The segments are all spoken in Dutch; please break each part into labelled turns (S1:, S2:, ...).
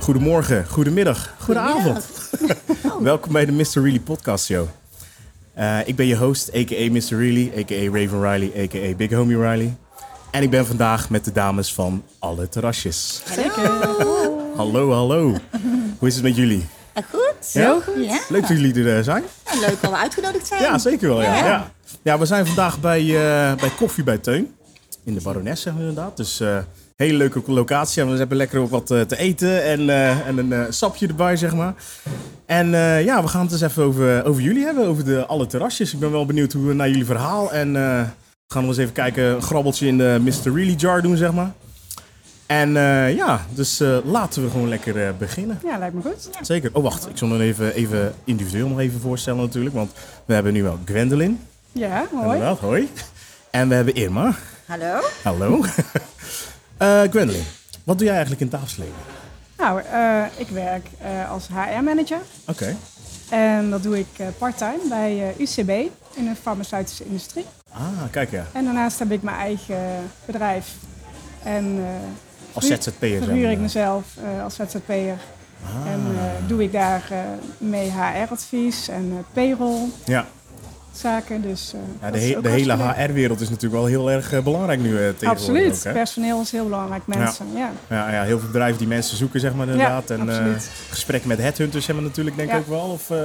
S1: Goedemorgen, goedemiddag, goedenavond. Welkom bij de Mr. Really Podcast Show. Eh, ik ben je host, a.k.a. Mr. Really, a.k.a. Raven Riley, a.k.a. Big Homie Riley. En ik ben vandaag met de dames van Alle Terrasjes.
S2: Zeker.
S1: Hallo, hallo. Hoe is het met jullie?
S2: Eh, Goed.
S1: Ja?
S2: Heel goed. Ja.
S1: Leuk dat jullie er eh, zijn.
S2: En leuk dat we uitgenodigd zijn.
S1: Ja, zeker wel. Ja,
S2: Ja.
S1: ja. ja we zijn vandaag bij, eh, bij Koffie bij Teun. In de Barones, zeggen we inderdaad. Dus eh hele leuke locatie. En we hebben lekker ook wat eh, te eten en, eh, en een eh, sapje erbij, zeg maar. En eh, ja, we gaan het eens even over, over jullie hebben, over de, alle terrasjes. Ik ben wel benieuwd hoe, naar jullie verhaal. En eh, we gaan nog eens even kijken, een grabbeltje in de Mr. Really jar doen, zeg maar. En eh, ja, dus eh, laten we gewoon lekker eh, beginnen.
S3: Ja, lijkt me goed.
S1: Zeker. Oh, wacht. Ik zal me even, even individueel nog even voorstellen natuurlijk. Want we hebben nu wel Gwendolyn.
S3: Ja, mooi.
S1: Inderdaad, hoi. En we hebben Irma.
S2: Hallo.
S1: Hallo. Eh Gwendolyn, wat doe jij eigenlijk in tafelsleden?
S3: Nou, eh, ik werk eh, als HR-manager.
S1: Oké.
S3: En dat doe ik eh, part-time bij eh, UCB in de farmaceutische industrie.
S1: Ah, kijk ja.
S3: En daarnaast heb ik mijn eigen bedrijf. En eh
S1: Als
S3: verhuur-
S1: ZZP'er.
S3: verhuur ik
S1: dan, eh. Ah.
S3: mezelf eh, als ZZP'er. En eh, doe ik daar eh, mee HR-advies en eh, payroll
S1: Ja,
S3: zaken. Dus, eh,
S1: ja
S3: dat
S1: de,
S3: is
S1: he-
S3: ook
S1: de hele
S3: hartstikke leuk.
S1: HR-wereld is natuurlijk wel heel erg eh, belangrijk nu eh, tegenwoordig
S3: Absoluut.
S1: ook, hè?
S3: Personeel is heel belangrijk. Mensen, ja.
S1: Ja, ja, heel veel bedrijven die mensen zoeken, zeg maar inderdaad. en eh,
S3: absoluut.
S1: gesprekken met headhunters hebben we natuurlijk denk ik
S3: Ja.
S1: ook wel. Of, eh,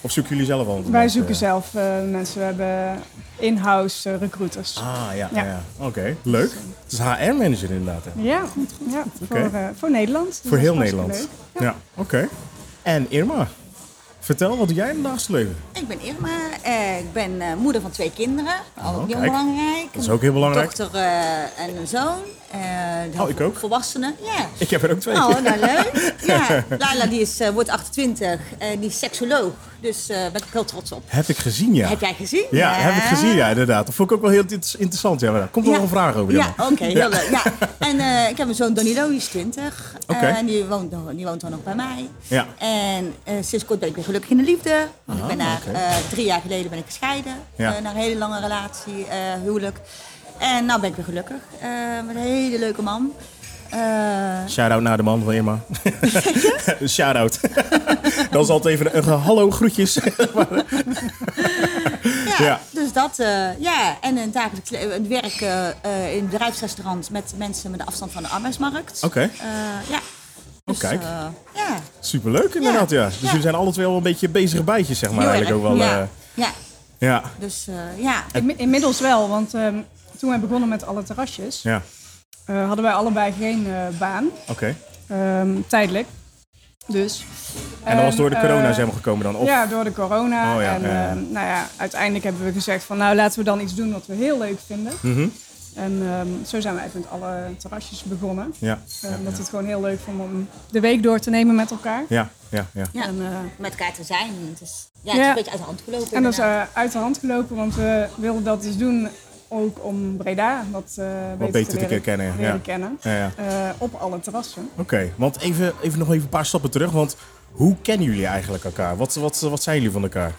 S1: of zoeken jullie zelf al?
S3: Wij
S1: mensen?
S3: zoeken zelf eh, mensen. We hebben in-house eh, recruiters.
S1: Ah, ja, ja.
S3: Ja.
S1: ja. oké. Leuk. Het is HR-manager inderdaad.
S2: Mm,
S1: hè?
S3: Ja, ja voor, eh, voor Nederland. Dus
S1: Voor
S3: dat
S1: heel
S3: is hartstikke
S1: Nederland.
S3: leuk.
S1: Ja, oké. En Irma, vertel, wat doe jij in het dagelijks leven?
S2: Ik ben Irma. Eh, ik ben eh, moeder van twee kinderen.
S1: Oh,
S2: ook heel
S1: kijk.
S2: belangrijk.
S1: Dat is ook heel belangrijk.
S2: Een dochter eh, en een zoon. Eh,
S1: Oh, ik ook.
S2: Volwassenen. Ja.
S1: Ik heb er ook twee.
S2: Oh, nou leuk. Ja. Lala die is, eh, wordt 28 en die is seksoloog. Dus daar ben ik heel trots op.
S1: Heb ik gezien, ja.
S2: Heb jij gezien? Eh,
S1: Ja, heb ik gezien, ja, inderdaad. Dat vond ik ook wel heel int- interessant. Ja, maar daar komt nog
S2: Ja.
S1: een vraag over.
S2: Ja, oh.
S1: Irma.
S2: oké, heel leuk. Ja. En eh, ik heb een zoon Danilo, die is 20. Eh,
S1: Oké.
S2: en die woont, dan- die woont dan nog bij mij.
S1: Ja.
S2: En eh, sinds kort ben ik weer gelukkig in de liefde. Want ik ben
S1: Ah,
S2: na
S1: oké.
S2: eh, drie jaar geleden ben ik gescheiden.
S1: Ja.
S2: Eh, na een hele lange relatie, eh, huwelijk. En nou ben ik weer gelukkig. eh, met een hele leuke man. Eh,
S1: Shout-out naar de man van Irma. Shout-out. Dat is altijd even een, een hallo, groetjes.
S2: Ja,
S1: Ja.
S2: dus dat. eh, ja, en een dagelijks le- het werk eh, eh, in een bedrijfsrestaurant met mensen met een afstand van de arbeidsmarkt.
S1: Oké. Oh,
S2: Eh, ja. Dus,
S1: kijk.
S2: eh, ja.
S1: Superleuk inderdaad, ja. Dus
S2: Ja.
S1: jullie zijn alle twee wel een beetje bezige bijtjes, zeg maar.
S2: Heel
S1: eigenlijk
S2: erg.
S1: ook wel.
S2: ja.
S1: eh,
S2: ja.
S1: ja.
S2: Dus eh, ja.
S3: Inmi- Inmiddels wel, want ehm, toen wij begonnen met alle terrasjes,
S1: Ja,
S3: eh, hadden wij allebei geen eh, baan.
S1: oké.
S3: Ehm, tijdelijk. Dus.
S1: En dat was door de
S2: Ehm,
S1: corona,
S3: eh,
S1: zeg maar, gekomen dan? Of,
S3: Ja, door de corona.
S1: Oh ja,
S3: en
S1: ja, ja.
S3: ehm, nou ja, uiteindelijk hebben we gezegd van nou laten we dan iets doen wat we heel leuk vinden.
S1: Mhm.
S3: En ehm, zo zijn we even met alle terrasjes begonnen.
S1: ja.
S3: Eh,
S1: Ja,
S3: Omdat we
S1: ja.
S3: het gewoon heel leuk vonden om de week door te nemen met elkaar.
S1: ja, ja, ja.
S2: Ja.
S3: En, eh,
S2: met elkaar te zijn. Het is, ja, het is
S3: Ja.
S2: een beetje uit de hand gelopen.
S3: En dat is
S2: inderdaad.
S3: eh, uit de hand gelopen, want we wilden dat dus doen ook om Breda wat, eh, beter,
S1: beter te
S3: leren,
S1: kennen, ja.
S3: leren kennen.
S1: ja, ja.
S3: Eh, op alle terrassen.
S1: Oké, want even, even nog even een paar stappen terug. Want hoe kennen jullie eigenlijk elkaar? Wat, wat, wat zijn jullie van elkaar?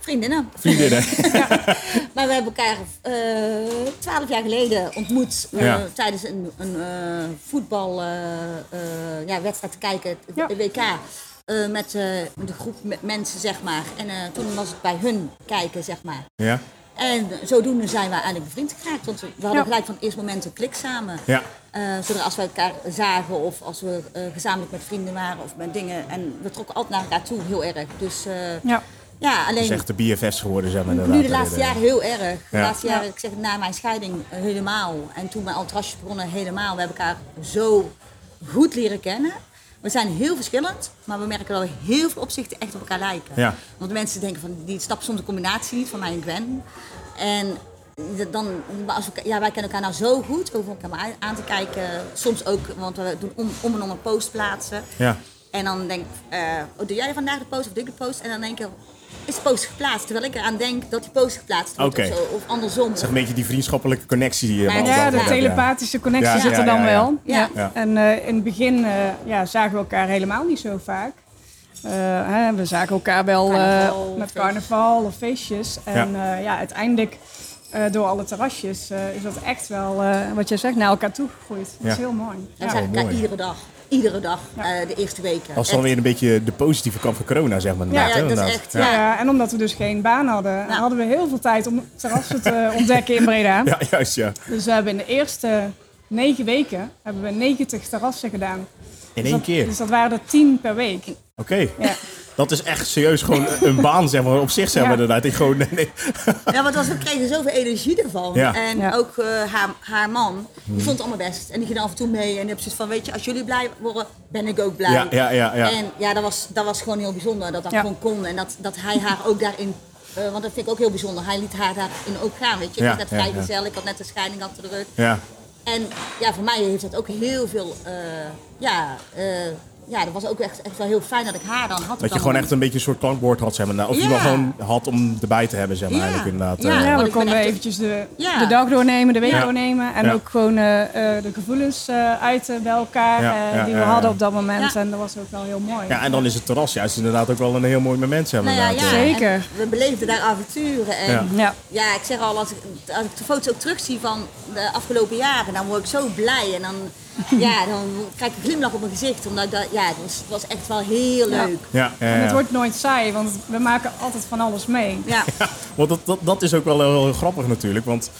S2: Vriendinnen.
S1: Vriendinnen.
S2: Maar we hebben elkaar eh, twaalf jaar geleden ontmoet eh,
S1: Ja.
S2: tijdens een, een eh, voetbalwedstrijd eh, ja, wedstrijd te kijken, het
S3: Ja.
S2: WK. eh, met eh, met een groep me- mensen, zeg maar. En eh, toen was het bij hun kijken, zeg maar.
S1: ja?
S2: En zodoende zijn we eigenlijk bevriend geraakt. Want we hadden
S3: Ja.
S2: gelijk van het eerste moment een klik samen.
S1: Ja.
S2: Eh, zodra als we elkaar zagen of als we eh, gezamenlijk met vrienden waren of met dingen. En we trokken altijd naar elkaar toe, heel erg. Dus eh,
S3: Ja.
S2: ja,
S1: Het is
S2: alleen
S1: echt de BFF's geworden, zeg maar.
S2: nu
S1: inderdaad. Eh,
S2: de laatste jaren heel erg. De
S1: Ja.
S2: laatste jaren,
S3: Ja.
S2: ik zeg het, na mijn scheiding eh, helemaal. En toen mijn altrasjes begonnen helemaal. We hebben elkaar zo goed leren kennen. We zijn heel verschillend, maar we merken dat we heel veel opzichten echt op elkaar lijken.
S1: Ja.
S2: Want mensen denken van, die snappen soms de combinatie niet van mij en Gwen. En dat dan, maar als we, ja, wij kennen elkaar nou zo goed, we hoeven elkaar maar aan- aan te kijken. Soms ook, want we doen om, om en om een post plaatsen.
S1: Ja.
S2: En dan denk ik, eh, oh, doe jij vandaag de post of doe ik de post? En dan denk ik, is de post geplaatst? Terwijl ik eraan denk dat die post geplaatst wordt
S1: Oké.
S2: of, zo, of andersom.
S1: Het is echt een beetje die vriendschappelijke connectie die je
S2: Ja,
S1: hebt.
S3: Ja, de
S2: ja.
S3: telepathische connectie
S1: Ja,
S3: zit er
S1: ja,
S3: dan
S1: ja, ja.
S3: wel.
S2: Ja.
S1: Ja.
S3: En eh, in het begin eh, ja, zagen we elkaar helemaal niet zo vaak. Eh, hè, we zagen elkaar wel eh,
S2: Carnaval,
S3: met
S2: feestjes.
S3: carnaval of feestjes. En
S1: Ja.
S3: eh, ja, uiteindelijk eh, door alle terrasjes eh, is dat echt wel, eh, wat jij zegt, naar elkaar toegegroeid. Dat is
S1: Ja.
S3: heel mooi.
S2: Dan
S3: Ja.
S2: zagen we elkaar
S1: mooi.
S2: iedere dag. Iedere dag,
S3: Ja.
S2: eh, de eerste weken.
S1: Als dan
S2: Echt.
S1: weer een beetje de positieve kant van corona, zeg maar.
S2: Ja,
S1: inderdaad, hè,
S2: ja, dat is
S1: inderdaad.
S2: echt.
S3: Ja.
S2: Ja.
S3: en omdat we dus geen baan hadden, hadden we heel veel tijd om terrassen te ontdekken in Breda.
S1: Ja, juist, ja.
S3: Dus we hebben in de eerste negen weken hebben we 90 terrassen gedaan.
S1: In
S3: dus
S1: één
S3: dat,
S1: keer.
S3: Dus dat waren er 10 per week.
S1: Oké.
S3: Ja.
S1: Dat is echt serieus gewoon een baan, zeg maar, op zich, zeg maar,
S3: Ja.
S1: inderdaad. Ik gewoon, nee, nee.
S2: Ja, want als- we kregen zoveel energie ervan.
S1: Ja. Hmm.
S2: En
S3: Ja.
S2: ook eh, haar, haar man, die vond het allemaal best. En die ging af en toe mee. En die heb zoiets van, weet je, als jullie blij worden, ben ik ook blij.
S1: Ja, ja, ja, ja.
S2: En ja, dat was, dat was gewoon heel bijzonder. Dat dat
S3: Ja.
S2: gewoon kon. En dat, dat hij haar ook daarin... eh, want dat vind ik ook heel bijzonder. Hij liet haar daarin ook gaan, weet je.
S1: Ja,
S2: ik was
S1: ja,
S2: net
S1: ja.
S2: vrijgezel, ik had net een scheiding achter de rug.
S1: Ja.
S2: En ja, voor mij heeft dat ook heel veel... eh, ja, eh, ja, dat was ook echt, echt wel heel fijn dat ik haar dan had. op
S1: Dat je
S2: dat
S1: gewoon
S2: moment.
S1: echt een beetje een soort klankbord had, zeg maar. Nou, Of je
S2: Ja.
S1: wel gewoon had om erbij te hebben, zeg maar,
S2: Ja.
S1: eigenlijk, inderdaad.
S2: Ja.
S1: Eh,
S3: Ja,
S2: want
S3: we
S2: oh, ik ben
S3: konden
S2: echt-
S3: eventjes de,
S2: Ja.
S3: de dag doornemen, de week
S2: Ja.
S3: doornemen. En
S1: Ja.
S3: ook gewoon eh, eh, de gevoelens eh, uiten bij elkaar
S1: Ja,
S3: eh,
S1: ja,
S3: die we
S1: ja, ja.
S3: hadden op dat moment.
S2: Ja.
S3: En dat was ook wel heel mooi.
S1: ja, en dan is het terras juist inderdaad ook wel een heel mooi moment, zeg maar.
S2: Nou ja, ja.
S1: inderdaad.
S3: Zeker.
S2: en we beleefden daar avonturen. En
S1: Ja.
S3: Ja.
S2: Ja, ik zeg al, als ik, als ik de foto's ook terugzie van de afgelopen jaren, dan word ik zo blij. En dan, ja, dan krijg ik een glimlach op mijn gezicht. Omdat ik dat, ja, het was, het was echt wel heel
S3: Ja.
S2: leuk.
S1: Ja, ja, ja.
S3: En het wordt nooit saai, want we maken altijd van alles mee.
S2: Ja,
S1: Ja, want dat, dat, dat is ook wel heel, heel grappig natuurlijk. Want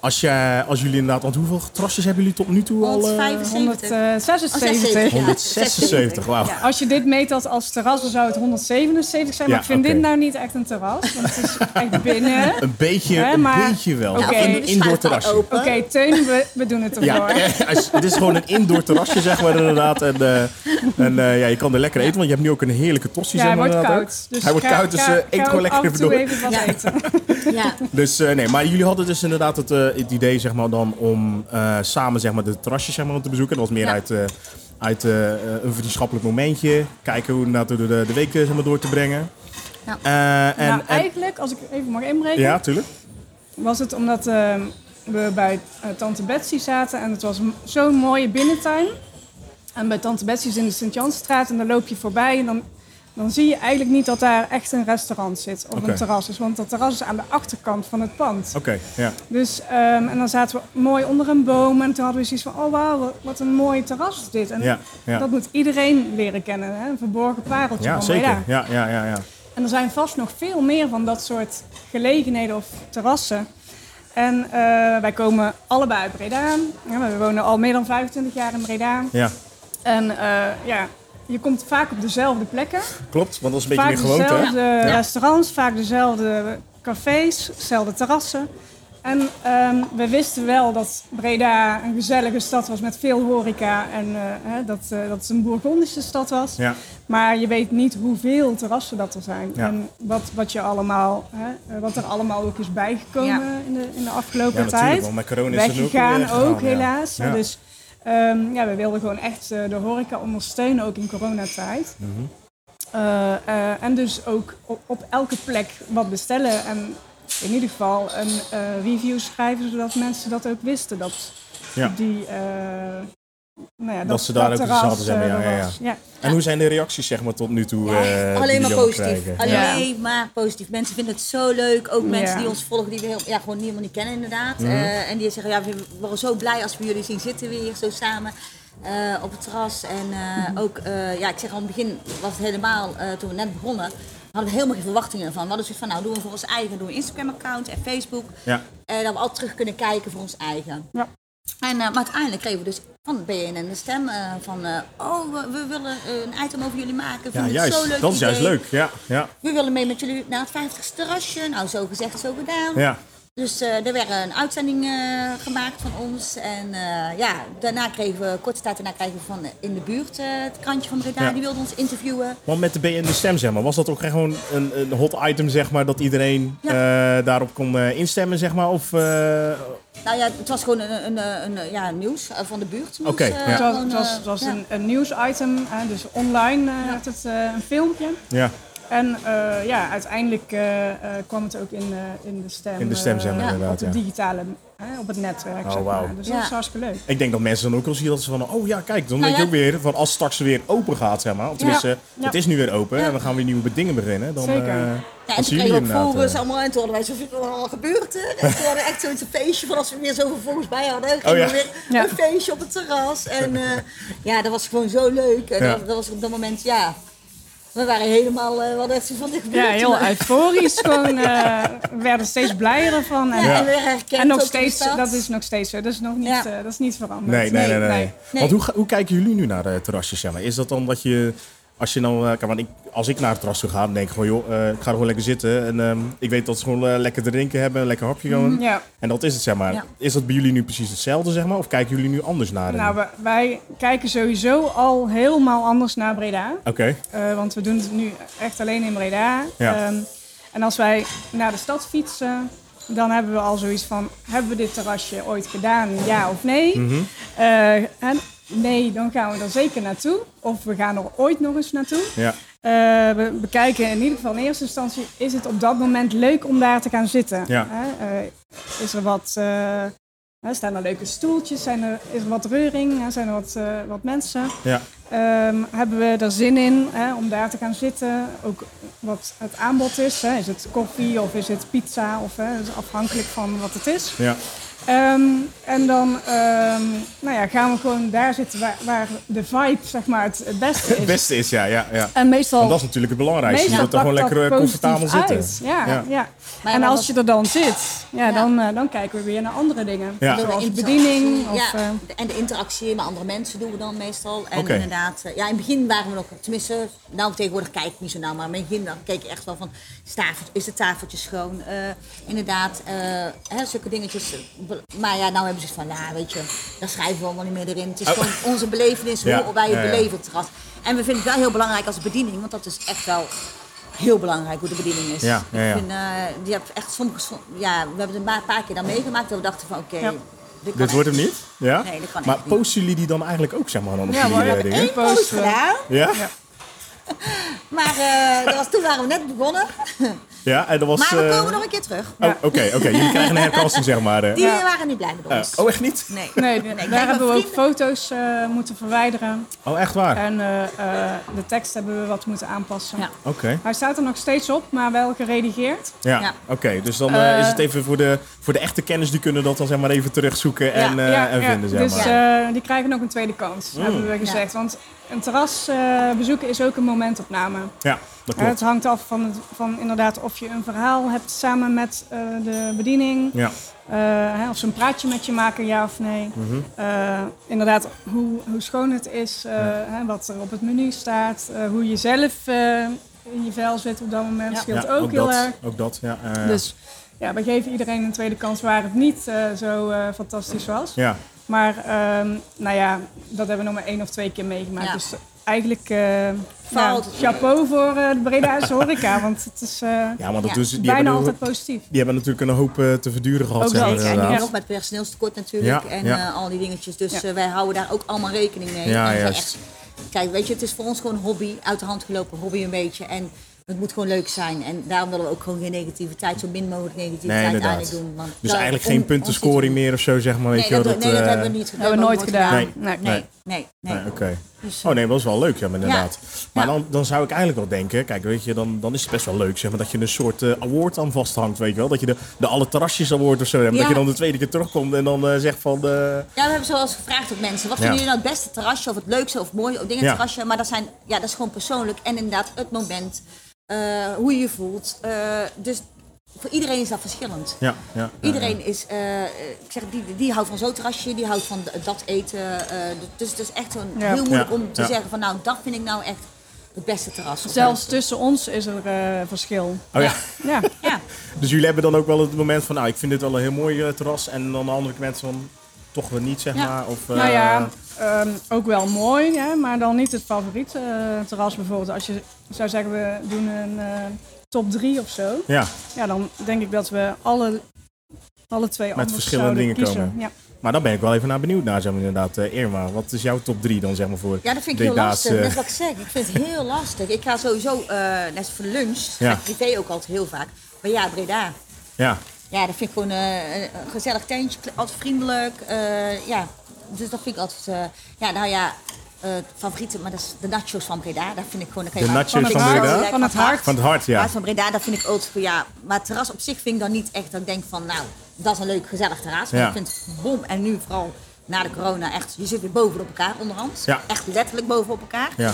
S1: als, je, als jullie inderdaad... Want hoeveel trasjes hebben jullie tot nu toe al? eh,
S2: 175.
S3: 176.
S2: ja.
S1: 176, wauw.
S2: Ja.
S3: Als je dit meet als, als terras, dan zou het 177 zijn. Maar
S1: Ja,
S3: ik vind
S1: oké.
S3: dit nou niet echt een terras, want het is echt binnen.
S1: Een beetje,
S3: Hè,
S1: een
S3: maar-
S1: beetje wel.
S3: Ja,
S2: Ja,
S3: Oké.
S2: of
S1: Een
S2: je doet de
S1: indoor
S2: schuifdeur
S1: terrasje.
S2: open.
S3: Oké, Teun, we, we doen het ervoor.
S1: Ja, eh, als- het is gewoon een indoor terrasje, zeg maar inderdaad. En, eh, en eh, ja, je kan er lekker eten, want je hebt nu ook een heerlijke tossie.
S3: Ja,
S1: zeg
S3: hij
S1: maar,
S3: wordt
S1: inderdaad
S3: koud.
S1: ook.
S3: Dus
S1: hij wordt
S3: ga-
S1: koud, dus
S3: ga-
S1: eh,
S3: ga
S1: eet gewoon
S3: ook
S1: lekker
S3: af en
S1: even
S3: toe
S1: door.
S3: even wat
S2: Ja.
S3: eten.
S2: Ja.
S1: Dus eh, nee, maar jullie hadden dus inderdaad het, eh, het idee zeg maar, dan om eh, samen zeg maar, de terrasjes zeg maar, te bezoeken. Dat was meer
S2: Ja.
S1: uit, eh, uit eh, eh, een vriendschappelijk momentje. Kijken hoe inderdaad de, de, de week eh, zeg maar, door te brengen.
S2: Ja.
S1: Eh, en,
S3: nou,
S1: en,
S3: eigenlijk, als ik even mag inbreken,
S1: ja, tuurlijk.
S3: was het omdat eh, we bij eh, Tante Betsy zaten en het was m- zo'n mooie binnentuin. En bij Tante Betsy is in de Sint-Jansstraat en dan loop je voorbij en dan, dan zie je eigenlijk niet dat daar echt een restaurant zit of
S1: Oké.
S3: een terras is. Want dat terras is aan de achterkant van het pand.
S1: Oké, ja.
S3: Dus, ehm, en dan zaten we mooi onder een boom en toen hadden we zoiets van, oh wauw, wat- wat een mooi terras is dit. En
S1: Ja, ja.
S3: dat moet iedereen leren kennen, hè? een verborgen pareltje
S1: Ja,
S3: van
S1: zeker.
S3: Breda.
S1: Ja, ja, ja, ja.
S3: En er zijn vast nog veel meer van dat soort gelegenheden of terrassen. En eh, wij komen allebei uit Breda. Ja, we wonen al meer dan 25 jaar in Breda.
S1: ja.
S3: En eh, ja, je komt vaak op dezelfde plekken.
S1: Klopt, want dat is een beetje
S3: Vaak
S1: meer gewoonte. hè?
S3: dezelfde restaurants, vaak dezelfde cafés, dezelfde terrassen. En ehm, we wisten wel dat Breda een gezellige stad was met veel horeca en eh, hè, dat, eh, dat het een Bourgondische stad was.
S1: Ja.
S3: Maar je weet niet hoeveel terrassen dat er zijn.
S1: Ja.
S3: En wat, wat, je allemaal, hè, eh, wat er allemaal ook is bijgekomen
S2: Ja.
S3: in, de, in de afgelopen
S1: Ja, natuurlijk,
S3: tijd.
S1: want met corona is het ook
S3: Weggegaan
S1: weer
S3: ook,
S1: weggegaan, ja.
S3: helaas.
S1: Ja.
S3: Dus ehm, ja, we wilden gewoon echt eh, de horeca ondersteunen, ook in coronatijd.
S1: Mhm.
S3: Eh, eh, en dus ook op, op elke plek wat bestellen. En in ieder geval een eh, review schrijven, zodat mensen dat ook wisten. Dat
S1: Ja.
S3: die... eh, nou ja, dat,
S1: ze daar ook iets
S3: terras,
S1: hadden, zeg maar,
S3: eh,
S1: ja,
S3: er
S1: ja, ja.
S3: was. ja.
S1: En hoe zijn de reacties zeg maar, tot nu toe?
S2: Ja,
S1: eh, die
S2: alleen
S1: jullie
S2: maar
S1: allemaal
S2: positief.
S1: krijgen?
S2: Alleen
S1: Ja.
S2: maar positief. Mensen vinden het zo leuk. Ook mensen
S3: Ja.
S2: die ons volgen, die we heel, ja, gewoon helemaal niet kennen inderdaad.
S1: Mhm.
S2: Eh, en die zeggen, ja, we waren zo blij als we jullie zien zitten weer zo samen. eh, op het terras. En eh, ook, eh, ja, ik zeg al, in het begin was het helemaal, eh, toen we net begonnen, hadden we helemaal geen verwachtingen van. We hadden zoiets van, nou doen we voor ons eigen, doen we Instagram-account en Facebook.
S1: Ja.
S2: En dat we al terug kunnen kijken voor ons eigen.
S3: Ja.
S2: En, eh, maar uiteindelijk kregen we dus van BNN de stem eh, van... eh, oh, we, we willen een item over jullie maken.
S1: Ja,
S2: Vinden het zo
S1: juist.
S2: leuk
S1: Dat is
S2: idee.
S1: juist leuk. Ja, ja,
S2: We willen mee met jullie naar het 50ste terrasje. Nou, zo gezegd, zo gedaan.
S1: ja.
S2: Dus eh, er werd een uitzending eh, gemaakt van ons. En eh, ja, daarna kregen we, korte tijd daarna kregen we van eh, in de buurt eh, het krantje van Breda.
S1: Ja.
S2: Die wilde ons interviewen.
S1: Want met de BN de stem, zeg maar, was dat ook echt gewoon een, een hot item, zeg maar, dat iedereen eh, daarop kon eh, instemmen, zeg maar? Of, eh,
S2: Nou ja, het was gewoon een, een, een, een, ja, nieuws eh, van de buurt.
S1: Oké, ja.
S3: Het was, het was, het was een, een nieuwsitem, hè, dus online eh, werd het eh, een filmpje.
S1: ja,
S3: En eh, ja, uiteindelijk eh, eh, kwam het ook in, eh, in de stem.
S1: In de stem, zeg maar,
S3: eh,
S1: inderdaad,
S3: Op de
S1: ja.
S3: digitale hè, op het netwerk.
S1: Oh,
S3: zeg
S1: wauw.
S3: maar. Dus
S2: Ja.
S3: dat is hartstikke leuk.
S1: Ik denk dat mensen dan ook wel zien dat ze van, oh ja, kijk, dan
S2: Nou
S1: weet
S2: ja.
S1: je ook weer van als straks weer open gaat, zeg maar. Of tenminste,
S3: Ja.
S1: het is nu weer open
S2: Ja.
S1: en we gaan weer nieuwe dingen beginnen. Dan,
S3: Zeker.
S1: eh,
S3: Ja,
S2: Ja,
S1: dan zien
S2: en toen
S1: jullie
S2: kregen we
S1: inderdaad,
S2: ook volgers
S1: eh,
S2: allemaal en toen hadden wij "Oh, zoveel al gebeurd. hè. En toen hadden we echt zoiets een feestje van als we weer zoveel volgers bij hadden. Gingen
S1: Oh ja.
S2: we weer
S3: Ja.
S2: een feestje op het terras. En eh, ja, dat was gewoon zo leuk. En
S1: Ja.
S2: dat, dat was op dat moment, ja, we waren helemaal, eh, we hadden echt zo van dit gebeurt.
S3: Ja, heel
S2: hier?
S3: euforisch. Gewoon, eh, we werden steeds blijer ervan. En,
S2: Ja, En we herkend
S3: en nog
S2: ook in
S3: steeds,
S2: de stad.
S3: dat is nog steeds zo. Dat is nog niet,
S2: Ja.
S3: eh, dat is niet veranderd.
S1: Nee, nee, nee. nee,
S3: nee.
S2: nee.
S1: Want hoe, ga- hoe kijken jullie nu naar de terrasjes? Zeg maar? Is dat dan dat je, als je nou, eh, kijk, want ik, als ik naar het terras toe ga, dan denk ik gewoon, joh, eh, ik ga er gewoon lekker zitten. En ehm, ik weet dat ze gewoon eh, lekker te drinken hebben, een lekker hapje gewoon.
S3: Mhm. Ja.
S1: En dat is het, zeg maar.
S2: Ja.
S1: Is dat bij jullie nu precies hetzelfde, zeg maar? Of kijken jullie nu anders naar?
S3: Nou, we- wij kijken sowieso al helemaal anders naar Breda.
S1: Oké,
S3: Eh, want we doen het nu echt alleen in Breda.
S1: Ja.
S3: Ehm, en als wij naar de stad fietsen, dan hebben we al zoiets van: hebben we dit terrasje ooit gedaan, ja of nee?
S1: Mhm.
S3: Eh, en nee, dan gaan we er zeker naartoe. Of we gaan er ooit nog eens naartoe.
S1: ja.
S3: Eh, we bekijken in ieder geval in eerste instantie: is het op dat moment leuk om daar te gaan zitten?
S1: Ja.
S3: Hè? Eh, is er wat. eh, hè, staan er leuke stoeltjes? Zijn er, is er wat reuring? Hè, Zijn er wat, eh, wat mensen?
S1: Ja,
S3: Ehm, hebben we er zin in hè, om daar te gaan zitten? Ook wat het aanbod is. Hè? Is het koffie of is het pizza? Of, hè, dat is afhankelijk van wat het is.
S1: ja.
S3: Ehm, en dan ehm, nou ja, gaan we gewoon daar zitten waar, waar de vibe zeg maar, het het beste is.
S1: Het beste is, ja, ja, ja.
S3: En meestal,
S1: Want dat is natuurlijk het belangrijkste.
S3: Eh, meestal
S1: Je wilt er gewoon
S3: pakt
S1: lekker eh,
S3: dat
S1: comfortabel
S3: positief
S1: zitten.
S3: uit. Ja,
S1: Ja.
S3: ja.
S2: Maar
S3: en
S2: wat-
S3: als je er dan zit, ja,
S2: Ja.
S3: Dan, eh, dan kijken we weer naar andere dingen.
S1: Ja.
S3: Zoals de
S2: Interactie,
S3: bediening. Of,
S2: ja,
S3: eh,
S2: en de interactie met andere mensen doen we dan meestal. En
S1: Oké.
S2: inderdaad, eh, ja, in het begin waren we nog, tenminste, nou tegenwoordig kijk ik niet zo nauw, maar in het begin dan keek ik echt wel van, is, tafel- is het tafeltje schoon? Eh, inderdaad, eh, hè, zulke dingetjes. Maar ja, nou hebben ze van, nou weet je, daar schrijven we allemaal niet meer in. Het is gewoon onze belevenis,
S1: Oh. Ja,
S2: hoe wij het
S1: ja, ja.
S2: beleven op het terras. En we vinden het wel heel belangrijk als bediening, want dat is echt wel heel belangrijk hoe de bediening is.
S1: Ja, ja, ja.
S2: Ik vind, eh, die heb echt sommige, som- ja, we hebben het een paar- paar keer dan meegemaakt dat we dachten van, oké,
S3: Ja.
S2: dit, kan
S1: Dit wordt
S2: echt
S1: hem niet? Ja?
S2: Nee, dat kan
S1: maar
S2: echt niet.
S1: posten jullie die dan eigenlijk ook, zeg maar, dan op
S3: Ja,
S1: jullie
S3: maar
S1: eh,
S3: ik heb
S1: dingen?
S3: één post
S2: post gedaan.
S1: Ja?
S3: Ja.
S2: Maar eh, dat was, toen waren we net begonnen.
S1: Ja, en dat was...
S2: Maar we
S1: eh,
S2: komen nog een keer terug.
S1: Oh, oké, oké. Jullie krijgen een herkansing, zeg maar. eh.
S2: Die
S3: Ja.
S2: waren niet blij met
S1: Eh,
S2: ons.
S1: oh, echt niet?
S2: Nee.
S3: nee,
S2: Nee, kijk,
S3: daar hebben we
S2: mijn
S3: ook foto's eh, moeten verwijderen.
S1: Oh, echt waar?
S3: En eh, eh, de tekst hebben we wat moeten aanpassen.
S2: Ja.
S1: Oké.
S3: Hij staat er nog steeds op, maar wel geredigeerd.
S1: Ja,
S2: Ja.
S1: oké. Dus dan eh, is het
S3: Eh,
S1: even voor de, voor de echte kenners, die kunnen dat dan zeg maar even terugzoeken en, eh,
S3: Ja,
S1: en
S3: ja,
S1: vinden, Mm. zeg
S3: dus
S1: maar.
S3: eh, die krijgen ook een tweede kans, hebben we gezegd. Want een terras eh, bezoeken is ook een momentopname.
S1: ja, dat
S3: Eh, het
S1: klopt.
S3: hangt af van, het, van inderdaad of je een verhaal hebt samen met eh, de bediening.
S1: Ja,
S3: Eh, hè, of ze een praatje met je maken, ja of nee.
S1: Mhm.
S3: Eh, inderdaad, hoe, hoe schoon het is, eh, hè, wat er op het menu staat, eh, hoe je zelf eh, in je vel zit op dat moment,
S2: Ja.
S3: scheelt
S1: ja
S3: ook, heel
S1: dat.
S3: erg.
S1: Ook dat, ja. eh,
S3: Dus ja, we geven iedereen een tweede kans waar het niet eh, zo eh, fantastisch was.
S1: ja.
S3: Maar ehm, nou ja, dat hebben we nog maar één of twee keer meegemaakt.
S2: Ja.
S3: Dus eigenlijk eh nou,
S2: Valt het
S3: chapeau voor eh, de Bredaanse horeca, want het is eh,
S1: ja, maar dat
S2: Ja,
S1: doen ze, die,
S3: bijna
S1: hebben,
S3: altijd positief.
S1: die hebben natuurlijk een hoop eh, te verduren gehad,
S3: Ook
S1: zeg maar,
S3: dat, ja.
S2: En nu
S1: inderdaad.
S2: nog met personeelstekort natuurlijk
S1: Ja,
S2: en
S1: ja.
S2: eh, al die dingetjes. Dus
S3: Ja.
S2: eh, wij houden daar ook allemaal rekening mee.
S1: Ja,
S2: En we
S1: juist.
S2: echt- kijk, weet je, het is voor ons gewoon een hobby, uit de hand gelopen hobby een beetje. En het moet gewoon leuk zijn. En daarom willen we ook gewoon geen negativiteit, zo min mogelijk
S1: Nee,
S2: negativiteit aan
S1: inderdaad.
S2: doen. Want
S1: Dus
S2: dat-
S1: eigenlijk
S2: om-
S1: geen
S2: ons iets te
S1: puntenscoring
S2: doen.
S1: meer of zo, zeg maar. weet
S2: Nee,
S1: je wel,
S2: dat, nee, dat
S1: eh,
S2: hebben we niet
S3: hebben we
S2: ook
S3: nooit gedaan.
S2: Nee,
S3: Nee.
S2: nee, nee. nee. dus, eh,
S1: Nee, oké. Oh nee, dat is wel leuk, ja, maar inderdaad. Maar
S2: Ja.
S1: dan, dan zou ik eigenlijk wel denken, kijk, weet je, dan, dan is het best wel leuk, zeg maar, dat je een soort eh, award aan vasthangt, weet je wel. Dat je de, de alle terrasjes award of zo hebt,
S2: Ja.
S1: dat je dan de tweede keer terugkomt en dan eh, zegt van, eh,
S2: Ja, we hebben zoals gevraagd op mensen. Wat vinden
S1: Ja.
S2: jullie nou het beste terrasje of het leukste of mooie of dingen
S1: Ja.
S2: terrasje? Maar dat, zijn, ja, dat is gewoon persoonlijk en inderdaad het moment, eh, hoe je je voelt. Eh, dus voor iedereen is dat verschillend.
S1: ja, ja.
S2: Iedereen is, eh, eh, ik zeg, die, die houdt van zo'n terrasje, die houdt van d- dat eten. eh, dus het is echt zo'n
S3: Ja.
S2: heel moeilijk
S1: Ja,
S2: om te
S1: ja.
S2: zeggen van nou, dat vind ik nou echt het beste terras. Of
S3: Zelfs
S2: zo.
S3: tussen ons is er eh, verschil.
S1: Oh ja.
S3: Ja.
S2: Ja,
S1: Dus jullie hebben dan ook wel het moment van, nou, ik vind dit wel een heel mooi eh, terras. En dan de andere mensen van, toch wel niet, zeg
S2: Ja.
S1: maar. Of, eh,
S3: Nou ja, ehm, ook wel mooi, hè, maar dan niet het favoriete eh, terras bijvoorbeeld. Als je zou zeggen, we doen een eh, top drie of zo.
S1: Ja,
S3: Ja, dan denk ik dat we alle, alle twee anders
S1: verschillende
S3: zouden
S1: dingen
S3: kiezen.
S1: komen.
S3: Ja.
S1: maar dan ben ik wel even naar benieuwd naar, zeg maar, inderdaad. eh, Irma, wat is jouw top 3 dan, zeg maar, voor eh,
S2: Ja, dat vind ik
S1: dit
S2: heel
S1: laatste-
S2: lastig. Dat is wat ik zeg. Ik vind het heel lastig. Ik ga sowieso, eh net als voor lunch,
S1: Ja.
S2: ga ik privé ook altijd heel vaak. Maar ja, Breda.
S1: Ja,
S2: Ja, dat vind ik gewoon eh, een gezellig tentje, altijd vriendelijk. eh, ja, dus dat vind ik altijd... eh, ja, nou ja, eh favoriete, maar dat is de nachos van Breda. Daar vind ik gewoon... daar kan je
S1: De
S2: maar-
S1: nachos
S2: vind ik
S1: van
S2: altijd
S1: Breda?
S2: lekker.
S3: Van het hart.
S1: Van het hart, ja.
S2: Hart van Breda, dat vind ik ook... van, Ja, maar het terras op zich vind ik dan niet echt... Dat ik denk van, nou, dat is een leuk, gezellig terras. Maar
S1: Ja.
S2: ik vind het bom. En nu vooral na de corona echt... Je zit weer bovenop elkaar onderhand.
S1: Ja.
S2: Echt letterlijk bovenop elkaar.
S1: Ja.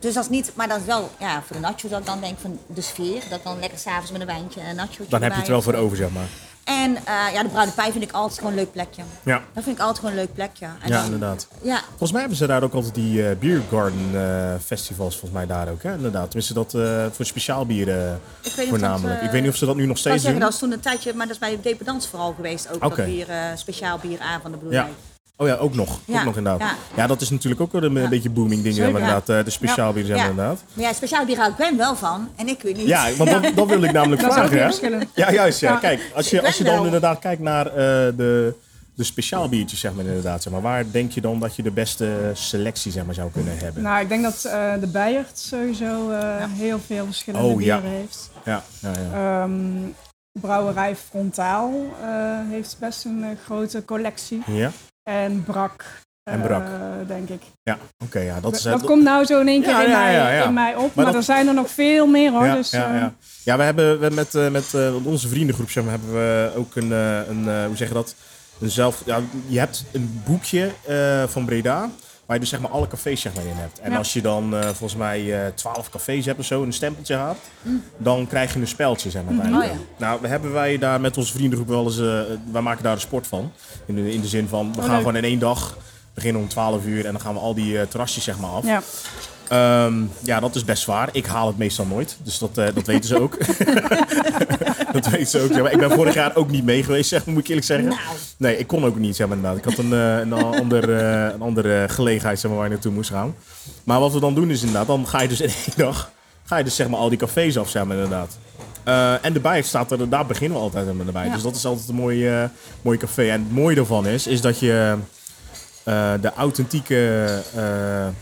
S2: Dus dat is niet, maar dat is wel ja, voor de nacho dat ik dan denk van de sfeer. Dat ik dan lekker s'avonds met een wijntje en een nacho.
S1: Dan heb je het wel voor over, zeg maar.
S2: En eh, ja, de Bruine Pij vind ik altijd gewoon een leuk plekje.
S1: Ja.
S2: Dat vind ik altijd gewoon een leuk plekje. En
S1: Ja,
S2: dan-
S1: inderdaad.
S2: Ja,
S1: Volgens mij hebben ze daar ook altijd die eh beer garden eh, festivals, volgens mij daar ook, hè? Inderdaad. Tenminste, dat eh, voor speciaal bieren eh,
S2: Ik weet niet of
S1: voornamelijk.
S2: dat, eh,
S1: ik weet niet of ze dat nu nog
S2: ik wou
S1: steeds
S2: zeggen,
S1: doen.
S2: dat is toen een tijdje, maar dat is bij Dependance vooral geweest. Ook
S1: Oké.
S2: dat bier, eh, speciaal bier aan van de Bloei.
S1: Ja. Oh ja, ook nog.
S2: Ja,
S1: Ook nog inderdaad. Ja.
S2: ja.
S1: dat is natuurlijk ook wel een eh, beetje booming ding,
S3: Zeker.
S1: inderdaad. eh, de speciaal bieren zijn
S2: Ja.
S1: inderdaad.
S2: Maar ja, speciaal bier houdt Gwen wel van en ik weer niet.
S1: Ja, want dat, dat wil ik namelijk
S3: Dat is ook
S1: vragen.
S3: weer
S1: hè?
S3: verschillend.
S1: Ja, juist. Ja.
S3: Ja.
S1: Kijk, als je,
S2: Ik
S1: als je
S2: ben
S1: dan
S2: wel.
S1: inderdaad kijkt naar eh, de, de speciaal biertjes, zeg maar inderdaad. Zeg maar, waar denk je dan dat je de beste eh, selectie zeg maar, zou kunnen hebben?
S3: Nou, ik denk dat eh, de Beiert sowieso eh, heel veel verschillende
S1: Oh, ja.
S3: bieren heeft.
S2: Nou.
S1: Ja, ja, ja.
S3: Ehm, brouwerij Frontaal eh, heeft best een eh, grote collectie.
S1: ja?
S3: En Brak.
S1: En Brak.
S3: eh, denk ik.
S1: Ja, oké. ja, dat is
S3: Dat
S1: eh,
S3: komt nou zo in één keer
S1: Ja,
S3: in,
S1: ja,
S3: mij,
S1: ja, ja.
S3: in mij op. Maar,
S1: dat-
S3: er zijn er nog veel meer hoor.
S1: ja,
S3: dus,
S1: ja,
S3: eh,
S1: ja. ja, we hebben we met, eh, met eh, onze vriendengroep zeg maar, hebben we ook een, eh, een eh, hoe zeg je dat? Een zelf, ja, je hebt een boekje eh, van Breda. Waar je dus zeg maar alle cafés zeg maar, in hebt. En
S3: Ja.
S1: als je dan eh, volgens mij twaalf cafés hebt of zo, een stempeltje haalt,
S3: Mm.
S1: dan krijg je een speldje zeg maar. uiteindelijk.
S2: Oh
S1: Nou, we hebben wij daar met onze vriendengroep wel eens, eh, wij maken daar een sport van. In de, in de zin van, we gaan
S3: Oh, leuk.
S1: gewoon in één dag beginnen om 12 uur en dan gaan we al die eh, terrasjes zeg maar af.
S3: ja.
S1: Ehm, ja, dat is best waar. Ik haal het meestal nooit. Dus dat, eh, dat weten ze ook. dat weten ze ook. Zeg maar. Ik ben vorig jaar ook niet mee geweest, zeg maar, moet ik eerlijk zeggen.
S2: Nou.
S1: Nee, ik kon ook niet, zeg maar, inderdaad. Ik had een, eh, een, a- ander, eh, een andere gelegenheid zeg maar, waar je naartoe moest gaan. Maar wat we dan doen is inderdaad, dan ga je dus in één dag... ga je dus zeg maar al die cafés af, zeg maar, inderdaad. Eh, en de Bijer staat er, daar beginnen we altijd met erbij. Dus dat is altijd een mooi, eh, mooi café. En het mooie daarvan is, is dat je eh, de authentieke, eh, eh,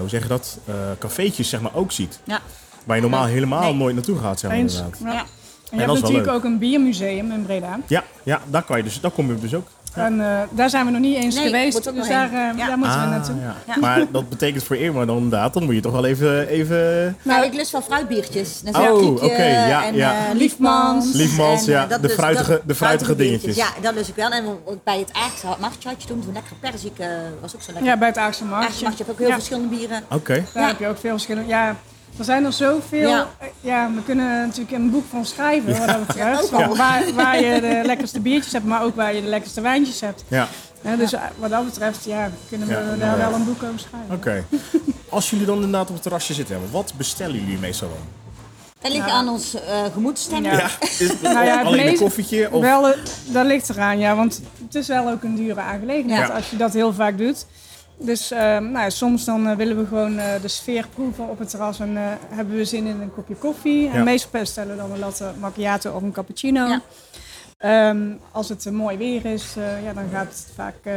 S1: hoe zeg je dat, eh cafeetjes zeg maar ook ziet.
S2: Ja.
S1: Waar je normaal helemaal
S2: Nee.
S1: nooit naartoe gaat, zeg maar
S3: Eens.
S1: inderdaad.
S3: Ja.
S2: Ja.
S3: En je
S1: dat is wel
S3: hebt natuurlijk
S1: leuk.
S3: ook een biermuseum in Breda.
S1: Ja, ja daar, kan je dus, daar kom je dus ook.
S3: En eh, daar zijn we nog niet eens
S2: Nee,
S3: geweest.
S2: moet ook
S3: Dus
S2: nog
S3: daar,
S2: heen.
S3: eh,
S2: Ja.
S3: daar moeten we naartoe.
S1: Ah, ja.
S2: Ja.
S1: Maar dat betekent voor Irma dan inderdaad, dan moet je toch wel even... even...
S2: Nou, ik lust wel fruitbiertjes. Dan
S1: Oh,
S2: kiekje
S1: oké, ja,
S2: en,
S1: ja.
S2: eh, liefmans.
S1: Liefmans,
S2: En, eh,
S1: ja,
S2: dat
S1: de
S2: lust-
S1: fruitige-
S2: dat-
S1: de fruitige dingetjes.
S2: Ja, dat lust ik wel. En eh, bij het aardse marktje toen, toen lekkere perzik eh, was ook zo lekker.
S3: Ja, bij het Aagse Markt.
S2: Aardse marktje heb ook heel
S3: Ja.
S2: verschillende bieren.
S1: Oké.
S3: Daar
S2: Ja.
S3: heb je ook veel verschillende. Ja, er zijn er zoveel.
S2: Ja.
S3: Ja. ja, we kunnen natuurlijk een boek van schrijven wat dat betreft.
S2: Ja, ook al.
S3: Waar, waar je de lekkerste biertjes hebt, maar ook waar je de lekkerste wijntjes hebt.
S1: Ja,
S3: Hè, dus eh, wat dat betreft, ja, kunnen we
S1: Ja,
S3: daar
S1: nou ja.
S3: wel een boek over schrijven.
S1: oké. Als jullie dan inderdaad op het terrasje zitten, hè, wat bestellen jullie meestal dan?
S2: Dat ligt aan ons eh gemoedsstemming.
S3: Ja.
S1: is
S3: Nou ja, het
S1: alleen een
S3: meest-
S1: koffietje? Of...
S3: Wel, eh, dat ligt eraan, ja. Want het is wel ook een dure aangelegenheid
S1: Ja.
S3: als je dat heel vaak doet. Dus eh, nou, ja, soms dan eh, willen we gewoon eh, de sfeer proeven op het terras en eh, hebben we zin in een kopje koffie.
S1: Ja.
S3: En meestal bestellen we dan een latte macchiato of een cappuccino.
S2: Ja.
S3: Ehm, als het eh, mooi weer is, eh, ja, dan gaat het vaak eh,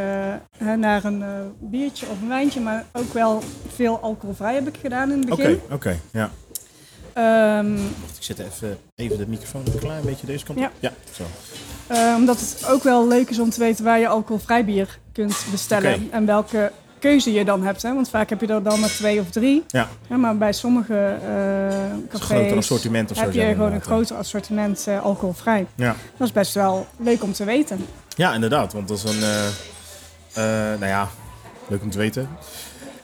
S3: hè, naar een eh, biertje of een wijntje. Maar ook wel veel alcoholvrij heb ik gedaan in het
S1: Oké,
S3: begin.
S1: oké, ja.
S3: Ehm,
S1: Ik zet even, even de microfoon een klein beetje deze kant op.
S3: Ja.
S1: ja zo.
S3: Eh, omdat het ook wel leuk is om te weten waar je alcoholvrij bier kunt bestellen.
S1: Oké.
S3: En welke keuze je dan hebt. Hè? Want vaak heb je er dan maar twee of drie.
S1: Ja,
S3: Ja, maar bij sommige eh
S1: een
S3: cafés
S1: groter assortiment of zo.
S3: heb je
S1: zeg maar,
S3: gewoon een
S1: inderdaad, hè.
S3: groter assortiment eh, alcoholvrij.
S1: Ja.
S3: Dat is best wel leuk om te weten.
S1: Ja, inderdaad. Want dat is een. eh, eh, nou ja, leuk om te weten.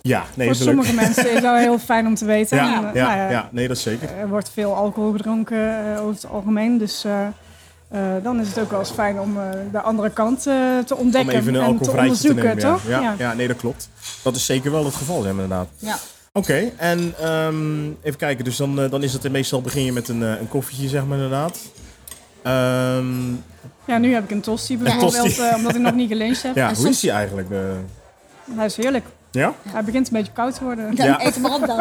S1: Ja, nee,
S3: Voor
S1: dat is leuk.
S3: sommige mensen is dat heel fijn om te weten.
S1: Ja,
S3: En,
S1: ja,
S3: eh, nou
S1: ja,
S3: ja,
S1: nee, dat is zeker.
S3: Er wordt veel alcohol gedronken eh, over het algemeen. Dus eh, eh, dan is het ook wel eens fijn om eh, de andere kant eh, te
S1: Om
S3: ontdekken
S1: even een
S3: en te
S1: alcoholvrijtje te,
S3: onderzoeken,
S1: nemen. ja.
S3: toch?
S1: Ja, ja. nee, dat klopt. Dat is zeker wel het geval, zeg maar, inderdaad.
S2: Ja.
S1: Oké, en ehm, even kijken. Dus dan, eh, dan is het meestal begin je met een, eh, een koffietje, zeg maar, inderdaad. Ehm,
S3: Ja, nu heb ik een tosti bijvoorbeeld,
S1: tosti.
S3: eh, omdat ik nog niet geluncht heb.
S1: ja, hoe
S2: soms-
S1: is die eigenlijk? eh?
S3: Hij is heerlijk.
S1: ja?
S3: Hij begint een beetje koud te worden.
S2: Dan
S1: Ja.
S2: eten maar op dan.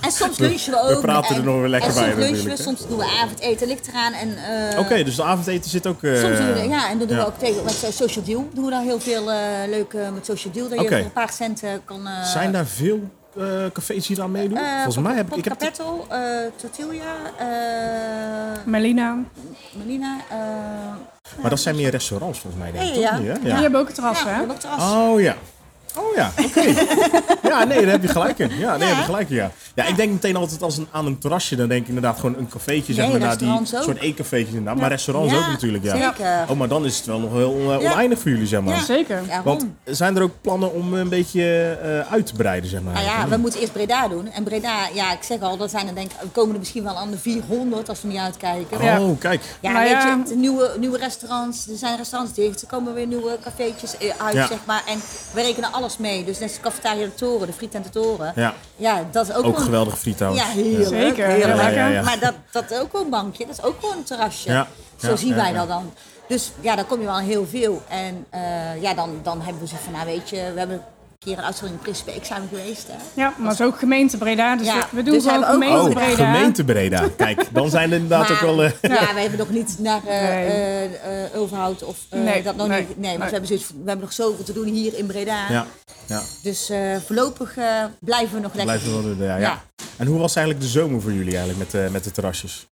S2: En soms lunchen we ook.
S1: we praten er
S2: en-
S1: nog weer lekker
S2: en
S1: bij
S2: Soms lunchen
S1: natuurlijk,
S2: we,
S1: hè?
S2: soms doen we avondeten, ligt eraan. En, eh,
S1: Oké, dus de avondeten zit ook... eh,
S2: Soms doen we, ja, en dan doen
S1: ja.
S2: we ook tegen, met eh, Social Deal doen we daar heel veel eh leuk eh, met Social Deal. Dat
S1: Oké.
S2: je voor een paar centen kan... eh,
S1: Zijn daar veel eh, cafés hier aan meedoen?
S2: Eh,
S1: Volgens mij heb ik... ik heb
S2: Popcapetto, eh, Tortilla, eh,
S3: Melina.
S2: Melina. eh,
S1: maar dat zijn meer restaurants volgens mij, denk ik.
S2: Nee,
S1: toch?
S2: ja.
S1: Niet, hè?
S3: Die
S1: Ja.
S3: hebben ook het terras,
S2: ja, we
S3: hè?
S2: hebben ook terras.
S1: Oh ja. Oh ja, oké. ja, nee, daar heb je gelijk in. Ja, nee, daar heb je gelijk in, ja. Ja, ik denk meteen altijd als een, aan een terrasje. Dan denk ik inderdaad gewoon een cafeetje, zeg
S2: Nee,
S1: maar. naar die
S2: restaurants ook.
S1: soort eetcafeetjes inderdaad. Maar restaurants
S2: Ja,
S1: ook natuurlijk, ja.
S2: zeker.
S1: Oh, maar dan is het wel nog heel eh,
S2: Ja.
S1: oneindig voor jullie, zeg maar.
S2: Ja.
S3: Zeker.
S2: Daarom.
S1: Want zijn er ook plannen om een beetje eh, uit te breiden, zeg maar?
S2: Nou ja, we moeten eerst Breda doen. En Breda, ja, ik zeg al, dat zijn er denk ik, we komen er misschien wel aan de 400 als we niet uitkijken.
S1: Oh,
S3: Ja.
S1: kijk.
S2: Ja,
S3: Nou
S2: weet
S3: ja.
S2: je, het- nieuwe, nieuwe restaurants, er zijn restaurants dicht, er komen weer nieuwe cafeetjes eh, uit,
S1: Ja.
S2: zeg maar. En we rekenen alles mee. Dus net als de cafetaria de toren, de friet en de toren.
S1: Ja.
S2: Ja, dat is ook,
S1: Ook
S2: wel-
S1: geweldig friet trouwens.
S2: Ja, heerlijk.
S3: Zeker, heel
S2: heerlijk.
S1: lekker. Ja, ja, ja.
S2: Maar dat, dat is ook wel een bankje, dat is ook gewoon een terrasje.
S1: Ja,
S2: Zo
S1: ja,
S2: zien
S1: ja,
S2: wij
S1: ja.
S2: dat dan. Dus ja, daar kom je wel aan heel veel. En eh, ja, dan, dan hebben we zoiets van, nou weet je, we hebben een keer een uitzending in Prisbeek zijn we geweest. Hè?
S3: Ja, maar het is ook gemeente Breda, dus
S2: Ja,
S3: we- we doen
S2: dus
S3: gewoon
S2: hebben we ook-
S3: gemeente
S1: Oh,
S3: Breda.
S1: gemeente Breda. Kijk, dan zijn er inderdaad ook wel... eh,
S2: ja, we hebben nog niet naar eh
S3: Nee.
S2: eh, eh, Ulverhout of eh,
S3: Nee,
S2: dat nog
S3: nee,
S2: niet. Nee, maar
S3: nee.
S2: We, hebben zoiets, van, we hebben nog zoveel te doen hier in Breda.
S1: ja, ja.
S2: Dus eh, voorlopig eh, blijven we nog lekker.
S1: Blijven we wel doen, ja, ja.
S2: Ja.
S1: En hoe was eigenlijk de zomer voor jullie eigenlijk met, eh, met de terrasjes?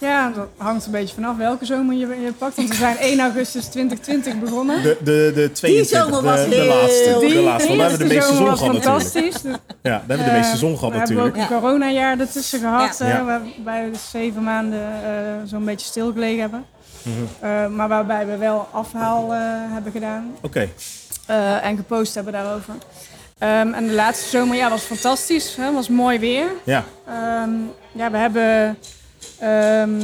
S3: Ja, dat hangt een beetje vanaf welke zomer je, je pakt. Want we zijn 1 augustus 2020 begonnen.
S1: De, de, de 22,
S2: zomer
S1: de-
S2: was
S1: de,
S2: heel-
S1: laatste.
S2: Die
S1: de laatste, want daar hebben we de meeste
S3: zomer
S1: zon
S3: was
S1: gehad natuurlijk.
S3: fantastisch. Dus,
S1: Ja, daar hebben we de meeste
S3: eh,
S1: zon gehad
S3: we hebben ook
S1: natuurlijk.
S3: een coronajaar ertussen gehad.
S2: Ja.
S3: hè,
S1: Ja.
S3: waarbij we dus zeven maanden eh, zo'n beetje stilgelegen hebben.
S1: Mhm.
S3: Eh, maar waarbij we wel afhaal eh, hebben gedaan.
S1: Oké,
S3: Eh, en gepost hebben daarover. Ehm, en de laatste zomer ja, was fantastisch. Het was mooi weer.
S1: ja.
S3: Ehm, ja, we hebben ehm,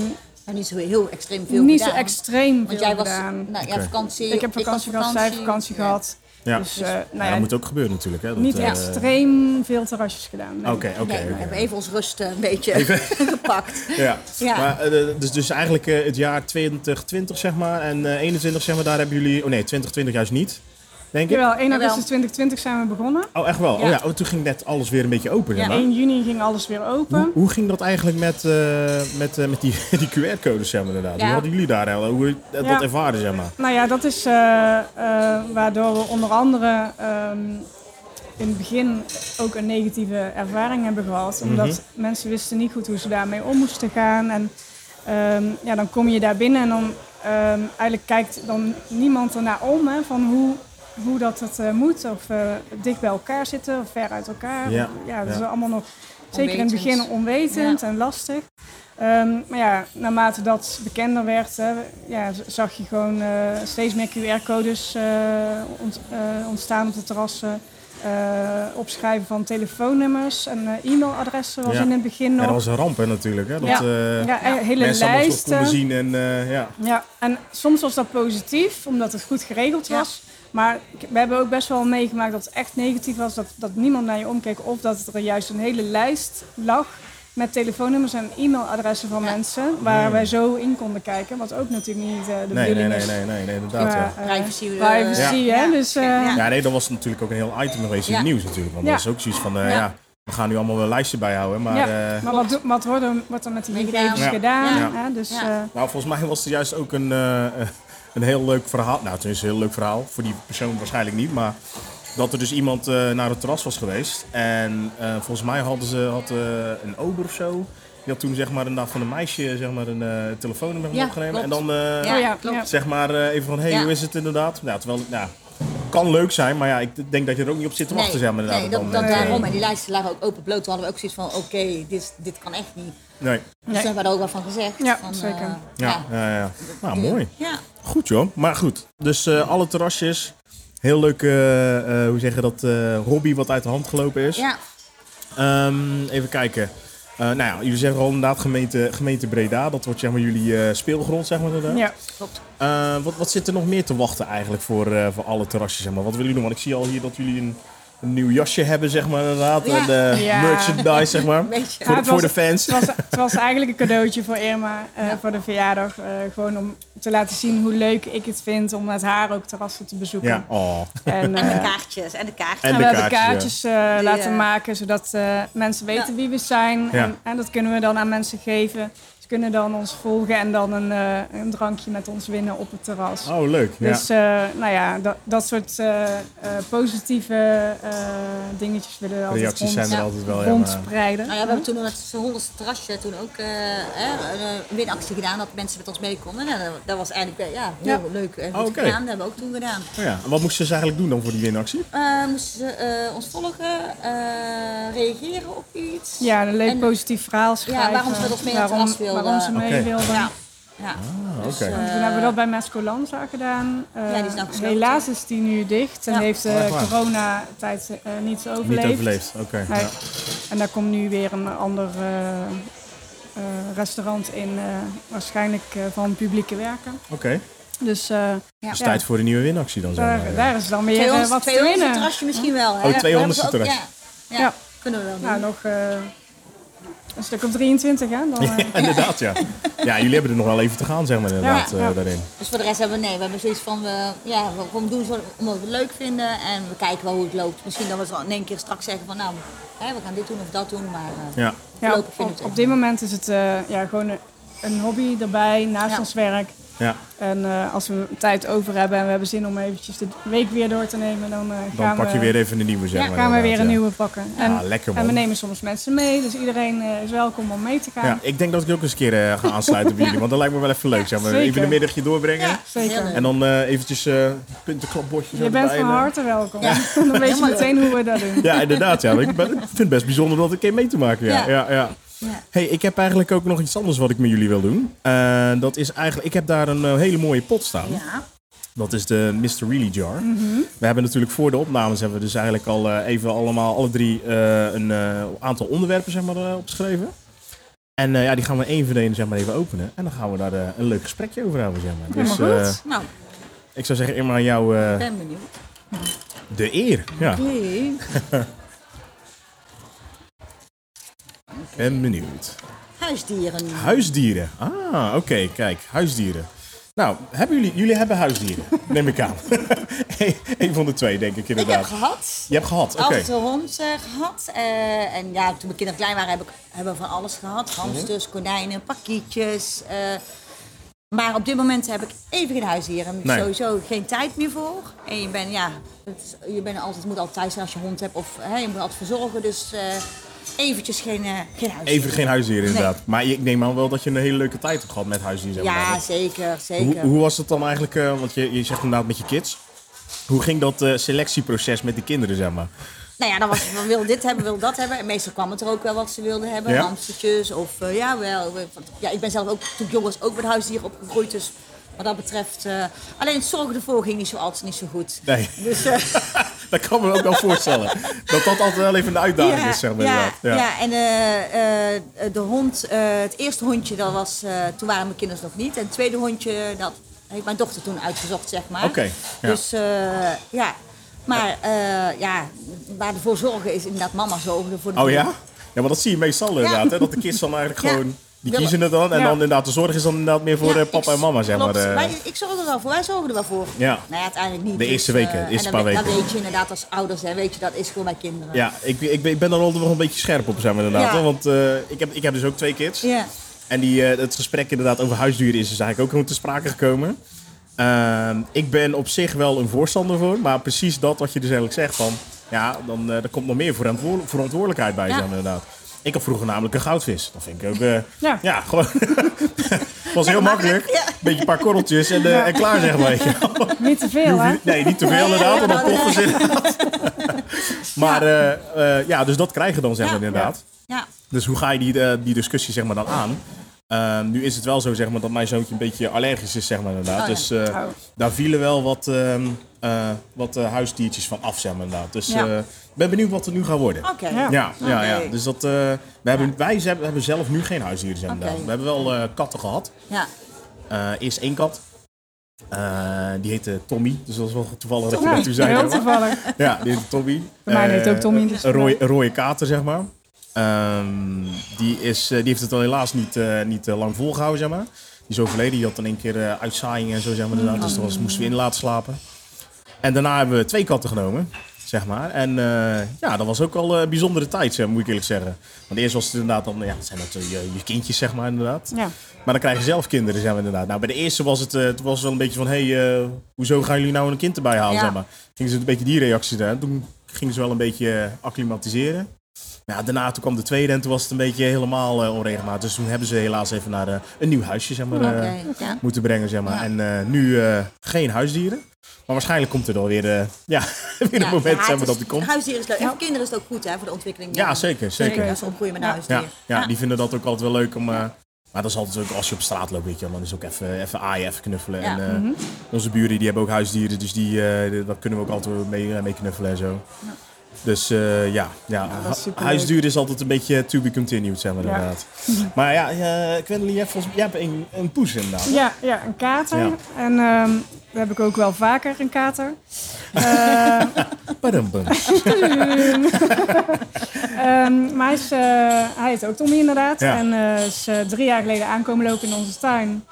S2: Maar niet zo heel extreem veel
S3: niet
S2: gedaan.
S3: zo extreem veel
S2: Want jij was
S3: gedaan.
S2: nou, ja,
S1: Oké.
S2: vakantie.
S3: ik heb
S2: was
S3: vakantie gehad, zij heeft vakantie
S2: Ja.
S3: gehad.
S1: ja.
S3: Dus eh,
S1: Ja,
S3: nou
S1: dat
S3: ja,
S1: moet ook gebeuren natuurlijk. Hè? dat,
S3: niet
S1: eh, Oh.
S3: extreem veel terrasjes gedaan. nee.
S1: Oké,
S2: Nee,
S1: oké.
S2: we hebben
S1: oké.
S2: even ons rust eh, een beetje gepakt.
S1: Ja.
S2: Ja.
S1: Maar, eh, dus, dus eigenlijk eh, het jaar 2020 zeg maar en eh, 21 zeg maar, daar hebben jullie... Oh nee, 2020 juist niet, denk ik.
S3: Jawel, 1 augustus
S2: Jawel.
S3: 2020 zijn we begonnen.
S1: Oh, echt wel? Oh
S2: Ja.
S1: ja, oh, toen ging net alles weer een beetje open, zeg
S2: Ja.
S1: maar.
S3: 1 juni ging alles weer open.
S1: Hoe, hoe ging dat eigenlijk met, eh, met, eh, met die, die QR-codes, zeg maar, inderdaad?
S2: Ja.
S1: Hoe hadden jullie daar, eh, hoe eh, dat
S3: Ja.
S1: ervaren, zeg maar?
S3: Nou ja, dat is eh, eh, waardoor we onder andere ehm, in het begin ook een negatieve ervaring hebben gehad.
S1: Mhm.
S3: Omdat mensen wisten niet goed hoe ze daarmee om moesten gaan. En ehm, ja, dan kom je daar binnen en dan ehm, eigenlijk kijkt dan niemand ernaar om hè, van hoe, hoe dat het eh, moet. Of eh, dicht bij elkaar zitten of ver uit elkaar.
S1: Ja,
S3: dat is
S1: ja.
S3: allemaal nog zeker in het
S2: Onwetend.
S3: begin onwetend en lastig. Ehm, maar ja, naarmate dat bekender werd, hè, ja, z- zag je gewoon eh, steeds meer QR-codes eh, ont- eh, ontstaan op de terrassen. Eh, opschrijven van telefoonnummers en eh, e-mailadressen was
S1: Ja.
S3: in het begin
S1: Ja,
S3: nog.
S1: dat was een ramp, hè, natuurlijk, hè? Dat,
S3: Ja.
S1: eh,
S3: ja, en hele
S1: mensen allemaal toch konden
S3: lijsten.
S1: zien en eh, ja.
S3: Ja, en soms was dat positief, omdat het goed geregeld
S2: Ja.
S3: was. Maar ik- we hebben ook best wel meegemaakt dat het echt negatief was. Dat, dat niemand naar je omkeek. Of dat er juist een hele lijst lag met telefoonnummers en e-mailadressen van
S2: Ja.
S3: mensen. Waar wij zo in konden kijken. Wat ook natuurlijk niet eh, de
S1: Hmm. Nee,
S3: bedoeling
S1: nee,
S3: is.
S1: nee, nee, nee, nee, inderdaad.
S3: Maar,
S1: Ja.
S3: eh,
S2: Privacy, eh,
S3: privacy,
S2: ja.
S3: hè. Dus, eh,
S2: Ja.
S1: ja, nee, dat was natuurlijk ook een heel item geweest in
S2: Ja.
S1: het nieuws, natuurlijk. Want
S3: Ja.
S1: dat is ook zoiets van, eh,
S2: Ja.
S1: ja, we gaan nu allemaal wel een lijstje bijhouden, maar...
S3: ja.
S1: eh,
S3: maar wat, doet- wat wordt, er, wordt er met die
S2: Met
S3: gegevens
S1: gedaan.
S3: gedaan?
S1: Ja.
S3: Hè? Dus,
S2: Ja.
S3: eh,
S1: Nou, volgens mij was er juist ook een, eh, een heel leuk verhaal. Nou, het is een heel leuk verhaal. Voor die persoon waarschijnlijk niet. Maar dat er dus iemand eh, naar het terras was geweest. En eh, volgens mij hadden ze had, eh, een ober of zo. Die had toen zeg maar inderdaad van een meisje zeg maar, een eh, telefoonnummer
S2: Ja,
S1: opgenomen.
S2: klopt.
S1: En dan eh,
S2: Ja,
S3: oh ja,
S2: klopt.
S3: ja.
S1: zeg maar eh, even van, hé, hey,
S2: Ja.
S1: hoe is het inderdaad? Nou, terwijl, nou, kan leuk zijn, maar ja, ik denk dat je er ook niet op zit te wachten. zeg maar, inderdaad,
S2: nee,
S1: op
S2: dat, dat
S1: moment.
S2: daarom.
S1: Eh,
S2: En die lijsten lagen ook openbloot. Toen hadden we ook zoiets van, oké, dit, dit kan echt niet.
S1: nee.
S2: Dus
S3: Nee.
S2: hebben we er ook wel van gezegd.
S3: Ja,
S2: van, eh,
S3: zeker.
S1: Ja, ja. ja. Nou, mooi.
S2: Ja.
S1: Goed joh, maar goed. Dus eh, alle terrasjes. Heel leuk, eh, eh, hoe zeggen dat, eh, hobby wat uit de hand gelopen is.
S2: ja,
S1: Ehm, even kijken. Eh, nou ja, jullie zeggen al inderdaad gemeente, gemeente Breda. Dat wordt zeg maar jullie eh, speelgrond, zeg maar. inderdaad.
S3: ja.
S2: klopt.
S1: Eh, wat, wat zit er nog meer te wachten eigenlijk voor, eh, voor alle terrasjes, zeg maar? Wat willen jullie doen? Want ik zie al hier dat jullie een, een nieuw jasje hebben, zeg maar, inderdaad.
S2: Ja.
S1: En eh,
S3: Ja.
S1: merchandise, zeg maar.
S2: Weet je.
S1: Voor,
S3: Ja,
S1: de-
S3: het
S1: voor de
S3: was-
S1: fans.
S3: Het was, het was eigenlijk een cadeautje voor Irma eh, voor de verjaardag. eh, gewoon om te laten zien hoe leuk ik het vind om met haar ook terrassen te bezoeken.
S1: Ja, oh.
S3: En, eh,
S2: En de kaartjes. En de kaartjes.
S1: En
S3: en
S1: de
S3: we hebben
S1: kaartjes, ja.
S3: kaartjes eh, laten
S2: eh,
S3: maken zodat eh, mensen weten
S2: Ja.
S3: wie we zijn.
S1: Ja.
S3: En, en dat kunnen we dan aan mensen geven. Ze kunnen dan ons volgen en dan een, eh, een drankje met ons winnen op het terras.
S1: Oh, leuk. Ja.
S3: Dus eh, nou ja, dat, dat soort eh, eh, positieve eh, dingetjes willen we altijd
S1: Reacties
S3: rond-
S1: zijn er
S2: ja,
S1: altijd wel. Ja, maar-
S3: rondspreiden.
S2: Nou ja, we hebben toen op het honderdste terrasje toen ook eh, hè, een eh, winactie gedaan dat mensen met ons mee konden. En eh, dat was eigenlijk eh, ja, heel leuk en goed
S1: Oh, Oké.
S2: gedaan. Dat hebben we ook toen gedaan.
S1: Oh ja. En wat moesten ze eigenlijk doen dan voor die winactie?
S2: Eh, moesten ze eh, ons volgen, eh, reageren op iets.
S3: Ja, een leuk
S2: En-
S3: positief verhaal schrijven.
S2: waarom ze met ons mee naar het
S3: Waarom-
S2: terras wilden.
S3: Waarom ze mee
S1: Oké.
S3: wilden.
S2: Ja. ja.
S1: Ah, oké.
S3: Toen hebben we dat bij Mesco Lanza gedaan. Eh,
S2: Ja, die is nou gesloten.
S3: helaas is die nu dicht en
S2: Ja.
S3: heeft de
S1: Echt Oh, waar?
S3: coronatijd eh, niet overleefd.
S1: Niet overleefd. Oké.
S3: Nee.
S1: Ja.
S3: En daar komt nu weer een ander eh, eh, restaurant in, eh, waarschijnlijk eh, van publieke werken.
S1: Oké.
S3: Dus eh,
S1: Dus
S3: Ja.
S1: tijd voor de nieuwe winactie dan. zeg maar,
S3: daar,
S1: ja.
S3: daar is dan weer eh,
S2: 200
S3: wat te
S2: 200
S3: winnen.
S2: terrasje misschien wel. Hè?
S1: Oh, 200
S2: We hebben ze ook-
S1: terras.
S2: Ja, ja,
S3: Ja.
S2: kunnen we wel doen.
S3: Nou, nog eh, een stuk of 23 hè. Dan, eh,
S1: Ja, inderdaad, ja. Ja, jullie hebben er nog wel even te gaan, zeg maar, inderdaad,
S2: Ja.
S1: eh,
S3: Ja.
S1: daarin.
S2: Dus voor de rest hebben we nee, we hebben zoiets van, we, ja, we gewoon doen zo- omdat we het leuk vinden en we kijken wel hoe het loopt. Misschien dat we zo in één keer straks zeggen van nou, hè, we gaan dit doen of dat doen, maar eh,
S1: Ja.
S3: ja,
S2: voorlopig
S3: op,
S2: vinden we
S3: op
S2: het
S3: dit moment is het eh, ja, gewoon een, een hobby erbij, naast
S2: Ja.
S3: ons werk.
S1: ja.
S3: En eh, als we tijd over hebben en we hebben zin om eventjes de week weer door te nemen, dan, eh,
S1: Dan
S3: gaan,
S1: pak
S3: we,
S1: je weer even een nieuwe, zeg
S2: Ja,
S1: maar.
S3: gaan we weer
S1: inderdaad,
S3: een
S1: ja.
S3: nieuwe pakken. En,
S1: Ja, lekker,
S3: en we
S1: man.
S3: nemen soms mensen mee, dus iedereen eh, is welkom om mee te gaan.
S1: Ja, ik denk dat ik ook eens een keer eh, ga aansluiten bij jullie, want dat lijkt me wel even leuk, zeg maar. Even
S3: zeker.
S1: een middagje doorbrengen.
S2: Ja,
S3: Zeker.
S2: heel leuk.
S1: En dan eh, eventjes eh puntenklapbordjes
S3: Je bent
S1: erbij
S3: van
S1: en, eh,
S3: harte welkom.
S2: Ja.
S3: Dan weet je
S2: Helemaal
S3: meteen hoe we dat doen.
S1: Ja, inderdaad. Ja. Ik, ben, ik vind het best bijzonder dat ik een keer mee te maken. Ja. Ja.
S2: Ja.
S1: Ja,
S2: Ja.
S1: Hey, ik heb eigenlijk ook nog iets anders wat ik met jullie wil doen. Eh, dat is eigenlijk, ik heb daar een eh, hele mooie pot staan.
S2: Ja.
S1: Dat is de Mr. Really Jar. We hebben natuurlijk voor de opnames hebben we dus eigenlijk al eh, even allemaal, alle drie, eh, een eh, aantal onderwerpen zeg maar, eh, opgeschreven. En eh, ja, die gaan we één voor één zeg maar, even openen. En dan gaan we daar eh, een leuk gesprekje over houden. Zeg maar. Dus
S3: Helemaal goed.
S1: eh,
S2: Nou, ik
S1: ik zou zeggen, Irma, jou eh,
S2: ben benieuwd.
S1: de eer. Ja,
S2: Nee.
S1: ben benieuwd.
S2: Huisdieren.
S1: Huisdieren. Ah, oké, kijk, huisdieren. Nou, hebben jullie, jullie hebben huisdieren, neem ik aan. Eén- Eén van de twee, denk ik
S2: Ik heb
S1: inderdaad.
S2: gehad.
S1: Je hebt gehad, oké.
S2: Altijd een hond eh, gehad. eh, en ja, toen mijn kinderen klein waren, heb ik, hebben we van alles gehad. Hamsters,
S1: Mhm.
S2: konijnen, pakietjes. eh. maar op dit moment heb ik even geen huisdier. En
S1: Nee.
S2: sowieso geen tijd meer voor. En je, bent ja, het, is- je bent altijd, moet altijd thuis zijn als je hond hebt. Of hè, je moet altijd verzorgen. Dus eh, eventjes geen, eh geen huisdier.
S1: Even geen huisdieren, inderdaad. Maar ik neem aan wel dat je een hele leuke tijd hebt gehad met huisdieren. zeg maar.
S2: Ja, zeker,
S1: hoe,
S2: zeker.
S1: hoe was het dan eigenlijk, eh, want je, je zegt inderdaad met je kids. Hoe ging dat eh, selectieproces met die kinderen, zeg maar?
S2: Nou ja, dan was het van wil dit hebben, wil dat hebben. En meestal kwam het er ook wel wat ze wilden hebben.
S1: Ja?
S2: Hamstertjes of eh, ja, wel. we- want- Ja, ik ben zelf ook toen ik jong was ook met huisdieren opgegroeid. Dus wat dat betreft, eh, alleen het zorgen ervoor ging niet zo altijd niet zo goed.
S1: Nee,
S2: Dus, eh,
S1: dat kan me ook wel voorstellen. Dat dat altijd wel even een uitdaging is, zeg maar.
S2: ja,
S1: inderdaad.
S2: ja. en eh, eh, de hond, eh, het eerste hondje, dat was, eh, toen waren mijn kinderen nog niet. En het tweede hondje, dat heeft mijn dochter toen uitgezocht, zeg maar.
S1: Oké, ja.
S2: Dus eh, ja, maar eh ja, waar ervoor zorgen is inderdaad mama zorgen voor de
S1: Oh
S2: dieren.
S1: ja? Ja, maar dat zie je meestal inderdaad. Hè? Dat de kids dan eigenlijk
S2: Ja.
S1: gewoon... Die
S2: Ja.
S1: kiezen het dan. En
S3: Ja.
S1: dan inderdaad de zorg is dan inderdaad meer voor
S2: Ja,
S1: eh, papa
S2: ik-
S1: en mama, zeg
S2: klopt.
S1: maar. eh.
S2: Wij- ik zorg er wel voor, wij zorgen er wel voor.
S1: Ja.
S2: Nou ja, uiteindelijk niet.
S1: De eerste weken,
S2: eh,
S1: de eerste
S2: en
S1: paar
S2: dan,
S1: weken.
S2: Dan weet je inderdaad als ouders, hè, weet je, dat is gewoon bij kinderen.
S1: Ja, ik, ik, ben- ik ben daar altijd wel een beetje scherp op, zeg maar inderdaad.
S2: Ja.
S1: hè. Want eh, ik, heb, ik heb dus ook twee kids.
S2: Ja.
S1: En die, eh, het gesprek inderdaad over huisdieren is dus eigenlijk ook gewoon te sprake gekomen. Ehm, ik ben op zich wel een voorstander voor, maar precies dat wat je dus eigenlijk zegt van... Ja, dan eh, er komt nog meer verantwoor- verantwoordelijkheid bij,
S2: Ja.
S1: zeg maar inderdaad. Ik had vroeger namelijk een goudvis. Dat vind ik ook... eh, ja.
S3: Ja.
S1: gewoon... was heel makkelijk.
S2: makkelijk, ja.
S1: Beetje een paar korreltjes en, eh, en klaar, zeg maar. weet je wel.
S3: Niet te veel, hè?
S1: Nee, niet te veel inderdaad, want dan poppen ze inderdaad. Maar eh, eh, ja, dus dat krijgen dan zeg maar
S2: Ja.
S1: inderdaad.
S2: Ja.
S1: Dus hoe ga je die, eh, die discussie zeg maar dan aan? Eh, nu is het wel zo zeg maar dat mijn zoontje een beetje allergisch is zeg maar inderdaad.
S2: Oh, ja.
S1: Dus eh,
S3: Oh.
S1: daar vielen wel wat, ehm, eh, wat eh, huisdiertjes van af zeg maar inderdaad. Dus eh, ik
S3: Ja.
S1: ben benieuwd wat er nu gaat worden.
S2: Oké.
S3: Ja.
S1: Ja, ja, ja.
S2: Oh, Oké.
S1: Dus dat, eh, we hebben, wij ze- we hebben zelf nu geen huisdieren zeg maar
S2: Oké.
S1: inderdaad. We hebben wel eh, katten gehad.
S2: Ja.
S1: Eh, eerst één kat. Eh, die heette Tommy, dus dat was wel toevallig dat we
S3: Ja,
S1: dat u zei.
S3: heel
S1: zeg maar.
S3: toevallig.
S1: Ja, die heette Tommy.
S3: Bij mij
S1: Eh,
S3: heet ook Tommy, dus-
S1: Een rode, een rode kater, zeg maar. Ehm, die, is, eh, die heeft het al helaas niet, eh, niet eh, lang volgehouden, zeg maar. Die is overleden, die had dan een keer eh, uitzaaiing en zo, zeg maar. inderdaad. Dus dat was, moesten we in laten slapen. En daarna hebben we twee katten genomen. Zeg maar. En eh, ja, dat was ook al een bijzondere tijd, zeg, moet ik eerlijk zeggen. Want eerst was het inderdaad dan, ja, het zijn dat je, je kindjes, zeg maar, inderdaad.
S3: Ja.
S1: Maar dan krijg je zelf kinderen, zeg maar, inderdaad. Nou, bij de eerste was het, eh, het was wel een beetje van, hé, hey, eh, hoezo gaan jullie nou een kind erbij halen,
S2: Ja.
S1: zeg maar. Gingen ze een beetje die reactie daar. Toen gingen ze wel een beetje eh, acclimatiseren. Maar ja, daarna toen kwam de tweede en toen was het een beetje helemaal eh, onregelmatig. Dus toen hebben ze helaas even naar eh, een nieuw huisje, zeg maar,
S2: Oké,
S1: eh,
S2: ja.
S1: moeten brengen, zeg maar.
S2: Ja.
S1: En eh, nu eh, geen huisdieren. Maar waarschijnlijk komt er dan weer, eh, ja, weer een
S2: Ja, ja,
S1: moment
S2: het
S1: zeg maar,
S2: is-
S1: dat die komt.
S2: Huisdier is leuk. En voor kinderen is het ook goed hè, voor de ontwikkeling.
S1: Ja, zeker, zeker.
S2: Als ze opgroeien met een
S3: Ja.
S2: huisdier.
S1: Ja, ja, die vinden dat ook altijd wel leuk om... eh, maar dat is altijd ook als je op straat loopt, weet je wel. Dan is ook even, even aaien, even knuffelen.
S2: Ja.
S1: En, eh,
S3: Mhm.
S1: Onze buren die hebben ook huisdieren, dus die, eh, daar kunnen we ook altijd wel mee, mee knuffelen en zo. Dus eh, ja, ja.
S3: dat is superleuk.
S1: huisdieren is altijd een beetje to be continued, zeg maar
S3: Ja.
S1: inderdaad. Maar ja, eh Quentin, jij, hebt volgens- jij hebt een, een poes inderdaad.
S3: Ja, ja een kater.
S1: Ja.
S3: En ehm, daar heb ik ook wel vaker een kater.
S1: Padum, bum.
S3: Ehm, maar hij, is, eh, hij heet ook Tommy inderdaad.
S1: Ja.
S3: En eh, is eh, drie jaar geleden aankomen lopen in onze tuin.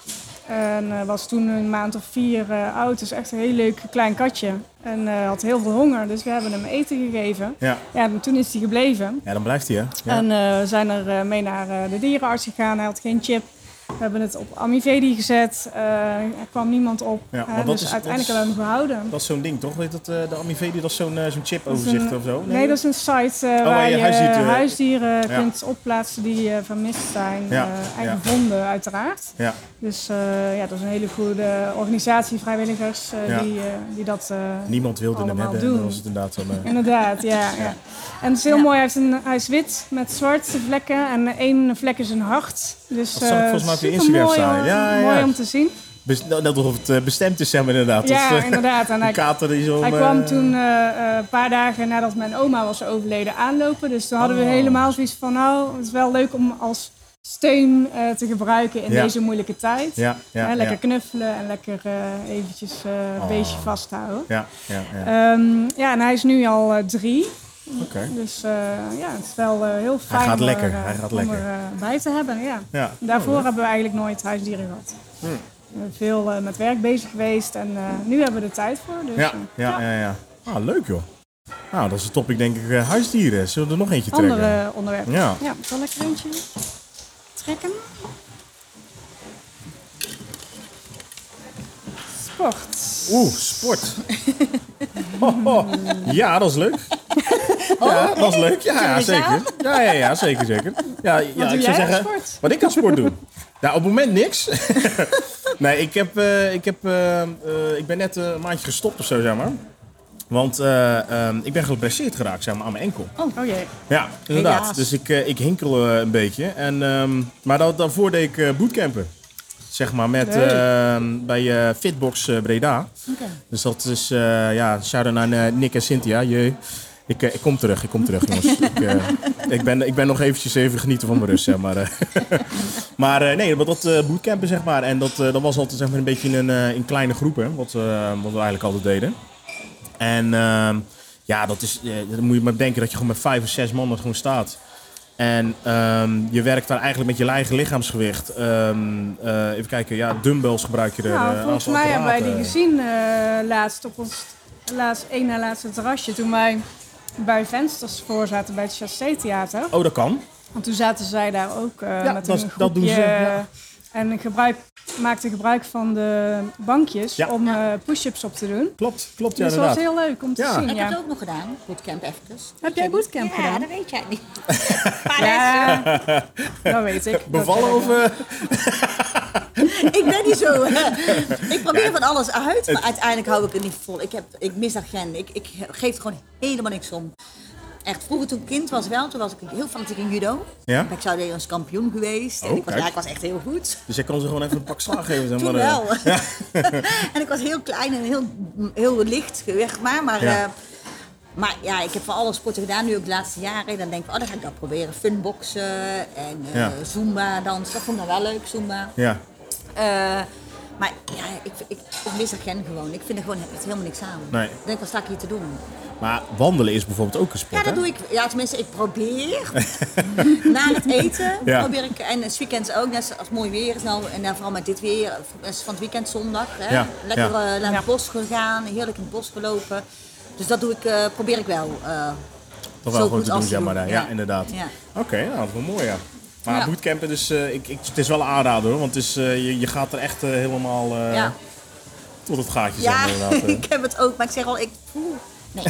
S3: En eh, was toen een maand of vier eh, oud. Dus echt een heel leuk klein katje. En eh, had heel veel honger. Dus we hebben hem eten gegeven.
S1: Ja.
S3: Ja, en toen is hij gebleven.
S1: ja, dan blijft hij hè. Ja.
S3: En eh, we zijn er eh, mee naar eh, de dierenarts gegaan. Hij had geen chip. We hebben het op Amivedi gezet. Eh, er kwam niemand op.
S1: Ja,
S3: Eh,
S1: want dat
S3: dus
S1: is- dat
S3: uiteindelijk
S1: is-
S3: hebben we hem gehouden.
S1: Dat is zo'n ding, toch? Weet dat, eh, de Amivedi, dat is zo'n eh, zo'n
S3: Dat is
S1: chipoverzicht
S3: een-
S1: of zo?
S3: Nee, dat is een site eh,
S1: Oh, waar
S3: waar
S1: je
S3: je
S1: huisdieren-
S3: huisdieren, huisdieren
S1: Ja.
S3: kunt opplaatsen die eh, vermist zijn
S1: Ja,
S3: eh, en
S1: ja.
S3: gevonden, uiteraard.
S1: Ja,
S3: Dus eh, ja, dat is een hele goede organisatie, vrijwilligers, eh,
S1: Ja.
S3: die, eh, die dat eh,
S1: niemand wilde hem
S3: Allemaal
S1: hebben. en
S3: doen.
S1: Dan was het inderdaad zo'n... eh,
S3: Inderdaad, ja. ja. En het is heel
S2: Ja.
S3: mooi, hij, heeft een, hij is wit met zwarte vlekken en één vlek is een hart. Dus
S1: Dat zag ik
S3: eh,
S1: volgens mij op je
S3: supermooi
S1: Instagram staan.
S3: om-
S1: Ja, ja,
S3: Mooi
S1: ja.
S3: om te zien.
S1: Bes- nou, net alsof het eh, bestemd is, zeg maar inderdaad.
S3: Ja,
S1: dat, eh,
S3: inderdaad. En
S1: die
S3: hij,
S1: kater die zo...
S3: hij
S1: eh,
S3: kwam toen eh, eh, een paar dagen nadat mijn oma was overleden aanlopen. Dus toen hadden we
S1: Oh.
S3: helemaal zoiets van, nou, het is wel leuk om als steun eh, te gebruiken in
S1: Ja.
S3: deze moeilijke tijd.
S1: Ja, ja,
S3: Hè,
S1: ja,
S3: lekker knuffelen en lekker eh, eventjes eh, een
S1: Oh.
S3: beestje vasthouden.
S1: Ja, ja, ja.
S3: Ehm, ja, en hij is nu al eh, drie.
S1: Oké.
S3: Dus eh, ja, het is wel eh, heel fijn
S1: gaat
S3: om
S1: lekker,
S3: er, eh,
S1: hij gaat
S3: om
S1: lekker.
S3: er eh, bij te hebben. Ja.
S1: Ja. Hm.
S3: Daarvoor hebben we eigenlijk nooit huisdieren gehad. We zijn veel eh, met werk bezig geweest en eh, nu hebben we er tijd voor. Dus,
S1: Ja,
S3: eh,
S1: ja, ja, ja. Ah, leuk joh. Nou, dat is de topic denk ik. eh, huisdieren. Zullen we er nog eentje trekken?
S3: andere onderwerpen.
S1: Ja.
S3: Ja, zal ik er eentje trekken? Sport.
S1: Oeh, sport. Ho, ho. Ja, dat is leuk.
S3: Oh,
S1: Ja, dat is leuk. Ja, ja,
S2: we eens
S1: zeker. Ja, ja, ja, zeker, zeker. Ja, ja,
S3: doe
S1: ik
S3: jij
S1: zou
S3: aan
S1: zeggen,
S3: sport?
S1: wat ik aan sport doe. Nou, op het moment niks. nee, ik, heb, eh, ik, heb, eh, eh, ik ben net eh, een maandje gestopt of zo, zeg maar. Want eh, ehm, ik ben geblesseerd geraakt, zeg maar, aan mijn enkel.
S3: Oh jee.
S1: Ja, inderdaad.
S2: Helaas.
S1: Dus ik, eh, ik hinkel eh, een beetje. En, ehm, maar dat, daarvoor deed ik eh, bootcampen. Zeg maar met,
S3: Leuk.
S1: ehm, bij eh, Fitbox eh, Breda.
S2: Oké.
S1: Dus dat is, eh, ja, shout-out naar eh, Nick en Cynthia. Jee. Ik, eh, ik kom terug, ik kom terug, jongens. ik, eh, ik, ben, ik ben nog eventjes even genieten van mijn rust, zeg maar. eh. maar eh, nee, dat, dat eh, bootcampen, zeg maar. En dat, eh, dat was altijd zeg maar, een beetje in, een, eh, in kleine groepen, wat, eh, wat we eigenlijk altijd deden. En ehm, ja, dat is, eh, dan moet je maar denken dat je gewoon met vijf of zes man er gewoon staat. En ehm, je werkt daar eigenlijk met je eigen lichaamsgewicht. Ehm, eh, even kijken, ja, dumbbells gebruik je er.
S3: Nou,
S1: eh,
S3: volgens
S1: als
S3: mij hebben wij die
S1: apparaten.
S3: gezien eh, laatst op ons laatst, één na laatste terrasje. Toen wij bij vensters voor zaten bij het Chassé Theater.
S1: Oh, dat kan.
S3: Want toen zaten zij daar ook eh,
S1: Ja,
S3: met
S1: dat-
S3: een groepje.
S1: dat doen ze, ja.
S3: En gebruik, maakten gebruik van de bankjes
S1: Ja.
S3: om eh, push-ups op te doen.
S1: Klopt, klopt, ja,
S3: dus dat was
S1: inderdaad.
S3: heel leuk om te
S1: Ja.
S3: zien.
S2: Ik
S3: Ja.
S2: heb het ook nog gedaan, bootcamp eventjes.
S3: Heb jij bootcamp
S2: ja,
S3: gedaan?
S2: dat weet jij niet.
S3: Ja, dat weet ik. Dat
S1: Bevallen
S3: weet ik
S1: of...
S3: wel.
S1: eh,
S2: ik ben niet zo. eh, ik probeer van alles uit, maar uiteindelijk hou ik het niet vol. Ik, heb, ik mis dat gen. Ik, ik geef er gewoon helemaal niks om. Echt, vroeger toen ik kind was wel, toen was ik heel fanatiek in judo.
S1: Ja?
S2: Ik zou Nederlands kampioen geweest.
S1: Oh,
S2: en ik was,
S1: kijk.
S2: ja, ik was echt heel goed.
S1: Dus jij kan ze gewoon even een pak slaag geven. Zeg
S2: Toen
S1: maar, eh.
S2: wel. en ik was heel klein en heel, heel licht, zeg maar. Maar,
S1: Ja.
S2: eh, maar ja, ik heb van alle sporten gedaan, nu ook de laatste jaren. Dan denk ik, oh, dan ga ik dat proberen. Funboxen en eh,
S1: Ja.
S2: Zumba dansen. Dat vond ik nou wel leuk, Zumba.
S1: Ja.
S2: Eh, maar ja, ik, ik, ik mis dat gen gewoon. Ik vind er gewoon echt helemaal niks aan.
S1: Nee.
S2: Ik denk, wat sta ik hier te doen?
S1: Maar wandelen is bijvoorbeeld ook een sport,
S2: Ja, dat
S1: hè?
S2: doe ik. Ja, tenminste, ik probeer. Na het eten
S1: Ja.
S2: probeer ik. En s weekends ook, net als het mooi weer is. Nou, en dan vooral met dit weer, is van het weekend zondag. Hè,
S1: Ja,
S2: Lekker
S1: ja.
S2: eh, naar het bos gegaan, heerlijk in het bos gelopen. Dus dat doe ik, eh, probeer ik wel. eh,
S1: Toch
S2: Zo
S1: wel gewoon
S2: goed
S1: te doen,
S2: af te
S1: zeg maar.
S2: doen,
S1: daar. Ja,
S2: ja.
S1: inderdaad.
S2: Ja.
S1: Oké, nou, dat is wel mooi, ja. Maar
S2: Ja.
S1: bootcampen, dus, eh, ik, ik, het is wel een aanrader, hoor. Want het is, eh, je, je gaat er echt eh, helemaal eh,
S2: ja.
S1: tot het gaatje,
S2: Ja,
S1: zeg maar, inderdaad. eh.
S2: ik heb het ook, maar ik zeg al, ik voel. Nee,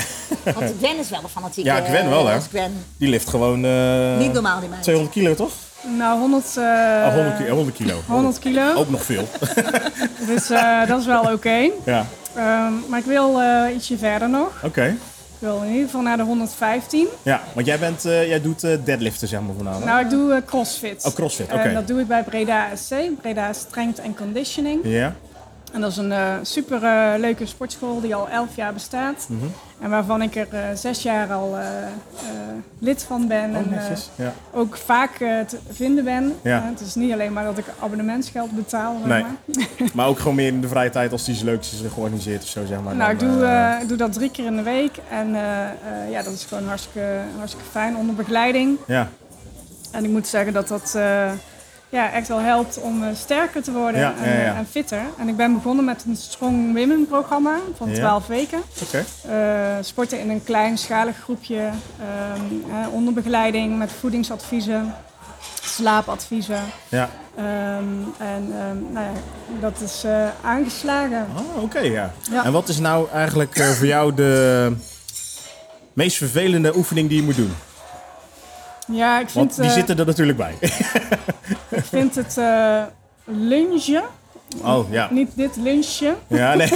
S2: want Gwen is wel een fanatieke.
S1: Ja, Gwen wel, hè?
S2: eh, Gwen.
S1: Die lift gewoon... eh,
S2: Niet normaal, die meid.
S1: 200 kilo, toch?
S3: Nou, 100, eh,
S1: Ah, 100, ki- 100 kilo. Oh.
S3: 100 kilo.
S1: Ook nog veel.
S3: Dus eh, dat is wel oké.
S1: ja,
S3: Ehm, maar ik wil eh, ietsje verder nog.
S1: oké.
S3: Ik wil in ieder geval naar de 115.
S1: Ja, want jij, bent, eh, jij doet eh, deadliften, zeg maar, vanavond.
S3: Nou, ik doe eh, crossfit.
S1: Oh, crossfit,
S3: En
S1: oké.
S3: dat doe ik bij Breda SC, Breda Strength and Conditioning.
S1: Ja,
S3: En dat is een eh, super eh, leuke sportschool die al 11 jaar bestaat.
S1: Mhm.
S3: En waarvan ik er eh, zes jaar al eh, eh, lid van ben.
S1: oh,
S3: en eh,
S1: netjes. Ja.
S3: ook vaak eh, te vinden ben.
S1: Ja.
S3: Eh, het is niet alleen maar dat ik abonnementsgeld betaal. zeg
S1: Nee.
S3: maar.
S1: Maar ook gewoon meer in de vrije tijd als die iets leuks is eh, georganiseerd of zo, zeg maar.
S3: Nou, ik
S1: dan,
S3: doe,
S1: eh,
S3: eh, ik doe dat drie keer in de week. En eh, eh, ja, dat is gewoon hartstikke, hartstikke fijn onder begeleiding.
S1: Ja,
S3: En ik moet zeggen dat dat eh, ja, echt wel helpt om eh, sterker te worden
S1: Ja,
S3: en,
S1: ja, ja.
S3: eh, en fitter. En ik ben begonnen met een Strong Women programma van
S1: Ja.
S3: 12 weken.
S1: oké.
S3: Eh, sporten in een kleinschalig groepje, ehm, eh, onder begeleiding met voedingsadviezen, slaapadviezen.
S1: Ja.
S3: Ehm, en ehm, nou ja, dat is eh, aangeslagen.
S1: Ah, oké, ja.
S3: Ja.
S1: En wat is nou eigenlijk eh, voor jou de meest vervelende oefening die je moet doen?
S3: Ja, ik
S1: Want
S3: vind,
S1: die
S3: eh,
S1: zitten er natuurlijk bij.
S3: ik vind het eh lunchen,
S1: oh, ja.
S3: niet dit lunchje,
S1: Ja, nee.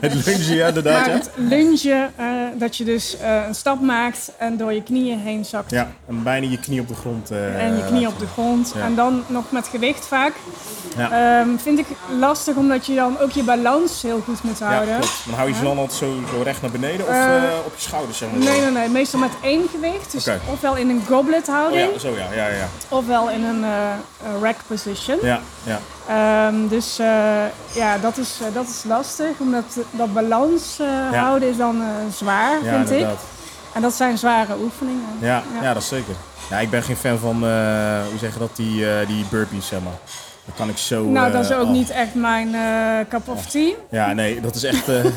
S1: het lunchen, ja, inderdaad.
S3: maar
S1: Ja.
S3: het lunchen eh, dat je dus eh, een stap maakt en door je knieën heen zakt.
S1: ja, en bijna je knie op de grond. eh,
S3: En je knie op de grond.
S1: Ja.
S3: En dan nog met gewicht vaak.
S1: Ja.
S3: Ehm, vind ik lastig omdat je dan ook je balans heel goed moet
S1: Ja,
S3: houden.
S1: klopt. Dan hou je ze dan altijd zo, zo recht naar beneden of
S3: Eh,
S1: eh, op je schouders, zeg maar.
S3: Nee, nee, nee. Meestal met één gewicht. Dus
S1: Oké.
S3: ofwel in een goblet
S1: Oh
S3: houding,
S1: ja, zo ja, ja, ja.
S3: ofwel in een eh, eh, rack position.
S1: Ja, ja.
S3: Ehm, dus eh, ja, dat is, eh, dat is lastig. Omdat dat balans eh, houden is dan eh, zwaar,
S1: ja
S3: vind
S1: inderdaad.
S3: ik. En dat zijn zware oefeningen.
S1: Ja, ja.
S3: Ja.
S1: dat is zeker. Ja, ik ben geen fan van, eh, hoe zeg je dat, die, eh, die burpees, zeg maar. Dat kan ik zo...
S3: Nou, dat
S1: eh,
S3: is ook
S1: af.
S3: niet echt mijn eh cup of tea.
S1: Ja, nee, dat is echt... eh, ik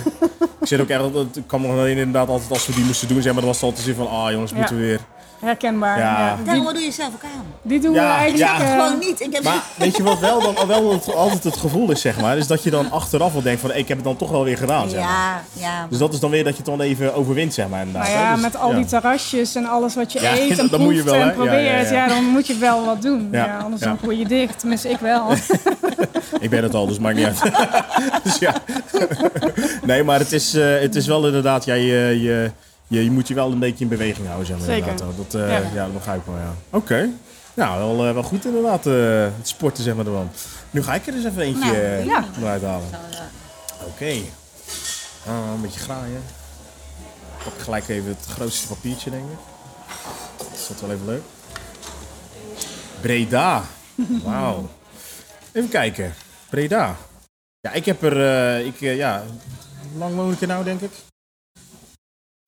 S1: zit ook echt... altijd- Ik kwam nog alleen inderdaad altijd als we die moesten doen, zeg maar, dan was het altijd zo van, ah jongens,
S3: Ja.
S1: moeten we weer...
S3: Herkenbaar.
S1: Ja.
S3: Ja.
S2: Daarom
S3: Die,
S2: wat doe je zelf ook aan.
S3: die doen
S1: Ja,
S3: we eigenlijk...
S1: ja.
S3: eh,
S2: Gewoon niet. Ik heb
S1: Maar weet je wat wel, dan, wel het, altijd het gevoel is, zeg maar, is dat je dan achteraf wel denkt van, hey, ik heb het dan toch wel weer gedaan, zeg maar.
S2: Ja, ja.
S1: Dus dat is dan weer dat je het dan even overwint, zeg maar, inderdaad.
S3: Maar
S1: hè.
S3: nou ja,
S1: Dus,
S3: met al
S1: ja.
S3: die terrasjes en alles wat je
S1: Ja,
S3: eet en
S1: dat moet je
S3: proeft
S1: wel, hè?
S3: en
S1: Ja,
S3: probeert, ja,
S1: ja, ja.
S3: dan moet je wel wat doen.
S1: Ja,
S3: Ja, anders
S1: ja.
S3: dan word je dicht. Tenminste, ik wel.
S1: Ik ben het al, dus maakt niet uit. dus ja. nee, maar het is, eh, het is wel inderdaad, ja, je, je, je, je moet je wel een beetje in beweging houden, zeg maar.
S3: Zeker.
S1: Inderdaad. Dat, eh,
S3: Ja.
S1: ja. dat begrijp ik wel, ja. Oké. Nou, wel, eh, wel goed inderdaad, eh, het sporten, zeg maar, ervan. Nu ga ik er dus even eentje
S2: Nou,
S1: eh,
S3: ja.
S1: eruit halen.
S2: Zo, ja.
S1: Oké. Ah, een beetje graaien. Ik pak gelijk even het grootste papiertje, denk ik. Dat is dat wel even leuk. Breda. Wauw. Even kijken. Breda. Ja, ik heb er... eh, ik, eh, ja, hoe lang woon ik er nou, denk ik?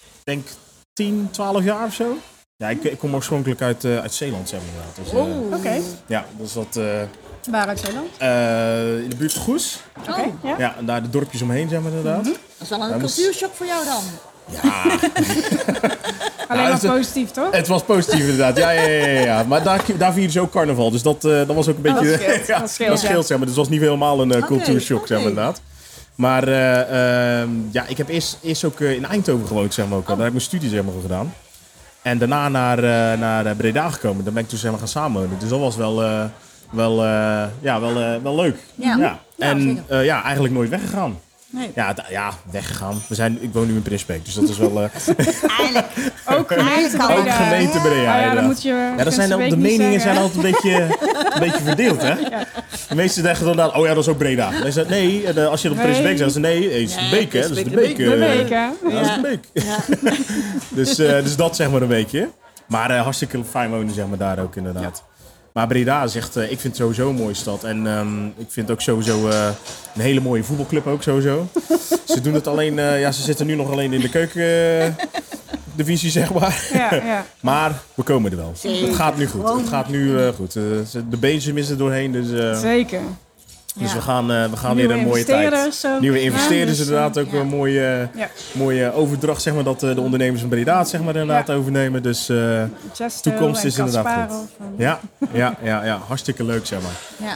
S1: Ik denk 10, 12 jaar of zo. Ja, ik, ik kom oorspronkelijk uit, eh, uit Zeeland, zeg maar. inderdaad. Dus, eh,
S3: Oké,
S1: Ja, dus dat... eh,
S3: waaruit zijn dan?
S1: eh, in de buurt van Goes.
S2: Oh,
S3: Ja?
S1: Ja, en daar de dorpjes omheen, zeg maar, inderdaad.
S2: dat is wel een
S1: Hij moest-
S2: cultuurshock voor jou dan.
S3: Alleen
S1: dat is
S3: maar
S1: de-
S3: positief, toch?
S1: Het was positief inderdaad, ja, ja, ja. ja, ja. Maar daar, daar vieren ze ook carnaval, dus dat, eh, dat was ook een beetje...
S3: dat scheelt,
S1: ja,
S3: dat scheelt, ja.
S1: zeg maar. Dus het was niet helemaal een eh,
S2: Oké,
S1: cultuurshock, zeg maar,
S2: oké.
S1: inderdaad. Maar eh, ehm, ja, ik heb eerst, eerst ook eh, in Eindhoven gewoond, zeg maar, ook. al.
S3: Oh.
S1: Daar heb ik mijn studie, zeg maar, voor gedaan. En daarna naar, eh, naar eh, Breda gekomen. Daar ben ik toen, zeg maar, gaan samenwonen. Dus dat was wel, eh, wel, eh, ja, wel, eh, wel leuk.
S2: Ja. Ja,
S1: En
S2: zeker.
S1: eh, ja, eigenlijk nooit weggegaan.
S2: Nee.
S1: Ja, da- ja, weggegaan. We zijn, ik woon nu in Prinsbeek, dus dat is wel... eh,
S2: Eigenlijk.
S3: Ook gemeente
S2: kan
S1: Ook
S2: Ja.
S1: gemeente Breda.
S3: Oh ja, dan
S1: inderdaad.
S3: moet je
S1: ja, dat zijn, de
S3: Prinsenbeek niet
S1: meningen
S3: zeggen,
S1: zijn
S3: hè?
S1: altijd een beetje, een beetje verdeeld, hè? De meesten zeggen dan, inderdaad, oh ja, dat is ook Breda. Dan is dat, nee, en, eh, als je op
S3: Nee.
S1: Prinsenbeek zegt, dan is het nee, het is de
S2: Nee,
S1: beek, hè? Dat is de beek.
S2: Prinsenbeek,
S1: eh,
S2: de
S3: De week, hè?
S1: ja, dat is
S2: Ja.
S1: de beek. dus, eh, dus dat zeg maar een beetje. Maar eh, hartstikke fijn wonen zeg maar daar ook inderdaad. Maar Breda is echt, eh, ik vind het sowieso een mooie stad. En ehm, ik vind ook sowieso eh, een hele mooie voetbalclub ook sowieso. ze doen het alleen, eh, ja, ze zitten nu nog alleen in de keukendivisie divisie zeg maar.
S3: Ja, ja.
S1: Maar we komen er wel.
S2: Zeker.
S1: Het gaat nu goed. Het gaat nu eh, goed. Eh, ze- de beentjes missen er doorheen, dus eh,
S3: Zeker.
S1: Dus
S2: Ja.
S1: we gaan, eh, we gaan
S3: Nieuwe
S1: weer een mooie tijd.
S3: investeerders ook.
S1: Nieuwe
S3: Ja,
S1: investeerders,
S3: dus,
S1: inderdaad. Ook
S2: ja.
S1: weer een mooie,
S3: Ja,
S1: mooie overdracht, zeg maar, dat eh, de ondernemers van Breda het, zeg maar, inderdaad
S3: Ja.
S1: overnemen. Dus eh,
S3: Chesto
S1: toekomst
S3: en
S1: is inderdaad goed.
S3: Kasparov en-
S1: Ja, ja, ja, ja, hartstikke leuk, zeg maar.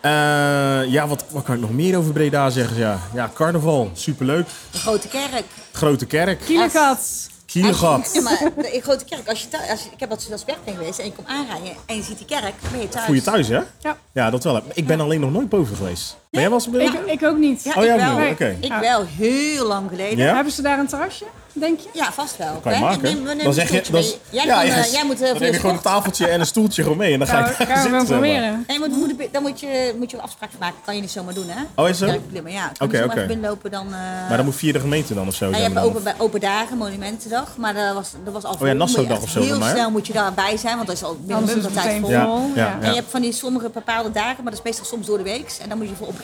S2: Ja.
S1: Eh, ja, wat, wat kan ik nog meer over Breda zeggen? Ja, ja carnaval, superleuk.
S2: De Grote Kerk.
S1: Grote kerk,
S3: Kielegat.
S2: Als je- Ja,
S1: Kiergat.
S2: maar de Grote Kerk, als je thu- als je, ik heb dat als werk ben geweest en je komt aanrijden en je ziet die kerk, ben je thuis.
S1: Goeie thuis, hè?
S3: Ja.
S1: Ja, dat wel. Ik ben alleen nog nooit boven geweest. Ben jij wel eens
S3: Ik,
S1: boven?
S3: ik ook niet.
S2: Ja,
S1: Oh,
S2: ik
S1: jij
S2: wel.
S1: niet, oké.
S2: Ik
S3: Ja.
S2: wel, heel lang geleden.
S1: Ja?
S3: Hebben ze daar een terrasje, denk je?
S2: Ja, vast wel.
S1: Kan je
S2: Hè?
S1: maken.
S2: Neem- we nemen
S1: dan
S2: een
S1: zeg je,
S2: stoeltje
S1: dan,
S2: mee. jij,
S1: ja,
S2: kan, eh,
S1: juist.
S2: jij moet heel
S1: dan
S2: veel
S1: heb je gewoon een
S2: sport.
S1: tafeltje en een stoeltje gewoon mee en dan ga
S3: Gaan we,
S1: je daar
S3: gaan we
S1: zitten.
S3: gewoon
S1: zeg maar.
S3: proberen.
S2: Nee, moet, moet, dan moet je, moet je een afspraak maken. Kan je niet zomaar doen, hè?
S1: Oh, is zo?
S2: Ja, klimmen, ja. Oké,
S1: Oké,
S2: oké.
S1: oké.
S2: Even binnenlopen dan... eh
S1: Maar dan moet via de gemeente dan of zo.
S2: ja, Ah, je
S1: zijn
S2: hebt
S1: we dan. Oh
S2: open, bij open dagen, Monumentendag, maar dat was, dat was al vol.
S1: ja,
S2: Moet je
S1: Nassaudag
S2: echt
S1: of zo dan
S2: Heel
S1: maar.
S2: snel moet je daarbij zijn, want dat is al binnen
S3: Anders
S2: een
S3: is het
S2: tijd
S3: meteen
S2: vol.
S1: Ja,
S3: vol.
S1: ja,
S3: Ja.
S2: En
S1: ja.
S2: je hebt van die sommige bepaalde dagen, maar dat is meestal soms door de week. En dan moet je voor opgeven.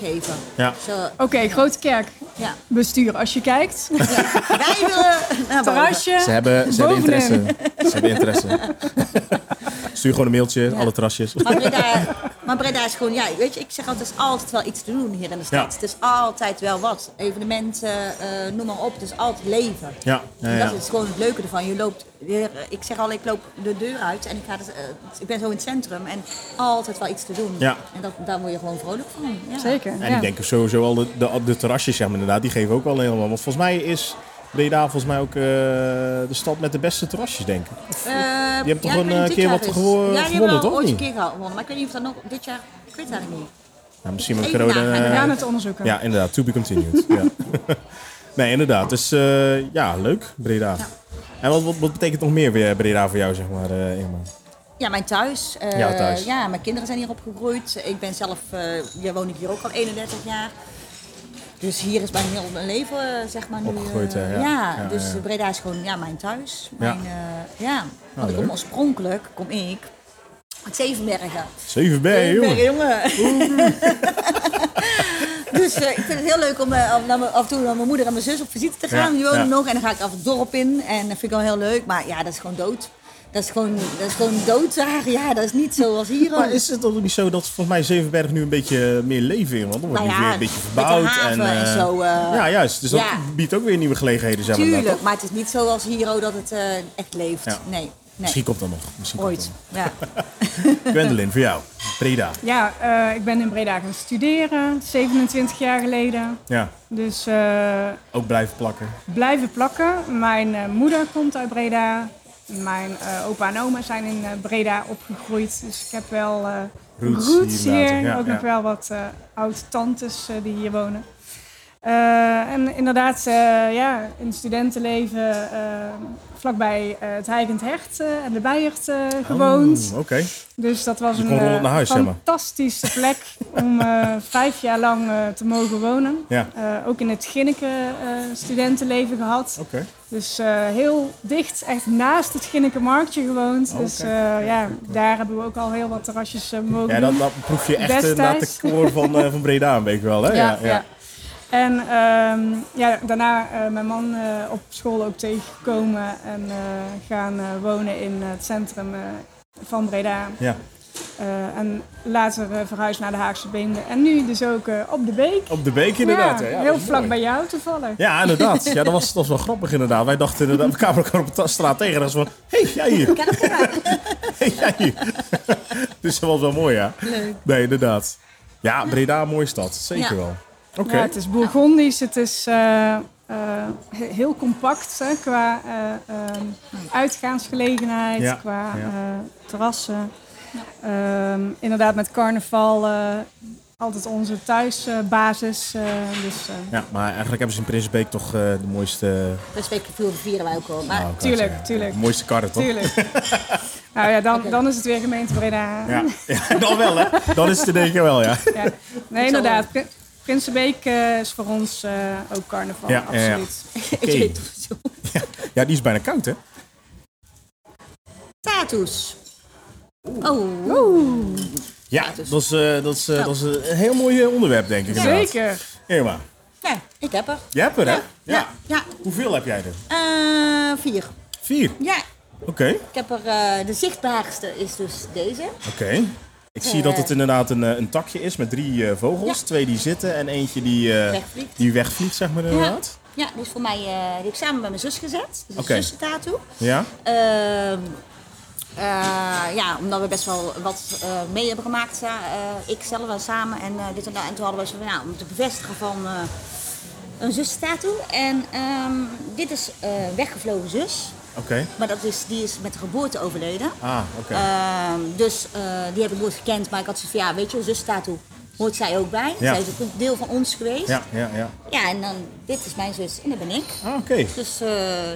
S1: Ja.
S2: Zo,
S3: Oké, Grote Kerk.
S2: ja.
S3: Bestuur, als je kijkt.
S2: Wij willen... naar boven.
S3: Terrasje.
S1: Ze hebben, ze hebben
S3: Bovenin.
S1: interesse. Ze hebben interesse. Stuur gewoon een mailtje, alle terrasjes.
S2: Maar Breda, maar Breda is gewoon, ja, weet je, ik zeg altijd, er is altijd wel iets te doen hier in de stad.
S1: Ja.
S2: Het is altijd wel wat. Evenementen, eh, noem maar op. Het is altijd leven.
S1: Ja, ja,
S2: En
S1: ja.
S2: Dat is gewoon het leuke ervan. Je loopt weer, ik zeg al, ik loop de deur uit en ik, ga dus, eh, ik ben zo in het centrum en altijd wel iets te doen.
S1: Ja.
S2: En dat, daar word je gewoon vrolijk van. Ja.
S3: Zeker.
S1: En
S3: ja.
S1: ik denk sowieso al de, de, de terrasjes, zeg maar inderdaad, die geven ook wel helemaal. Want volgens mij is Breda volgens mij ook eh, de stad met de beste terrasjes, denk ik.
S2: Eh,
S1: Je hebt toch
S2: ja, ik
S1: een,
S2: weet niet
S1: eh,
S2: dit
S1: keer
S2: jaar
S1: wat
S2: is.
S1: gewo-
S2: Ja, die hebben
S1: gewonnen,
S2: wel
S1: toch,
S2: ooit een
S1: niet?
S2: keer gewonnen. Maar ik weet niet of dat nog dit jaar, ik weet het eigenlijk niet.
S1: Nou, misschien met
S2: Even
S1: corona.
S2: nagaan.
S3: We gaan
S1: eh,
S3: het onderzoeken.
S1: Ja, inderdaad, to be continued. ja. Nee, inderdaad. Dus eh, ja, leuk, Breda. En wat, wat, wat betekent nog meer weer Breda voor jou, zeg maar, eh Irma?
S2: Ja, mijn thuis. Eh,
S1: Ja, thuis.
S2: ja, mijn kinderen zijn hier opgegroeid. Ik ben zelf, eh ja, woon ik hier ook al 31 jaar. Dus hier is mijn heel mijn leven, eh, zeg maar, nu. eh,
S1: Opgegroeid, hè, ja. Ja,
S2: dus
S1: ja, ja.
S2: Breda is gewoon ja, mijn thuis. Mijn, eh, ja. Want ik
S1: leuk.
S2: kom oorspronkelijk, kom ik, uit Zevenbergen.
S1: Zevenbergen, jongen.
S2: Zevenbergen, jongen. dus eh, ik vind het heel leuk om eh, af- naar mijn- af en toe naar mijn moeder en mijn zus op visite te gaan.
S1: Ja,
S2: Die wonen
S1: ja.
S2: nog en dan ga ik af het dorp in. En dat vind ik wel heel leuk. Maar ja, dat is gewoon dood. Dat is gewoon, dat is gewoon dood daar. Ja, dat is niet zoals hier.
S1: Maar
S2: ook.
S1: is het ook niet zo dat volgens mij Zevenberg nu een beetje eh, meer leven in? Want dan wordt
S2: Nou
S1: nu
S2: ja,
S1: weer een beetje
S2: met de
S1: verbouwd.
S2: haven en
S1: eh,
S2: zo, eh,
S1: ja, juist. Dus dat
S2: ja.
S1: biedt ook weer nieuwe gelegenheden, zeg maar. inderdaad,
S2: Tuurlijk,
S1: toch?
S2: maar het is niet zoals hier oh, dat het eh, echt leeft.
S1: Ja.
S2: Nee,
S1: Misschien
S2: nee.
S1: komt dat nog. Misschien
S2: Ooit.
S1: Komt
S2: Ja.
S1: dat nog. Gwendolyn, voor jou. Breda.
S3: Ja, eh, ik ben in Breda gaan studeren, 27 jaar geleden.
S1: Ja,
S3: Dus eh,
S1: ook blijven plakken.
S3: blijven plakken. Mijn eh, moeder komt uit Breda. Mijn eh, opa en oma zijn in eh, Breda opgegroeid. Dus ik heb wel eh
S1: Roots
S3: roots,
S1: hier
S3: hier.
S1: later, ja,
S3: ook
S1: ja.
S3: nog wel wat eh oud-tantes eh, die hier wonen. Eh, en inderdaad, eh, ja, in het studentenleven eh, vlakbij eh, het Heigend Hert eh, en de Bijert eh, gewoond.
S1: Oh, Oké.
S3: Dus dat was
S1: Je
S3: een
S1: kon rollend
S3: eh,
S1: naar huis, zeg maar.
S3: fantastische plek om eh, vijf jaar lang eh, te mogen wonen.
S1: Ja,
S3: Eh, ook in het Ginneke eh, studentenleven gehad.
S1: oké.
S3: Dus eh, heel dicht, echt naast het Ginneke Marktje gewoond.
S1: Oh,
S3: dus
S1: kijk,
S3: eh, ja, daar hebben we ook al heel wat terrasjes eh, mogen
S1: Ja,
S3: doen.
S1: dat, dat proef je echt eh, na de
S3: Destijds.
S1: koor van, eh, van Breda een beetje wel, hè?
S3: En ehm, ja, daarna eh, mijn man eh, op school ook tegengekomen en eh, gaan eh, wonen in het centrum eh, van Breda.
S1: Ja.
S3: Eh, en later eh, verhuisd naar de Haagse Beemden. En nu dus ook eh, op de Beek.
S1: Op de beek inderdaad.
S3: Ja,
S1: hè? Ja, dat
S3: heel
S1: is
S3: vlak
S1: mooi.
S3: bij jou toevallig.
S1: Ja, inderdaad. Ja, dat was, dat was wel grappig inderdaad. Wij dachten inderdaad, we kwamen elkaar op de straat tegen en dat was van, hé, hey, jij hier,
S2: Ken ik elkaar?
S1: hey, jij hier. dus dat was wel mooi, ja.
S2: Leuk.
S1: Nee, inderdaad. Ja, Breda, mooie stad. Zeker
S2: Ja.
S1: wel. Oké.
S3: Ja, het is Bourgondisch, het is eh, eh, he- heel compact hè, qua eh, ehm, uitgaansgelegenheid,
S1: Ja,
S3: qua
S1: ja.
S3: eh, terrassen. Ehm, inderdaad, met carnaval eh, altijd onze thuisbasis. dus eh,
S1: Ja, maar eigenlijk hebben ze in Prinsenbeek toch eh, de mooiste...
S2: Dus week vieren wij ook al.
S1: nou,
S2: Maar
S1: ik wou
S3: Tuurlijk,
S1: zeggen,
S3: tuurlijk.
S1: De mooiste karren, toch?
S3: tuurlijk. nou ja, dan, dan is het weer gemeente Breda.
S1: Ja. ja, dan wel, hè? Dan is het in één keer wel, ja.
S3: Ja. Nee, inderdaad. Pri- Prinsenbeek eh, is voor ons eh, ook carnaval,
S1: Ja, ja, ja.
S3: absoluut.
S1: Oké.
S2: ik weet het zo.
S1: Ja, die is bijna koud, hè?
S2: Tattoos. Oh,
S1: Ja,
S3: dus-
S1: dat is, eh, dat is, eh, dat is een heel mooi eh, onderwerp, denk ik inderdaad.
S3: Zeker.
S1: Irma,
S2: ja, ik heb er.
S1: jij hebt er, hè?
S2: Ja, ja. ja.
S1: Hoeveel heb jij er?
S2: Eh, vier.
S1: Vier.
S2: Ja,
S1: Oké,
S2: Ik heb er, eh, de zichtbaarste is dus deze.
S1: oké. Ik zie dat het inderdaad een, eh, een takje is met drie eh, vogels.
S2: Ja.
S1: Twee die zitten en eentje die, eh,
S2: Wegvliegt.
S1: die wegvliegt, zeg maar
S2: ja.
S1: inderdaad.
S2: ja, die is voor mij, eh, die heb ik samen met mijn zus gezet. Dus
S1: Oké.
S2: een zussentattoo.
S1: Ja?
S2: Ehm, eh, ja, omdat we best wel wat eh, mee hebben gemaakt, sa- eh, ik zelf en samen en eh, dit en dat. En toen hadden we zo van, nou, om te bevestigen van eh een zusstattoo. En ehm, dit is eh, weggevlogen zus,
S1: Oké.
S2: maar dat is, die is met de geboorte overleden.
S1: Ah, oké.
S2: Ehm, dus eh, die heb ik nooit gekend, maar ik had zoiets van, ja, weet je, zusstattoo hoort zij ook bij.
S1: Ja.
S2: Zij is ook een deel van ons geweest.
S1: Ja, ja, ja.
S2: Ja, en dan, dit is mijn zus en dat ben ik.
S1: Ah, oké.
S2: Dus, eh,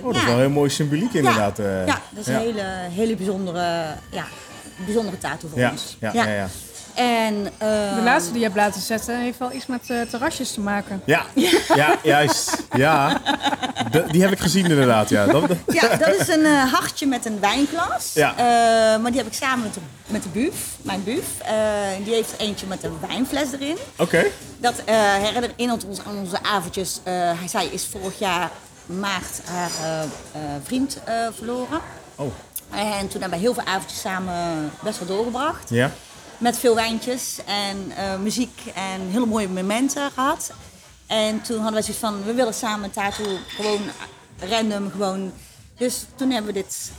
S1: Oh, dat
S2: ja.
S1: is wel heel mooi symboliek inderdaad.
S2: Ja,
S1: eh.
S2: ja dat is een hele, hele bijzondere, ja, bijzondere tattoo voor
S1: Ja,
S2: ons.
S1: ja, ja, ja.
S2: En, eh,
S3: De laatste die je hebt laten zetten heeft wel iets met eh, terrasjes te maken.
S1: Ja, ja, juist. Ja, De- die heb ik gezien inderdaad. Ja, dat, dat-
S2: ja, dat is een eh, hartje met een wijnglas.
S1: Ja.
S2: Eh, maar die heb ik samen met de, met de buuf, mijn buuf. Eh, die heeft eentje met een wijnfles erin.
S1: Oké,
S2: Dat eh, herinnert ons aan onze avondjes. Eh, hij zij is vorig jaar maart haar eh, eh, vriend eh, verloren.
S1: Oh.
S2: En toen hebben we heel veel avondjes samen best wel doorgebracht.
S1: ja.
S2: Met veel wijntjes en eh, muziek en hele mooie momenten gehad. En toen hadden we zoiets van, we willen samen een tattoo, gewoon random, gewoon. Dus toen hebben we dit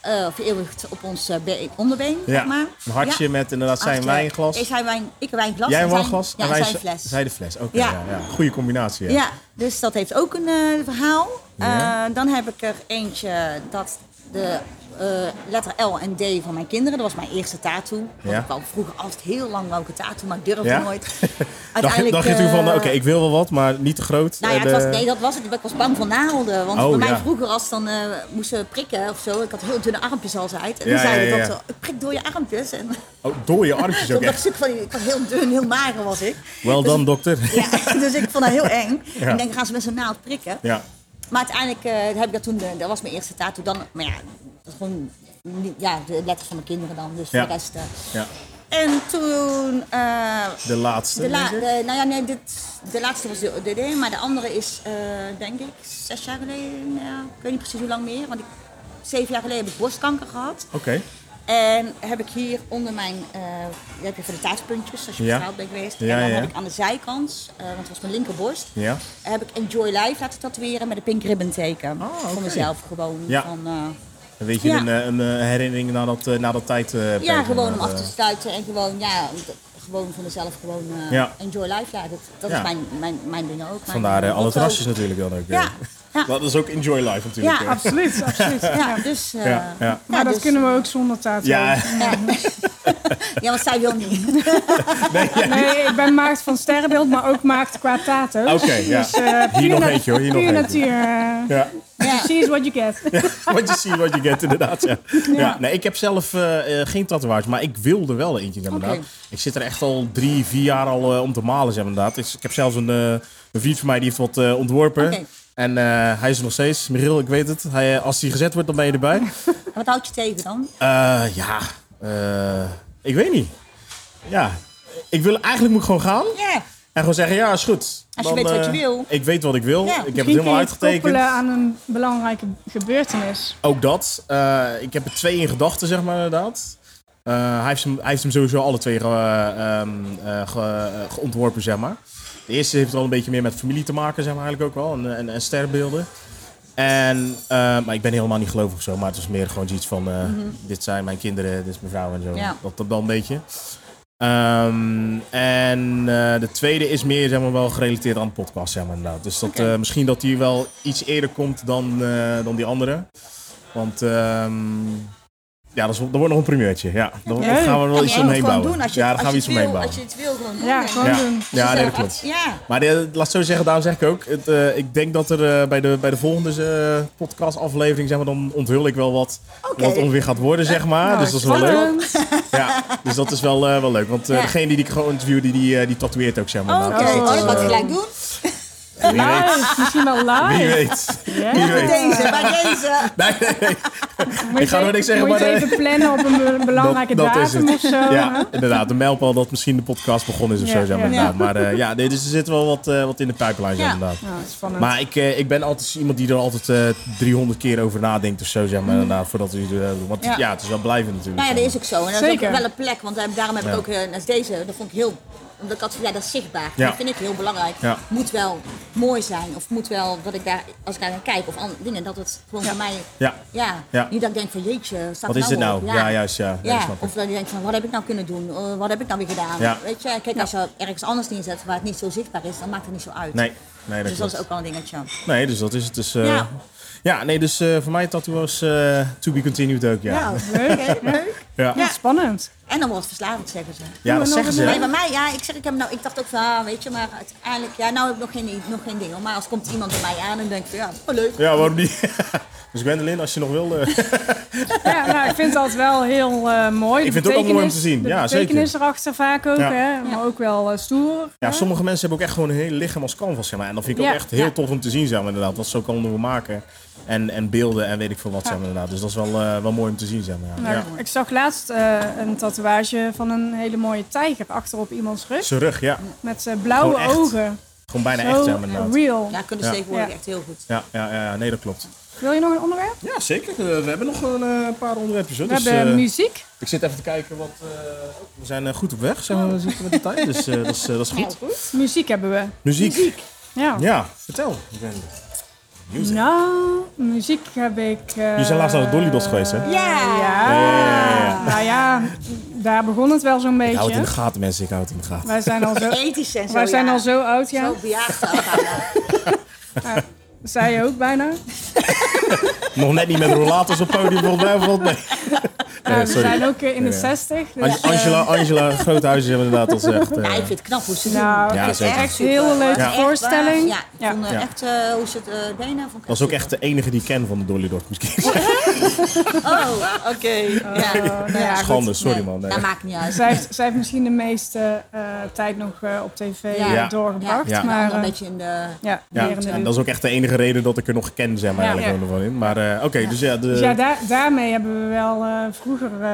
S2: eh vereeuwigd op ons eh, been- onderbeen, zeg
S1: ja.
S2: maar.
S1: Een hartje
S2: Ja.
S1: met inderdaad zijn
S2: Hartje.
S1: wijnglas.
S2: Ik zijn wijn, ik een wijnglas.
S1: Jij
S2: en
S1: een
S2: zijn-
S1: wijnglas
S2: Ja,
S1: en
S2: en
S1: wij
S2: zijn
S1: z-
S2: fles.
S1: Zij de fles, oké.
S2: Ja.
S1: ja. Ja, Goede combinatie.
S2: Ja, dus dat heeft ook een eh, verhaal.
S1: Ja.
S2: Eh, dan heb ik er eentje dat de eh, letter L en D van mijn kinderen, dat was mijn eerste tattoo. Want
S1: Ja.
S2: ik wou vroeger altijd heel lang wou ik een tattoo, maar ik durfde
S1: Ja?
S2: nooit.
S1: Dacht, je- dacht je toen
S2: eh,
S1: van, nou, oké, ik wil wel wat, maar niet te groot.
S2: nou ja,
S1: En,
S2: het was,
S1: eh,
S2: nee, dat was het. Ik was bang voor naalden. Want
S1: Oh,
S2: bij mij
S1: ja.
S2: vroeger, als dan eh moesten prikken of zo, ik had heel dunne armpjes altijd. En
S1: Ja,
S2: dan zei
S1: ja,
S2: ik
S1: ja.
S2: zo, ik prik door je armpjes. En
S1: oh, door je armpjes ook
S2: toen
S1: echt.
S2: dacht ik van, ik was heel dun, heel mager was ik.
S1: Wel
S2: Dus-
S1: dan, dokter.
S2: Ja, dus ik vond dat heel eng.
S1: Ja.
S2: Ik denk, gaan ze met zo'n naald prikken?
S1: Ja.
S2: Maar uiteindelijk eh, heb ik dat toen, eh, dat was mijn eerste tattoo. Dan, maar ja, dat is gewoon niet- ja, de letters van mijn kinderen dan, dus
S1: Ja.
S2: voor de rest. eh.
S1: ja.
S2: En toen, eh,
S1: De laatste.
S2: de, la-
S1: denk ik.
S2: de- nou ja, nee, dit, de laatste was de DD, maar de andere is, eh, denk ik, zes jaar geleden, nou ja, ik weet niet precies hoe lang meer, want ik, zeven jaar geleden heb ik borstkanker gehad.
S1: Oké.
S2: En heb ik hier onder mijn, eh je hebt je van de taartpuntjes, als je
S1: Ja.
S2: verhaald bent geweest.
S1: Ja,
S2: en dan
S1: ja.
S2: heb ik aan de zijkant, eh, want het was mijn linkerborst,
S1: Ja.
S2: heb ik Enjoy Life laten tatoeëren met een pink ribbon teken.
S1: Ah, oké.
S2: Voor mezelf gewoon.
S1: Ja.
S2: Van, eh,
S1: Dan weet je
S2: Ja.
S1: een, eh, een eh, herinnering na dat, eh, na dat tijd. eh,
S2: ja,
S1: periode,
S2: gewoon om af
S1: eh,
S2: te sluiten en gewoon, ja, d- gewoon voor mezelf gewoon eh,
S1: Ja.
S2: Enjoy Life laten. Dat, dat
S1: Ja.
S2: is mijn, mijn, mijn ding ook.
S1: Vandaar eh,
S2: alle
S1: alle terrasjes natuurlijk dan ook. eh.
S2: Ja, ja.
S1: Dat is ook Enjoy Life natuurlijk.
S2: Ja,
S1: eh.
S3: Absoluut, absoluut. Ja.
S2: Ja, dus... eh,
S1: Ja, ja.
S3: Maar dat
S2: dus-
S3: kunnen we ook zonder tattoo.
S1: ja.
S2: Ja. ja, want zij wil niet.
S3: Nee, ik ben maagd van sterrenbeeld, maar ook maagd qua tato's.
S1: Oké, ja.
S3: Dus, eh,
S1: Hier nog
S3: puur
S1: eentje, hoor, hier nog
S3: puur
S1: eentje.
S3: natuur. eh,
S1: ja.
S2: Ja.
S3: See is what you get.
S1: What you see, what you get, inderdaad. Ja. Ja. Nee, ik heb zelf eh, eh, geen tatoeage, maar ik wilde wel eentje, inderdaad.
S2: Oké.
S1: Ik zit er echt al drie, vier jaar al eh, om te malen, zeg, inderdaad. Dus ik heb zelfs een, eh, een vriend van mij die heeft wat eh, ontworpen.
S2: Oké.
S1: En eh, hij is er nog steeds. Michiel, ik weet het. Hij, eh, als hij gezet wordt, dan ben je erbij.
S2: Wat houd je tegen dan?
S1: Eh, ja, eh, ik weet niet. Ja, ik wil eigenlijk moet ik gewoon gaan.
S2: Ja.
S1: En gewoon zeggen, ja, is goed. Als
S2: je weet wat je wil.
S1: Ik weet wat ik wil.
S2: Ja.
S1: Ik heb het
S3: Misschien kun
S1: helemaal
S3: je het
S1: uitgetekend.
S3: koppelen aan een belangrijke gebeurtenis.
S1: Ook dat. Eh, ik heb er twee in gedachten, zeg maar inderdaad. Eh, hij, heeft hem, hij heeft hem sowieso alle twee eh, ehm, eh, ge- eh, geontworpen, zeg maar. De eerste heeft wel een beetje meer met familie te maken, zeg maar eigenlijk ook wel. En, en, en sterrenbeelden. En, eh, maar ik ben helemaal niet gelovig of zo. Maar het was meer gewoon zoiets van... eh, Dit zijn mijn kinderen, dit is mijn vrouw en zo.
S2: Mhm. Ja.
S1: Dat, dat wel een beetje. Ehm, en eh, de tweede is meer zeg maar, wel gerelateerd aan de podcast, zeg maar inderdaad. Dus dat,
S2: Oké.
S1: eh, misschien dat die wel iets eerder komt dan, eh, dan die andere. Want ehm, ja, dat, is, dat wordt nog een primeurtje. Ja, daar daar gaan we
S2: Ja,
S1: wel
S2: maar
S1: iets
S2: je moet
S1: omheen
S2: gewoon
S1: bouwen.
S2: doen als je,
S1: ja, daar
S2: als
S1: gaan we
S2: je
S1: iets
S2: het wil,
S1: omheen bouwen.
S2: Als je het wil, gewoon doen.
S3: Ja,
S2: En
S3: gewoon doen.
S1: Ja, dus nee, dat
S2: jezelf
S1: klopt.
S2: act- Ja.
S1: Maar eh, laat het zo zeggen, daarom zeg ik ook. Het, eh, ik denk dat er eh, bij, de, bij de volgende eh, podcastaflevering, zeg maar, dan onthul ik wel wat,
S2: Oké. Nou,
S1: wat onweer gaat worden, zeg maar. dus dat is wel leuk.
S3: Spannend.
S1: Ja, dus dat is wel, eh, wel leuk. Want eh,
S2: Ja.
S1: degene die ik gewoon interview, die, die, eh, die tatoeëert ook, zeg maar.
S2: Oké,
S1: Nou, dus
S2: oh,
S1: dat
S2: dat
S1: is,
S2: kan ik
S1: eh,
S2: gelijk doen.
S1: wie weet.
S2: oh.
S3: Live, misschien wel
S1: Wie
S3: live.
S1: weet. Iedereen.
S2: Bij deze, bij deze.
S1: Nee, nee, nee.
S3: Moet
S1: Ik ga nog
S3: even-
S1: niks zeggen,
S3: moet je
S1: maar, eh,
S3: het even plannen op een be- belangrijke
S1: dat is
S3: datum
S1: het.
S3: of zo.
S1: Ja, inderdaad. De mijlpaal dat misschien de podcast begonnen is of
S3: Ja,
S1: zo. Zeg maar,
S3: ja.
S1: inderdaad. maar eh, ja, nee, dus er zit wel wat, eh, wat in de pipeline,
S2: Ja.
S1: inderdaad.
S3: Nou, dat is spannend.
S1: Maar ik, eh, ik ben altijd iemand die er altijd eh, 300 keer over nadenkt of zo, zeg maar, inderdaad, voordat hij er... eh, want ja.
S2: Ja.
S1: het is wel blijvend natuurlijk.
S2: Nou ja,
S1: zeg
S2: dat
S1: maar.
S2: is ook zo. En dat
S3: Zeker.
S2: is ook wel een plek, want daar- daarom heb
S1: Ja.
S2: ik ook eh, naast deze, dat vond ik heel, omdat ik had van, ja, dat is zichtbaar.
S1: Ja.
S2: Dat vind ik heel belangrijk.
S1: Ja.
S2: Moet wel mooi zijn, of moet wel, dat ik daar, als ik daar naar kijk, of an- dingen, dat het gewoon voor mij,
S1: Ja.
S2: ja,
S1: Ja.
S2: niet dat ik denk van, jeetje, staat
S1: Wat is dit
S2: op?
S1: nou? Ja, juist, ja. Ja,
S2: Ja,
S1: snap ik.
S2: of dat je denkt van, wat heb ik nou kunnen doen? Eh, wat heb ik nou weer gedaan?
S1: Ja.
S2: Weet je, kijk, als je ergens anders neerzet waar het niet zo zichtbaar is, dan maakt het niet zo uit.
S1: Nee, nee, dat
S2: dus dat is
S1: klopt.
S2: ook wel een dingetje.
S1: Nee, dus dat is het. Dus, eh, ja.
S2: Ja.
S1: nee, dus eh, voor mij tattoo was eh, to be continued ook, ja.
S2: Ja,
S3: Leuk.
S1: Ja,
S3: Ja,
S1: ja.
S3: spannend.
S2: en dan wordt het verslavend, zeggen ze.
S1: dat zeggen ze.
S2: Nee,
S1: hè?
S2: bij mij, ja, ik zeg, ik, heb nou, ik dacht ook van, ah, weet je, maar uiteindelijk, ja, nou heb ik nog geen, nog geen ding. hoor. Maar als komt iemand bij mij aan en denkt van, ja, oh, leuk.
S1: Ja, waarom niet? dus Gwendoline, als je nog wil... eh,
S3: Ja, nou, ik vind dat wel heel eh, mooi. De
S1: Ik vind het ook wel mooi om te
S3: betekenis-
S1: zien.
S3: De
S1: Ja,
S3: betekenis erachter vaak ook,
S1: Ja.
S3: hè? maar ook wel eh, stoer.
S1: Ja, sommige mensen hebben ook echt gewoon een hele lichaam als canvas, zeg maar. En dat vind ik ook
S3: Ja,
S1: echt heel
S2: ja.
S1: tof om te zien, zeg maar, inderdaad. Wat ze ook allemaal maken. En, en beelden en weet ik veel wat, zeg maar, inderdaad. Dus dat is wel, eh, wel mooi om te zien, zeg maar. Ja.
S3: Nou,
S1: Ja.
S3: Ik zag laatst eh, een tatoeage van een hele mooie tijger achter op iemands rug.
S1: Zijn rug, ja.
S3: Met eh, blauwe
S1: Gewoon Oh, echt.
S3: ogen.
S1: Gewoon bijna
S3: Zo
S1: echt, zeg maar, inderdaad.
S3: real.
S2: Ja, kunnen ze
S1: Ja.
S2: tegenwoordig
S3: Ja.
S2: echt heel goed.
S1: Ja, ja, ja, ja, nee, dat klopt.
S3: Wil je nog een onderwerp?
S1: Ja, zeker. Eh, we hebben nog een eh, paar onderwerpjes, hoor.
S3: We
S1: Dus,
S3: hebben
S1: eh,
S3: muziek.
S1: ik zit even te kijken wat... eh, we zijn eh, goed op weg, zeg maar, we zitten met de tijd. Dus eh, dat, is, eh, dat is goed.
S3: Muziek hebben we.
S1: Muziek.
S3: Ja.
S1: Ja, vertel. Gwen.
S3: Nou, muziek heb ik... eh,
S1: Je bent laatst aan de Dollybos geweest, hè?
S2: Ja!
S3: Ja. Nou ja, daar begon het wel zo'n
S1: Ik hou het in de
S3: beetje.
S1: gaten, mensen. Ik hou het in de gaten.
S3: Wij zijn al zo,
S2: Ethisch en zo,
S3: wij zijn
S2: ja.
S3: al zo oud, ja.
S2: Zo bejaagd elkaar, ja.
S3: Zij ook bijna.
S1: Nog net niet met rollators op podium, volgens mij valt mee.
S3: Ja, we
S1: sorry.
S3: zijn ook eh, in de
S1: Ja, ja.
S3: 60. Dus,
S1: Ange-
S3: eh,
S1: Angela, Angela Groothuizen hebben inderdaad al gezegd. eh,
S2: Ja, ik vind het knap hoe ze
S3: Nou,
S2: doen.
S1: Ja,
S3: ik vind het
S1: zeker.
S3: echt heel leuke
S1: Ja.
S3: voorstelling.
S2: Ja, ik vond eh,
S1: Ja.
S2: echt eh, hoe ze het eh, deden. Vond ik
S1: dat is ook echt de enige die ik ken van de Dolly Dog. Misschien.
S2: super. Oh, oké. Ja.
S3: Nou ja, goed.
S1: Schande, sorry
S2: Nee,
S1: man. nee.
S2: Dat maakt niet uit.
S3: Zij heeft, zij heeft misschien de meeste eh, tijd nog eh, op tv
S2: Ja.
S3: eh,
S1: Ja.
S3: doorgebracht.
S1: Ja.
S3: Maar
S2: Allemaal
S3: eh,
S2: een beetje in de...
S3: ja,
S1: Ja,
S3: meer in de
S1: en
S3: lucht.
S1: dat is ook echt de enige reden dat ik er nog ken, zeg maar,
S3: Ja.
S1: eigenlijk gewoon ervan in. Maar eh, oké, dus ja, de,
S3: Dus ja, daar, daarmee hebben we wel eh, vroeger eh,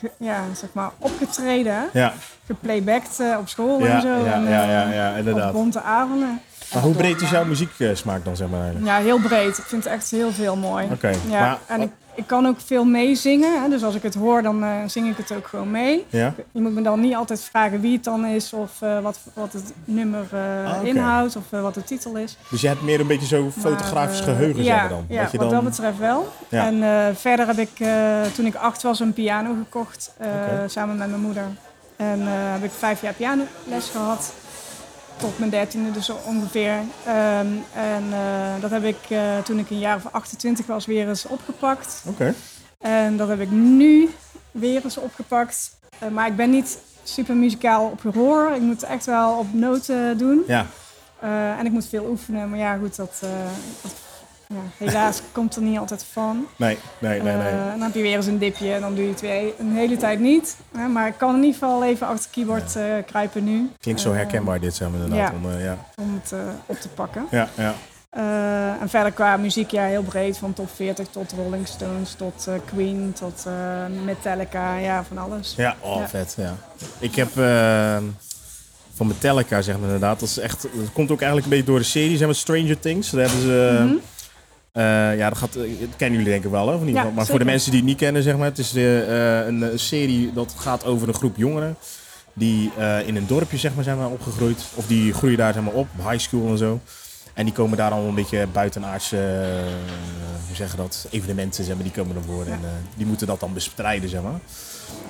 S3: ge- ja, zeg maar opgetreden. hè.
S1: ja,
S3: Geplaybacked eh, op school
S1: ja,
S3: en zo.
S1: ja,
S3: en, eh,
S1: ja, ja, ja,
S3: Op
S1: inderdaad.
S3: bonte avonden.
S1: Maar hoe breed is jouw muzieksmaak dan, zeg maar, eigenlijk?
S3: Ja, heel breed. Ik vind het echt heel veel mooi.
S1: Oké,
S3: Ja,
S1: maar-
S3: en ik, ik kan ook veel meezingen. Hè? Dus als ik het hoor, dan eh, zing ik het ook gewoon mee.
S1: Ja?
S3: Je moet me dan niet altijd vragen wie het dan is of eh, wat, wat het nummer eh,
S1: Ah, oké.
S3: inhoudt of eh, wat de titel is.
S1: Dus je hebt meer een beetje zo'n fotografisch
S3: Maar, eh,
S1: geheugen,
S3: ja,
S1: zeg maar dan.
S3: Ja,
S1: dat je
S3: wat
S1: dan
S3: dat betreft wel.
S1: Ja.
S3: En eh, verder heb ik eh, toen ik acht was een piano gekocht eh,
S1: Oké.
S3: samen met mijn moeder. En eh, heb ik vijf jaar pianoles gehad. Tot mijn dertiende dus ongeveer. Ehm, en eh, dat heb ik eh, toen ik een jaar of 28 was weer eens opgepakt.
S1: Oké,
S3: En dat heb ik nu weer eens opgepakt. Eh, maar ik ben niet super muzikaal op gehoor. Ik moet het echt wel op noten doen.
S1: ja.
S3: Eh, en ik moet veel oefenen, maar ja, goed, dat, eh, dat- ja, helaas komt er niet altijd van.
S1: Nee, nee, nee, nee.
S3: Eh, en dan heb je weer eens een dipje en dan doe je het weer een hele tijd niet. Hè, maar ik kan in ieder geval even achter het keyboard eh, kruipen nu
S1: Klinkt zo herkenbaar dit, zeg maar, inderdaad.
S3: ja.
S1: Om, eh, ja.
S3: om het eh, op te pakken.
S1: ja, ja.
S3: Eh, en verder qua muziek, ja, heel breed, van top 40 tot Rolling Stones, tot eh, Queen, tot eh, Metallica, ja, van alles.
S1: Ja, oh,
S3: Ja.
S1: vet. Ja. Ik heb eh, van Metallica, zeg maar inderdaad. Dat, is echt, dat komt ook eigenlijk een beetje door de serie, zeg maar Stranger Things. Daar hebben ze. eh, eh, ja, dat, gaat, eh, dat kennen jullie denk ik wel, hè? Of niet?
S3: Ja,
S1: maar voor de
S3: zeker.
S1: mensen die het niet kennen, zeg maar. Het is eh, eh, een eh, serie dat gaat over een groep jongeren. Die eh, in een dorpje, zeg maar, zijn maar opgegroeid. Of die groeien daar, zeg maar, op. High school en zo. En die komen daar allemaal een beetje buitenaardse, eh, hoe zeggen dat, evenementen, zeg maar, die komen ervoor. En eh, die moeten dat dan bestrijden, zeg maar.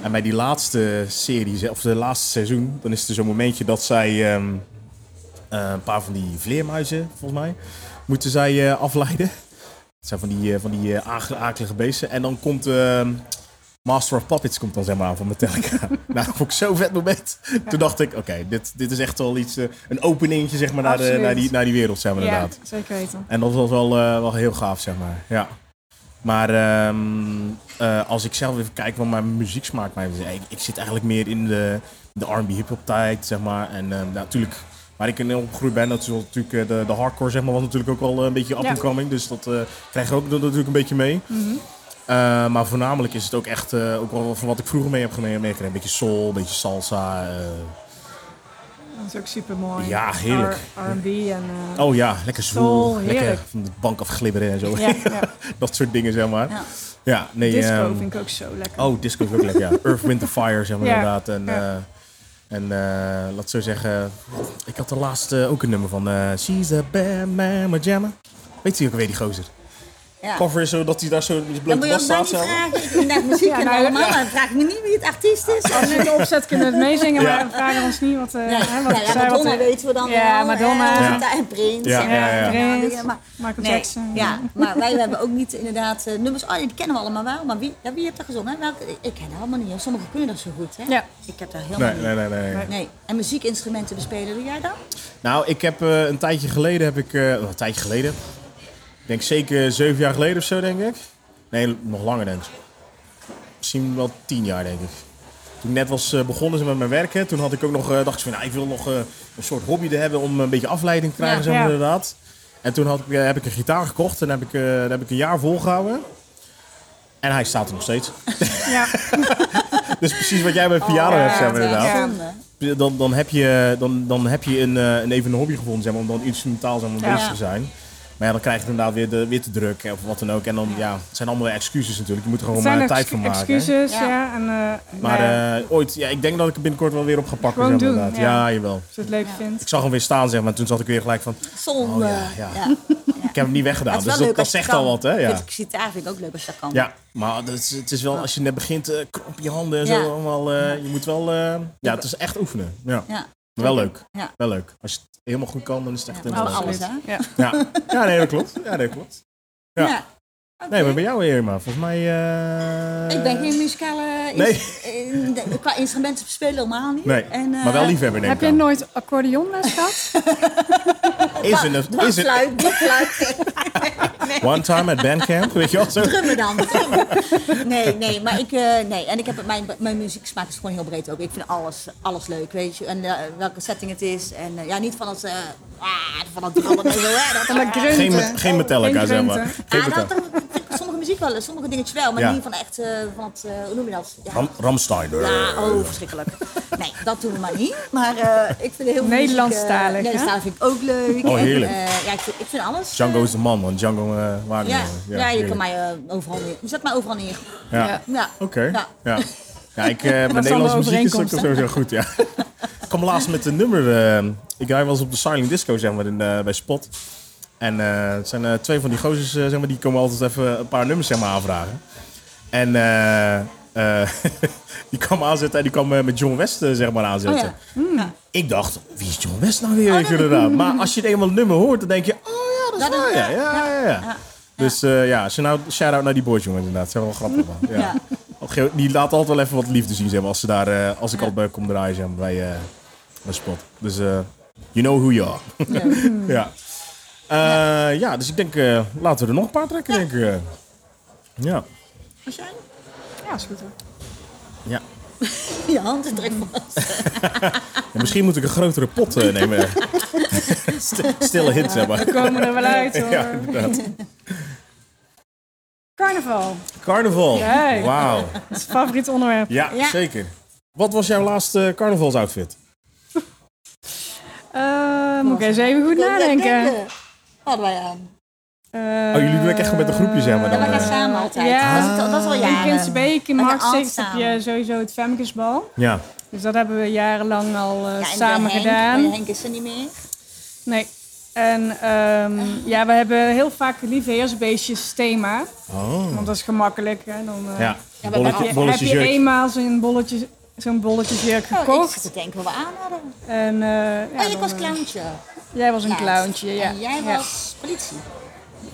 S1: En bij die laatste serie, of de laatste seizoen, dan is er zo'n momentje dat zij ehm, eh, een paar van die vleermuizen, volgens mij, moeten zij eh, afleiden. Het zijn van die, eh, van die eh, age- akelige beesten. En dan komt ehm, Master of Puppets komt dan zeg maar aan van Metallica. nou, dat vond ik zo'n vet moment. Toen dacht ik, oké, dit, dit is echt wel iets, eh, een openingetje zeg maar naar, de,
S3: Absoluut.
S1: naar, die, naar die wereld, zeg maar
S3: ja
S1: inderdaad.
S3: zeker weten.
S1: En dat was wel, eh, wel heel gaaf, zeg maar. Ja. Maar ehm, eh, als ik zelf even kijk wat mijn muzieksmaak mij ik, ik zit eigenlijk meer in de, de R&B hip-hop tijd, zeg maar. En ehm, nou, natuurlijk waar ik in opgegroeid ben, dat is wel natuurlijk eh, de, de hardcore, zeg maar, was natuurlijk ook wel eh, een beetje up
S3: Ja.
S1: and
S3: Mhm.
S1: coming. Dus dat eh krijg je ook dat natuurlijk een beetje mee. Eh, maar voornamelijk is het ook echt, eh, ook wel van wat ik vroeger mee heb gene- meegekregen. Een beetje soul, een beetje salsa. eh.
S3: Dat is ook super mooi.
S1: Ja, heerlijk.
S3: R&B en... eh,
S1: oh ja, lekker zwoel.
S3: Soul,
S1: lekker
S3: heerlijk.
S1: van de bank afglibberen en zo.
S3: ja, ja.
S1: dat soort dingen, zeg maar. Ja,
S2: Ja.
S1: nee.
S3: Disco
S1: ehm,
S3: vind ik ook zo lekker.
S1: Oh, disco is ook lekker, ja. Earth, Wind and Fire, zeg maar
S3: Ja,
S1: inderdaad. En,
S3: ja.
S1: eh, en eh, laat ik zo zeggen, ik had de laatste ook een nummer van eh She's a bad man, my jammer. Weet je ook weer die gozer?
S2: Ja.
S1: Cover is zo dat hij daar zo met die
S2: Dan
S1: blote
S2: moet je
S1: bas
S2: ons maar
S1: staat.
S2: niet
S1: zeg maar.
S2: vragen. Ik vind net muziek
S3: Ja,
S2: en
S3: nou,
S2: allemaal,
S3: ja.
S2: maar vraag me niet wie het artiest is.
S3: Als we de opzet kunnen we het meezingen,
S1: Ja.
S3: maar we vragen ons niet wat... eh
S2: Ja,
S3: hè,
S2: ja,
S3: wat
S2: ja,
S3: zij-
S2: Madonna
S3: wat,
S2: weten we dan
S3: Ja,
S2: wel.
S3: Madonna.
S2: hè,
S1: Ja.
S2: daar En Prins.
S1: Ja,
S2: en-
S1: ja, ja.
S3: Prince,
S2: Maar-
S3: Michael
S2: Nee,
S3: Jackson.
S2: ja, maar wij hebben ook niet inderdaad eh, nummers. Oh, die kennen we allemaal wel. Maar wie, ja, wie heeft dat gezongen? hè? Welke, ik ken dat allemaal niet. hè. Sommigen kunnen dat zo goed. Hè?
S3: Ja.
S2: Ik heb daar helemaal
S1: Nee, nee, nee, nee.
S2: niet. Nee. En muziekinstrumenten bespelen doe jij dan?
S1: Nou, ik heb eh, een tijdje geleden, heb ik, eh, wel een tijdje geleden, ik denk zeker zeven jaar geleden of zo, denk ik. Nee, nog langer denk ik. Misschien wel tien jaar, denk ik. Toen ik net was eh, begonnen ze met mijn werken, toen had ik ook nog, eh, dacht ik van, nou, ik wil nog eh, een soort hobby te hebben om een beetje afleiding te krijgen,
S2: Ja,
S1: zeg maar,
S3: ja.
S1: inderdaad. En toen had ik, eh, heb ik een gitaar gekocht en heb ik, eh, daar heb ik een jaar volgehouden. En hij staat er nog steeds.
S3: Ja.
S1: Dus precies wat jij bij piano hebt, zeg maar,
S2: Oh, Ja,
S1: inderdaad.
S2: zonde.
S1: Dan, dan heb je, dan, dan heb je een, eh, een even een hobby gevonden, zeg maar, om dan instrumentaal zeg maar,
S3: Ja.
S1: bezig te zijn. Maar ja, dan krijg je het inderdaad weer, de, weer te druk eh, of wat dan ook. En dan, ja, het zijn allemaal weer excuses natuurlijk. Je moet er gewoon
S3: Het zijn
S1: maar
S3: ex-
S1: tijd van maken. hè.
S3: excuses,
S2: Ja.
S3: ja. en, eh,
S1: Maar
S3: nou ja,
S1: eh, ooit, ja, ik denk dat ik er binnenkort wel weer op ga pakken.
S3: Gewoon
S1: zeg maar,
S3: doen,
S1: inderdaad. Ja.
S3: ja.
S1: jawel.
S3: als je het leuk
S2: ja.
S3: vindt.
S1: Ik zag hem weer staan, zeg maar. en Toen zat ik weer gelijk van,
S2: Zonde.
S1: Oh, ja, ja. ik heb hem niet weggedaan.
S2: Het
S1: Dus
S2: is
S1: dat,
S2: wel leuk
S1: dat
S2: als je
S1: zegt
S2: kan.
S1: al wat, hè?
S2: Ik
S1: Ja,
S2: vind Gitaar vind ik ook leuk als je dat kan.
S1: ja maar dat is- het is wel, als je net begint, eh krop je handen en
S2: Ja.
S1: zo allemaal. eh, je moet wel, eh, ja, het is echt oefenen. Ja.
S2: Ja.
S1: Maar wel leuk.
S2: Ja.
S1: Wel leuk. Als je het helemaal goed kan, dan is het echt
S2: Ja,
S1: helemaal
S2: maar
S1: leuk.
S2: alles, hè?
S3: Ja.
S1: Ja. ja, nee, dat klopt. Ja, nee, dat klopt. Ja. Nee, maar bij jou, Irma, volgens mij... eh,
S2: Ik ben geen muzikale
S1: Nee.
S2: ins- in- de- qua instrumenten spelen helemaal niet.
S1: Nee,
S2: En, eh,
S1: maar wel liefhebber, denk ik
S3: Heb je
S1: aan.
S3: nooit accordeonles gehad?
S1: Is een... Is een
S2: Dwarsfluit, bloedfluit. nee.
S1: one time at bandcamp, weet je wel zo?
S2: Drummen dan. drummen. Nee, nee, maar ik, eh, nee. En ik heb mijn, mijn muzieksmaak is gewoon heel breed ook. Ik vind alles, alles leuk, weet je. En eh, welke setting het is. En eh, ja, niet van dat, eh ah, van dat drummen en zo. Hè, dat,
S3: dat grunten.
S1: Geen, met- geen Metallica,
S3: Geen
S1: zeg maar.
S3: Drenthe.
S1: Geen
S2: Ah, dat,
S1: Metallica.
S2: dat, dat- sommige muziek wel, sommige dingetjes wel, maar
S1: Ja.
S2: niet van echt, eh, van het, eh, hoe noem je dat? Ja,
S1: Ram, Ramstein. eh.
S2: Ja, oh, verschrikkelijk. Nee, dat doen we maar niet. Maar eh, ik vind heel veel
S3: Nederlandstalig, hè?
S2: muziek, eh, Nederlandstalig vind ik ook leuk.
S1: Oh,
S2: En,
S1: heerlijk.
S2: eh, ja, ik vind, ik vind alles.
S1: Django
S2: eh,
S1: is de man, want Django eh waren
S2: ja, ja, je kan
S1: heerlijk.
S2: mij eh, overal neer. Je zet mij overal neer.
S1: Ja.
S3: Ja.
S2: Ja.
S1: Oké,
S2: Ja.
S1: ja. Ja, ik, eh mijn
S3: de
S1: Nederlandse muziek is ook
S3: overeenkomst, hè?
S1: sowieso goed, ja. ik kwam laatst met een nummer... eh, ik hij was op de Silent Disco, zeg maar, in, eh, bij Spot. En eh, het zijn eh, twee van die gozers, eh, zeg maar, die komen altijd even een paar nummers, zeg maar, aanvragen. En eh, eh, die kwam aanzetten en die kwam eh, met John West, eh, zeg maar, aanzetten.
S2: Oh ja.
S1: Ik dacht, wie Hmm. is John West nou weer, weet je, inderdaad. Maar als je het eenmaal het nummer hoort, dan denk je... Oh ja, dat is
S2: Dat
S1: waar,
S2: is-
S1: ja, ja, ja. ja. Dus eh, ja, shout-out shout-out naar die boys, jongens, inderdaad. Ze zijn wel grappig, man. Ja.
S2: Ja.
S1: Op een gegeven moment- Die laat altijd wel even wat liefde zien, zeg maar, als, ze daar, eh, als ik altijd bij kom draaien, zeg maar, bij, eh, bij Spot. Dus, eh, you know who you are. ja. Eh, ja. dus ik denk, eh, laten we er nog een paar trekken, denk ik. eh. Ja.
S2: Was jij?
S3: Ja, is goed hoor.
S1: ja.
S2: Je hand is druk vast.
S1: En misschien moet ik een grotere pot eh, nemen. St- Stille hint, zeg maar.
S3: We komen er wel uit hoor.
S1: Ja, inderdaad.
S3: Carnaval,
S1: Carnaval.
S3: Kijk.
S1: Wauw.
S3: het is favoriet onderwerp.
S1: Ja,
S2: Ja.
S1: zeker. Wat was jouw laatste carnavalsoutfit?
S3: Eh, moet ik eens even goed nadenken. Eh,
S2: Hadden wij aan.
S1: Oh, jullie doen het echt gewoon met een groepje, zeg maar. Dan,
S2: Ja, we
S1: eh.
S2: gaan samen altijd.
S3: ja.
S2: Dat, is, dat is al
S3: In
S2: jaren.
S3: Prinsbeek, in
S2: Lekker
S3: Maastricht heb
S2: samen.
S3: je sowieso het Femkesbal.
S1: Ja.
S3: Dus dat hebben we jarenlang al eh,
S2: Ja, en bij
S3: samen
S2: Henk,
S3: gedaan.
S2: bij Henk is er niet meer. Oh,
S3: Nee. En ehm, ja, we hebben heel vaak liefheersbeestjes thema.
S1: Oh.
S3: Want dat is gemakkelijk. Hè? Dan, eh,
S1: Ja.
S2: Ja, maar
S1: Bolletje,
S2: heb
S3: je, heb
S1: bolletje
S3: je
S1: jurk.
S3: eenmaal zo'n bolletje, zo'n bolletjesjurk
S2: Oh, ik
S3: gekocht.
S2: zit te denken wat we aan hadden.
S3: en, eh,
S2: oh,
S3: ja,
S2: ik
S3: dan,
S2: was
S3: eh,
S2: clowntje.
S3: Jij was een
S2: laatst.
S3: clowntje, ja.
S2: En jij
S3: Ja.
S2: was politie.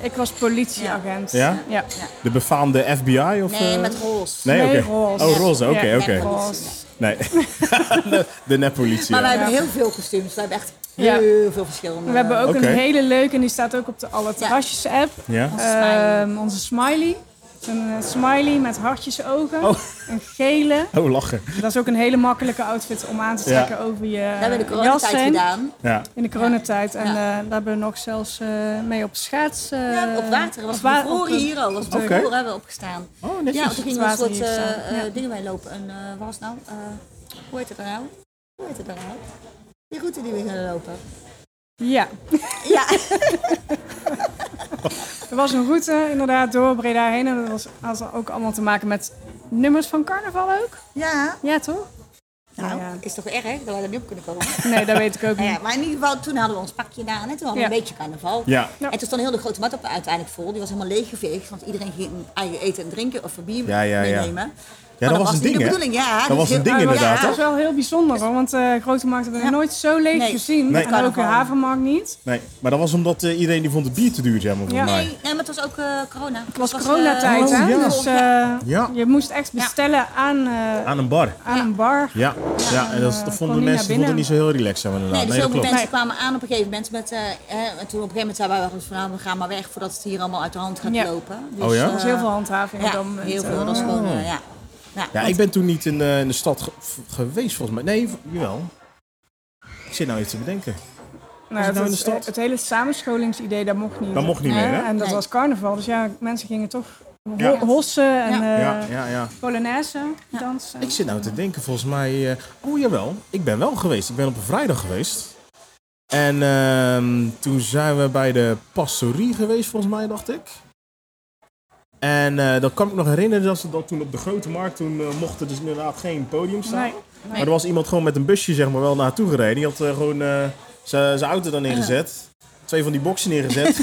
S3: Ik was politieagent.
S1: Ja?
S3: Ja.
S1: De befaamde FBI? Of,
S2: Nee,
S1: eh?
S2: met roze.
S1: Nee, oké.
S3: Nee, roze.
S1: Oh, roze, oké,
S3: Ja,
S1: oké.
S2: roze.
S3: Was-
S1: Nee. de, de neppolitie.
S2: Maar wij
S1: Ja.
S2: hebben heel veel kostuums. We hebben echt
S3: Ja.
S2: heel veel verschillende.
S3: We hebben ook
S1: Oké.
S3: een hele leuke, en die staat ook op de Alle Terrasjes app.
S1: Ja?
S2: Smiley.
S3: Ehm, onze smiley. Een eh, smiley met hartjes ogen.
S1: Oh.
S3: Een gele.
S1: Oh, lachen.
S3: Dat is ook een hele makkelijke outfit om aan te
S1: Ja.
S3: trekken over je
S2: Dat hebben we de
S3: eh, jas
S2: coronatijd
S3: heen.
S2: gedaan.
S1: Ja.
S3: In de coronatijd. En
S2: Ja.
S3: eh, daar hebben we nog zelfs eh, mee op schaats. eh,
S2: Ja, op water. Was
S3: op wa-
S2: bevroren
S3: op de-
S2: hier al. Was
S1: Oké.
S2: bevroren hebben we opgestaan.
S1: Oh,
S2: Ja, want toen gingen we een
S3: Het water
S2: soort
S3: hier staan,
S2: eh, eh,
S3: ja.
S2: dingen mee lopen. Een, eh, wat was het nou? Eh, hoe heet het nou? Hoe heet het nou? Die route die we gingen lopen.
S3: Ja,
S2: Ja,
S3: er was een route inderdaad door Breda heen. En dat was, had ook allemaal te maken met nummers van carnaval ook.
S2: ja.
S3: Ja, toch?
S2: Nou,
S3: Ja.
S2: is toch erg dat wij er niet op kunnen komen?
S3: Nee, dat weet ik ook
S2: Nou
S3: niet.
S2: ja, maar in ieder geval, toen hadden we ons pakje aan en toen hadden we
S3: Ja.
S2: een beetje carnaval.
S1: Ja.
S3: Ja.
S2: En toen stond heel de grote mat op uiteindelijk vol. Die was helemaal leeggeveegd, want iedereen ging eigen eten en drinken of bier
S1: Ja, ja, ja.
S2: meenemen.
S1: Ja,
S2: Maar
S1: dat was een
S2: niet
S1: ding,
S2: de
S1: hè?
S2: bedoeling, ja.
S1: Dat
S2: Dus
S1: was een
S2: heel-
S1: ding,
S3: Ja,
S1: inderdaad,
S3: Dat
S1: hè?
S3: was wel heel bijzonder hoor, want eh grote markt hebben we
S2: Ja.
S3: nooit zo leeg
S2: Nee.
S3: gezien.
S1: Nee.
S3: En ook de havenmarkt niet.
S1: Nee, maar dat was omdat eh, iedereen die vond het bier te duur, zeg maar, volgens
S3: Ja.
S1: mij.
S2: Nee, nee, maar het was ook eh, corona.
S3: Het was coronatijd,
S1: Oh,
S3: hè?
S1: ja.
S3: Dus eh,
S1: Ja.
S3: je moest echt bestellen aan, eh,
S1: Aan een bar.
S3: aan een bar.
S1: Ja, ja en dat, dat vonden de
S3: eh,
S1: mensen
S3: niet naar
S1: vonden het
S3: binnen.
S1: niet zo heel relaxed, zeg maar,
S2: Nee,
S1: inderdaad.
S2: dus
S1: Nee, dat
S2: heel veel
S1: klopt.
S2: mensen kwamen aan op een gegeven moment met... eh, hè, en toen op een gegeven moment zeiden wij wel eens van... Nou, we gaan maar weg voordat het hier allemaal uit de hand gaat
S3: Ja.
S2: lopen. Dus,
S1: Oh ja?
S2: eh,
S1: Dat
S3: Er was heel veel handhaving nou, op
S2: Ja,
S3: dat moment.
S2: heel veel. Dat was gewoon, eh, ja. Ja,
S1: Oh. Ja, ik ben toen niet in, eh, in de stad ge- v- geweest, volgens mij. Nee, v- jawel. Ik zit nou even te bedenken.
S3: Nou,
S1: het nou in
S3: het,
S1: de stad?
S3: het hele samenscholingsidee, dat mocht niet.
S1: Dat mocht niet meer, hè?
S3: En dat
S2: Nee.
S3: was carnaval, dus ja, mensen gingen toch ho-
S1: Ja.
S3: hossen en
S2: Ja.
S3: eh
S1: Ja, ja, ja.
S3: polonaise dansen.
S1: Ik zit nou te denken, volgens mij... eh, oh, jawel. Ik ben wel geweest. Ik ben op een vrijdag geweest. En ehm, toen zijn we bij de pastorie geweest, volgens mij, dacht ik. En eh, dat kan ik me nog herinneren, dat, ze dat toen op de Grote Markt... toen eh, mocht er dus inderdaad geen podium staan.
S3: Nee.
S1: Maar er was iemand gewoon met een busje zeg maar wel naartoe gereden. Die had eh, gewoon eh, zijn zijn auto dan neergezet. Twee van die boksen neergezet.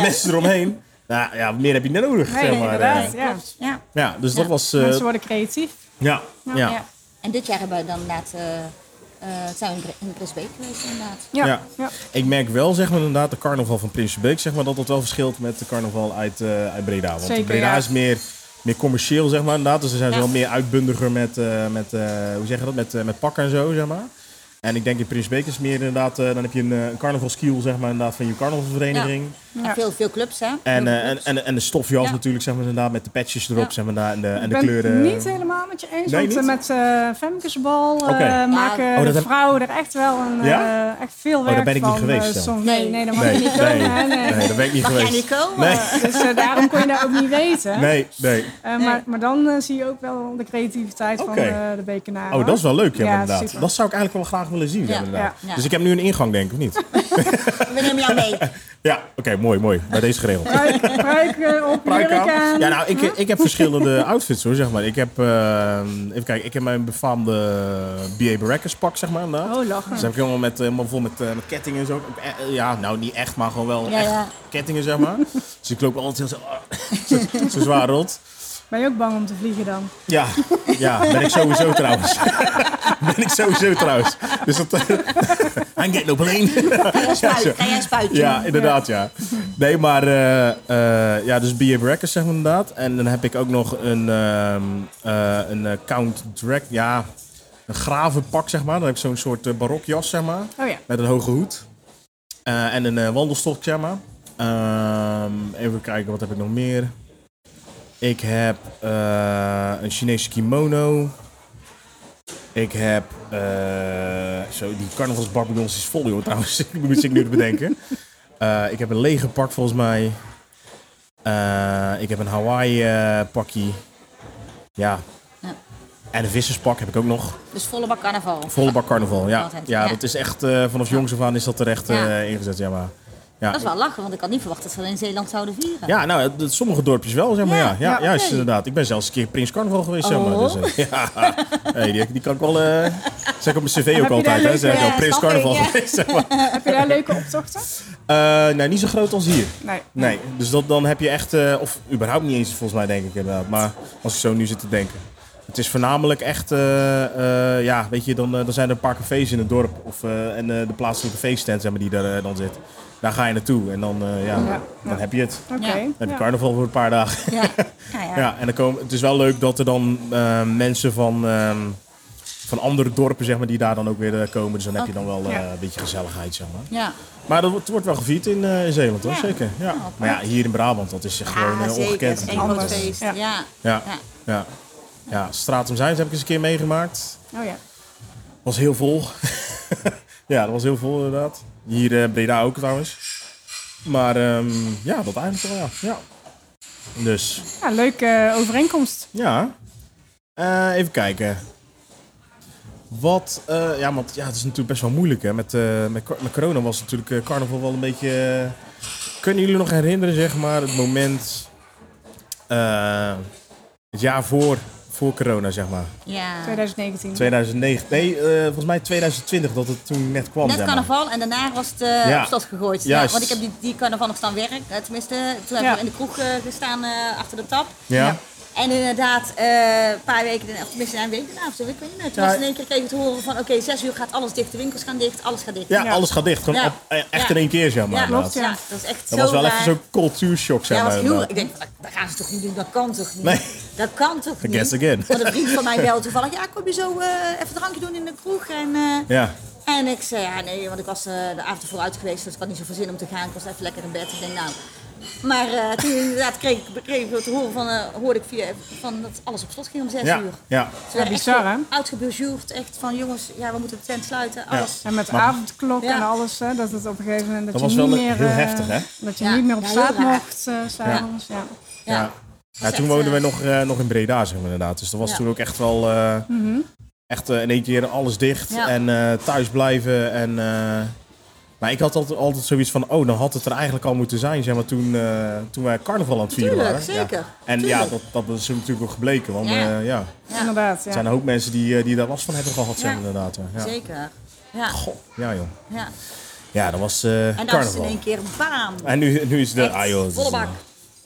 S1: mensen eromheen. Nou ja, meer heb je niet nodig.
S3: Nee,
S1: zeg maar,
S3: inderdaad.
S1: eh.
S3: Ja.
S2: klopt. Ja.
S1: ja, dus dat was... eh,
S3: Mensen worden creatief.
S1: ja, ja, ja.
S3: Ja.
S2: En dit jaar hebben we dan inderdaad... eh, eh, zijn we in Bre- in Brisbane geweest inderdaad.
S3: Ja.
S1: Ja.
S3: Ja.
S1: Ik merk wel zeg maar inderdaad de carnaval van Prinsenbeek zeg maar dat dat wel verschilt met de carnaval uit, eh, uit Breda. Want
S3: Zeker,
S1: Breda
S3: ja.
S1: is meer, meer commercieel zeg maar inderdaad. Dus ze zijn ze
S2: Ja.
S1: wel meer uitbundiger met, eh, met eh, hoe zeg je dat, met, eh, met pakken en zo zeg maar. En ik denk in Prinsenbeek is het meer inderdaad, eh, dan heb je een, eh, een carnavalskiel zeg maar inderdaad van je carnavalvereniging.
S2: En veel, veel clubs, hè?
S1: En,
S2: Veel
S1: eh, en,
S2: clubs.
S1: en, en de stofjas
S2: Ja.
S1: natuurlijk, zeg maar, inderdaad, met de patches erop,
S2: Ja.
S1: zeg maar, daar, en de, en
S3: Ik
S1: de
S3: ben
S1: kleuren.
S3: het niet helemaal met je eens,
S1: Nee,
S3: want eh,
S1: niet?
S3: met eh Femkesbal eh,
S1: Oké. Ja.
S3: maken
S1: Oh, dat
S3: de
S1: heb-
S3: vrouwen er echt wel een, eh,
S1: Ja? Oh,
S3: echt veel
S1: daar
S3: werk
S1: ben ik niet
S3: van,
S1: geweest,
S3: eh,
S1: ja.
S3: soms.
S2: Nee.
S3: Nee, nee, dat mag
S1: Nee,
S3: je
S1: nee,
S3: niet doen. hè,
S1: nee,
S3: nee.
S1: daar ben ik niet
S2: Mag jij
S1: geweest.
S2: niet komen?
S1: Nee,
S3: Dus eh, daarom kon je dat ook niet weten.
S1: nee, nee.
S3: Eh, maar, maar dan eh, zie je ook wel de creativiteit
S1: Oké.
S3: van eh, de bekenaar.
S1: Oh, dat is wel leuk, ja,
S3: Ja,
S1: inderdaad.
S3: super.
S1: Dat zou ik eigenlijk wel graag willen zien, ja,
S2: Ja.
S1: inderdaad.
S2: Ja.
S1: Dus ik heb nu een ingang, denk ik, of niet?
S2: We nemen jou mee.
S1: Ja, oké, mooi, mooi. Bij deze geregeld.
S3: Pruik, pruik eh, op,
S1: Pruik
S3: jurk
S1: aan.
S3: aan.
S1: Ja, nou, ik, ik heb verschillende outfits, hoor, zeg maar. Ik heb, eh, even kijken, ik heb mijn befaamde B.A. Barackers pak, zeg maar, inderdaad.
S3: Oh, lachen.
S1: Dus heb ik helemaal, met, eh, helemaal vol met, eh, met kettingen en zo. Eh, eh, Ja, nou niet echt, maar gewoon wel
S2: Ja,
S1: echt
S2: ja.
S1: kettingen, zeg maar. dus ik loop altijd heel zo, zo, zo zwaar rond.
S3: Ben je ook bang om te vliegen dan?
S1: Ja, ja, ben ik sowieso trouwens. ben ik sowieso trouwens. Dus dat... eh, I'm getting op
S2: Ga jij spuiten? Ga jij spuiten?
S1: ja, inderdaad, ja. Nee, maar eh, eh, ja, dus B.A. Brackers zeg maar inderdaad. En dan heb ik ook nog een, ehm, eh, een eh, Count Drag, ja, een gravenpak zeg maar. Dan heb ik zo'n soort eh, barokjas zeg maar,
S3: Oh ja.
S1: met een hoge hoed. Eh, en een eh, wandelstok zeg maar. Ehm, even kijken, wat heb ik nog meer? Ik heb eh, een Chinese kimono. Ik heb... eh, zo, die carnavalsbarbillons is vol, joh, trouwens. Ik moet ik nu te bedenken. Eh, ik heb een lege pak, volgens mij. Eh, ik heb een Hawaii-pakje. ja.
S2: Ja.
S1: En een visserspak heb ik ook nog.
S2: Dus volle bak carnaval.
S1: Volle bak carnaval, ja.
S2: Altijd,
S1: Ja,
S2: ja.
S1: dat is echt... eh, vanaf jongs af aan is dat terecht eh
S2: Ja.
S1: ingezet, ja, maar... Ja,
S2: Dat is wel lachen, want ik had niet verwacht dat ze dat in Zeeland zouden vieren.
S1: ja, nou, dat- sommige dorpjes wel, zeg maar. Ja,
S2: Ja,
S1: ja,
S2: ja,
S1: juist,
S2: oké.
S1: inderdaad. Ik ben zelfs een keer Prins Carnaval geweest, zeg maar.
S2: Oh.
S1: Dus, eh, ja, hey, die, die kan ik wel... eh zeg ik op mijn cv ook
S3: daar
S1: altijd, hè.
S3: leuke,
S1: Zeg, ik wel
S2: eh,
S1: Prins
S2: stapping,
S1: Carnaval
S2: ja.
S1: geweest, zeg maar.
S3: Heb je daar leuke optochten?
S1: Eh, nou, niet zo groot als hier.
S3: Nee.
S1: Nee, dus dat, dan heb je echt... eh, of überhaupt niet eens, volgens mij, denk ik inderdaad. Maar als ik zo nu zit te denken. Het is voornamelijk echt... eh, eh, ja, weet je, dan, eh, dan zijn er een paar cafés in het dorp. Of, eh, en eh, de plaatselijke feesttent, zeg maar, die daar eh, dan zit. Daar ga je naartoe. En dan, eh, ja,
S3: Ja,
S1: dan
S3: ja.
S1: heb je het.
S3: Oké.
S2: Ja.
S1: Dan heb je
S3: ja.
S1: carnaval voor een paar dagen.
S2: Ja, ja. ja.
S1: Ja, en dan komen, het is wel leuk dat er dan eh, mensen van, ehm, van andere dorpen, zeg maar, die daar dan ook weer eh, komen. Dus dan heb je dan wel eh,
S3: Ja.
S1: een beetje gezelligheid, zeg maar.
S2: Ja.
S1: Maar dat wordt- wordt wel gevierd in, eh, in Zeeland, hoor.
S2: Ja.
S1: Zeker. Ja.
S2: Ja,
S1: maar ja, hier in Brabant, dat is echt gewoon
S2: Ja,
S1: eh,
S2: Ah, zeker.
S1: ongekend.
S2: Het is één
S1: natuurlijk.
S2: groot
S3: Anders.
S2: feest. Ja.
S3: Ja.
S2: Ja.
S1: Ja. Ja. ja. Straat om Zijns heb ik eens een keer meegemaakt.
S3: Oh ja.
S1: Was heel vol. ja, dat was heel vol inderdaad. Hier eh Breda ook trouwens. Maar ehm, ja, dat eigenlijk wel, ja. ja. Dus,
S3: ja leuke eh, overeenkomst.
S1: ja. Eh, even kijken. Wat, eh, ja, want ja, het is natuurlijk best wel moeilijk, hè. Met, eh, met, cor- met corona was natuurlijk eh, carnaval wel een beetje... eh, Kunnen jullie nog herinneren, zeg maar, het moment... eh, het jaar voor, voor corona, zeg maar.
S2: Ja.
S3: 2019.
S1: 2009. Nee, eh, volgens mij 2020 dat het toen net kwam.
S2: Net
S1: zeg maar.
S2: carnaval en daarna was het eh
S1: Ja.
S2: op stad gegooid. Ja,
S1: Juist.
S2: want ik heb die, die carnaval nog staan werk. eh, tenminste, toen
S3: Ja.
S2: heb ik in de kroeg eh, gestaan eh, achter de tap.
S1: Ja.
S2: En inderdaad, eh, een paar weken, of tenminste een week daarna of zo, ik weet niet. meer. Toen
S1: Ja.
S2: was in één keer kreeg ik te horen van, oké, zes uur gaat alles dicht. De winkels gaan dicht, alles gaat dicht.
S1: Ja,
S3: Ja.
S1: alles gaat dicht. Gewoon
S2: Ja.
S1: op- eh, echt
S2: Ja.
S1: in één keer, zeg maar.
S2: Ja,
S1: inderdaad.
S2: klopt.
S3: ja.
S2: Ja, dat was echt
S1: Dat
S2: zo
S1: was wel
S2: raar.
S1: even zo'n cultuurshock, zeg
S2: Ja,
S1: maar.
S2: dat was heel,
S1: inderdaad.
S2: ik denk, dat, dat gaan ze toch niet doen? Dat kan toch niet?
S1: Nee.
S2: Dat kan toch niet?
S1: guess again.
S2: Want een vriend van mij belde toevallig, ja, kom je zo eh, even een drankje doen in de kroeg? En, eh,
S1: Ja,
S2: En ik zei, ja nee, want ik was eh, de avond ervoor uit geweest, dus ik had niet zoveel zin om te gaan. Ik was even lekker in bed. Ik denk, nou... Maar eh, toen inderdaad kreeg, ik- kreeg ik weer te horen van, eh, hoorde ik via, van dat alles op slot ging om zes
S1: ja,
S2: uur.
S1: ja.
S2: Ze werden echt
S3: bizar, hè?
S2: Uitgebujourd, echt van jongens, ja we moeten de tent sluiten, alles.
S3: En met de
S1: Maar-
S3: avondklok
S2: Ja.
S3: en alles, hè, dat het op een gegeven moment... Dat,
S1: Dat
S3: je
S1: was
S3: niet
S1: wel
S3: meer,
S1: heel
S3: eh,
S1: heftig, hè?
S3: Dat je
S2: Ja.
S3: niet meer op
S2: Ja, heel
S3: straat
S2: raar.
S3: mocht, eh, s'avonds. Ja.
S1: ja. ja.
S2: echt,
S1: toen woonden we
S2: eh,
S1: nog, eh, nog in Breda, zeg maar, inderdaad. Dus dat was
S2: Ja. Mhm.
S1: toen ook echt wel... eh, Echt eh, in één keer alles dicht
S2: Ja.
S1: en eh, thuis blijven. En, eh, maar ik had altijd, altijd zoiets van, oh, dan had het er eigenlijk al moeten zijn, zeg maar, toen, eh, toen wij carnaval aan het vieren
S2: Tuurlijk,
S1: waren. Ja.
S2: zeker.
S1: En ja,
S2: Tuurlijk.
S1: dat, dat is natuurlijk ook gebleken, want
S2: Ja.
S1: eh, ja.
S2: Ja.
S3: Inderdaad, ja.
S1: Er zijn een hoop mensen die, eh, die daar last van hebben gehad, zijn
S2: Ja.
S1: inderdaad. hè. Ja.
S2: Zeker, ja.
S1: Goh, ja joh.
S2: ja.
S1: Ja, dat was eh,
S2: En dan is het in
S1: carnaval.
S2: één keer baam.
S1: En nu, nu is de...
S2: Echt,
S1: Ah joh, dat
S2: volle
S1: is, eh,
S2: bak.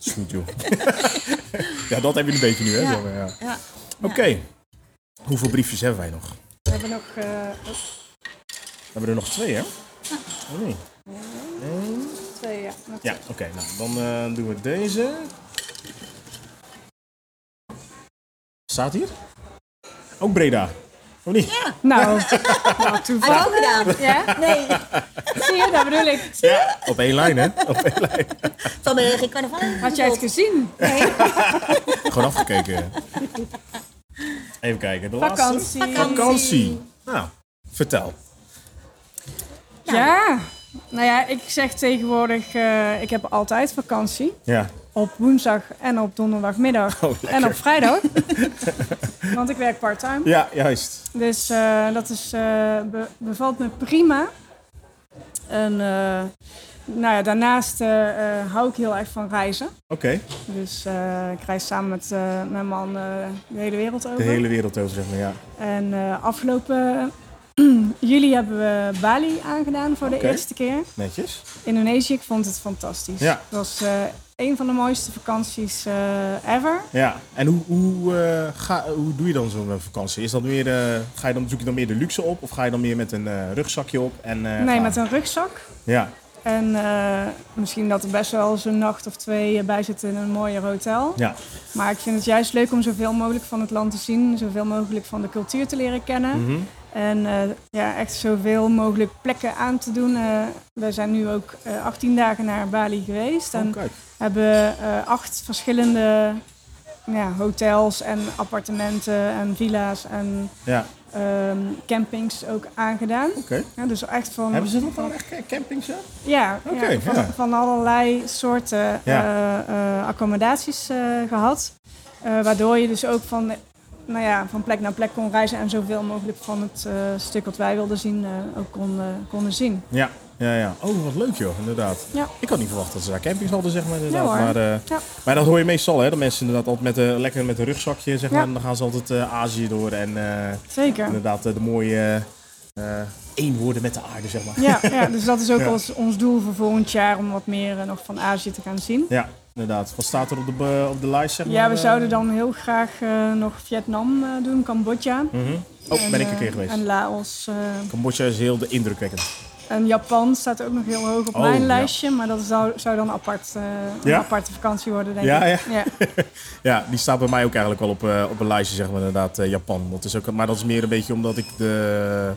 S1: is goed joh. ja, dat hebben jullie een beetje nu hè.
S2: Ja.
S1: zeg maar, ja.
S2: Ja.
S1: Oké. Hoeveel briefjes hebben wij nog?
S3: We hebben nog... eh,
S1: We hebben er nog twee hè? Oh, nee.
S3: twee, ja. nog
S1: Ja, oké. nou, dan eh, doen we deze. Staat hier? Ook Breda. Of niet? Ja.
S3: Nou, nou
S2: Heb je
S3: toevallig.
S2: ook gedaan?
S3: Ja?
S2: Nee,
S3: Zie je, dat bedoel ik.
S1: Op één lijn hè? Op één lijn.
S2: van ben je geen carnaval in
S3: Had jij het
S2: bedoeld.
S3: gezien?
S1: Gewoon afgekeken. Even kijken. De laatste.
S3: Vakantie.
S1: Vakantie. Nou, vertel.
S3: Ja. Nou ja, ik zeg tegenwoordig, eh, ik heb altijd vakantie.
S1: Ja.
S3: Op woensdag en op donderdagmiddag.
S1: Oh, lekker.
S3: en op vrijdag. Want ik werk part-time.
S1: Ja, juist.
S3: Dus eh, dat is, eh, be- bevalt me prima. En eh, nou ja, daarnaast eh, eh, hou ik heel erg van reizen.
S1: Oké.
S3: Dus eh, ik reis samen met eh, mijn man eh, de hele wereld over.
S1: De hele wereld over, zeg maar. Ja.
S3: En eh, afgelopen juli hebben we Bali aangedaan voor de
S1: Oké.
S3: eerste keer.
S1: Netjes.
S3: Indonesië, ik vond het fantastisch.
S1: Ja.
S3: Het was eh, een van de mooiste vakanties eh, ever.
S1: Ja. En hoe, hoe, eh, ga, hoe doe je dan zo'n eh, vakantie? Is dat meer, eh, ga je dan, zoek je dan meer de luxe op? Of ga je dan meer met een eh, rugzakje op? En, eh,
S3: nee,
S1: gaan?
S3: met een rugzak.
S1: Ja.
S3: En eh, misschien dat er best wel eens een nacht of twee eh, bij zit in een mooier hotel.
S1: Ja.
S3: Maar ik vind het juist leuk om zoveel mogelijk van het land te zien. Zoveel mogelijk van de cultuur te leren kennen.
S1: Mhm.
S3: En eh, ja, echt zoveel mogelijk plekken aan te doen. Eh, we zijn nu ook eh, 18 dagen naar Bali geweest.
S1: Oh,
S3: En
S1: kijk.
S3: hebben eh, acht verschillende ja, hotels en appartementen en villa's en
S1: Ja.
S3: ehm, campings ook aangedaan.
S1: Oké.
S3: Ja, dus echt van,
S1: Hebben ze dat dan echt eh, campings? Ja.
S3: ja, ja,
S1: Oké,
S3: van,
S1: ja.
S3: van allerlei soorten
S1: Ja.
S3: eh, eh, accommodaties eh, gehad. Eh, waardoor je dus ook van, nou ja, van plek naar plek kon reizen en zoveel mogelijk van het eh, stuk wat wij wilden zien eh, ook kon, eh, konden zien.
S1: Ja. Ja, ja. Oh, wat leuk joh, inderdaad.
S3: Ja.
S1: Ik had niet verwacht dat ze daar campings hadden, zeg maar. Inderdaad.
S3: Ja, hoor.
S1: maar eh,
S3: Ja.
S1: Maar dat hoor je meestal, hè? Dat mensen inderdaad altijd met, eh, lekker met een rugzakje, zeg
S3: Ja.
S1: maar. En dan gaan ze altijd eh, Azië door en eh,
S3: Zeker.
S1: inderdaad eh, de mooie eh, eh, eenwoorden met de aarde, zeg maar.
S3: Ja, ja, dus dat is ook
S1: Ja.
S3: ons, ons doel voor volgend jaar om wat meer eh, nog van Azië te gaan zien.
S1: Ja, inderdaad. Wat staat er op de, be- op de lijst, zeg maar?
S3: Ja, we
S1: eh?
S3: zouden dan heel graag eh, nog Vietnam eh, doen, Cambodja.
S1: Mhm. Oh,
S3: En,
S1: ben ik een
S3: eh,
S1: keer geweest.
S3: En Laos. eh,
S1: Cambodja is heel de indrukwekkend.
S3: En Japan staat ook nog heel hoog op
S1: Oh,
S3: mijn
S1: ja.
S3: lijstje, maar dat zou, zou dan apart, eh,
S1: Ja?
S3: een aparte vakantie worden, denk
S1: Ja,
S3: ik.
S1: ja. Ja, die staat bij mij ook eigenlijk wel op, eh, op een lijstje, zeg maar inderdaad, eh, Japan. Dat is ook, maar dat is meer een beetje omdat ik de,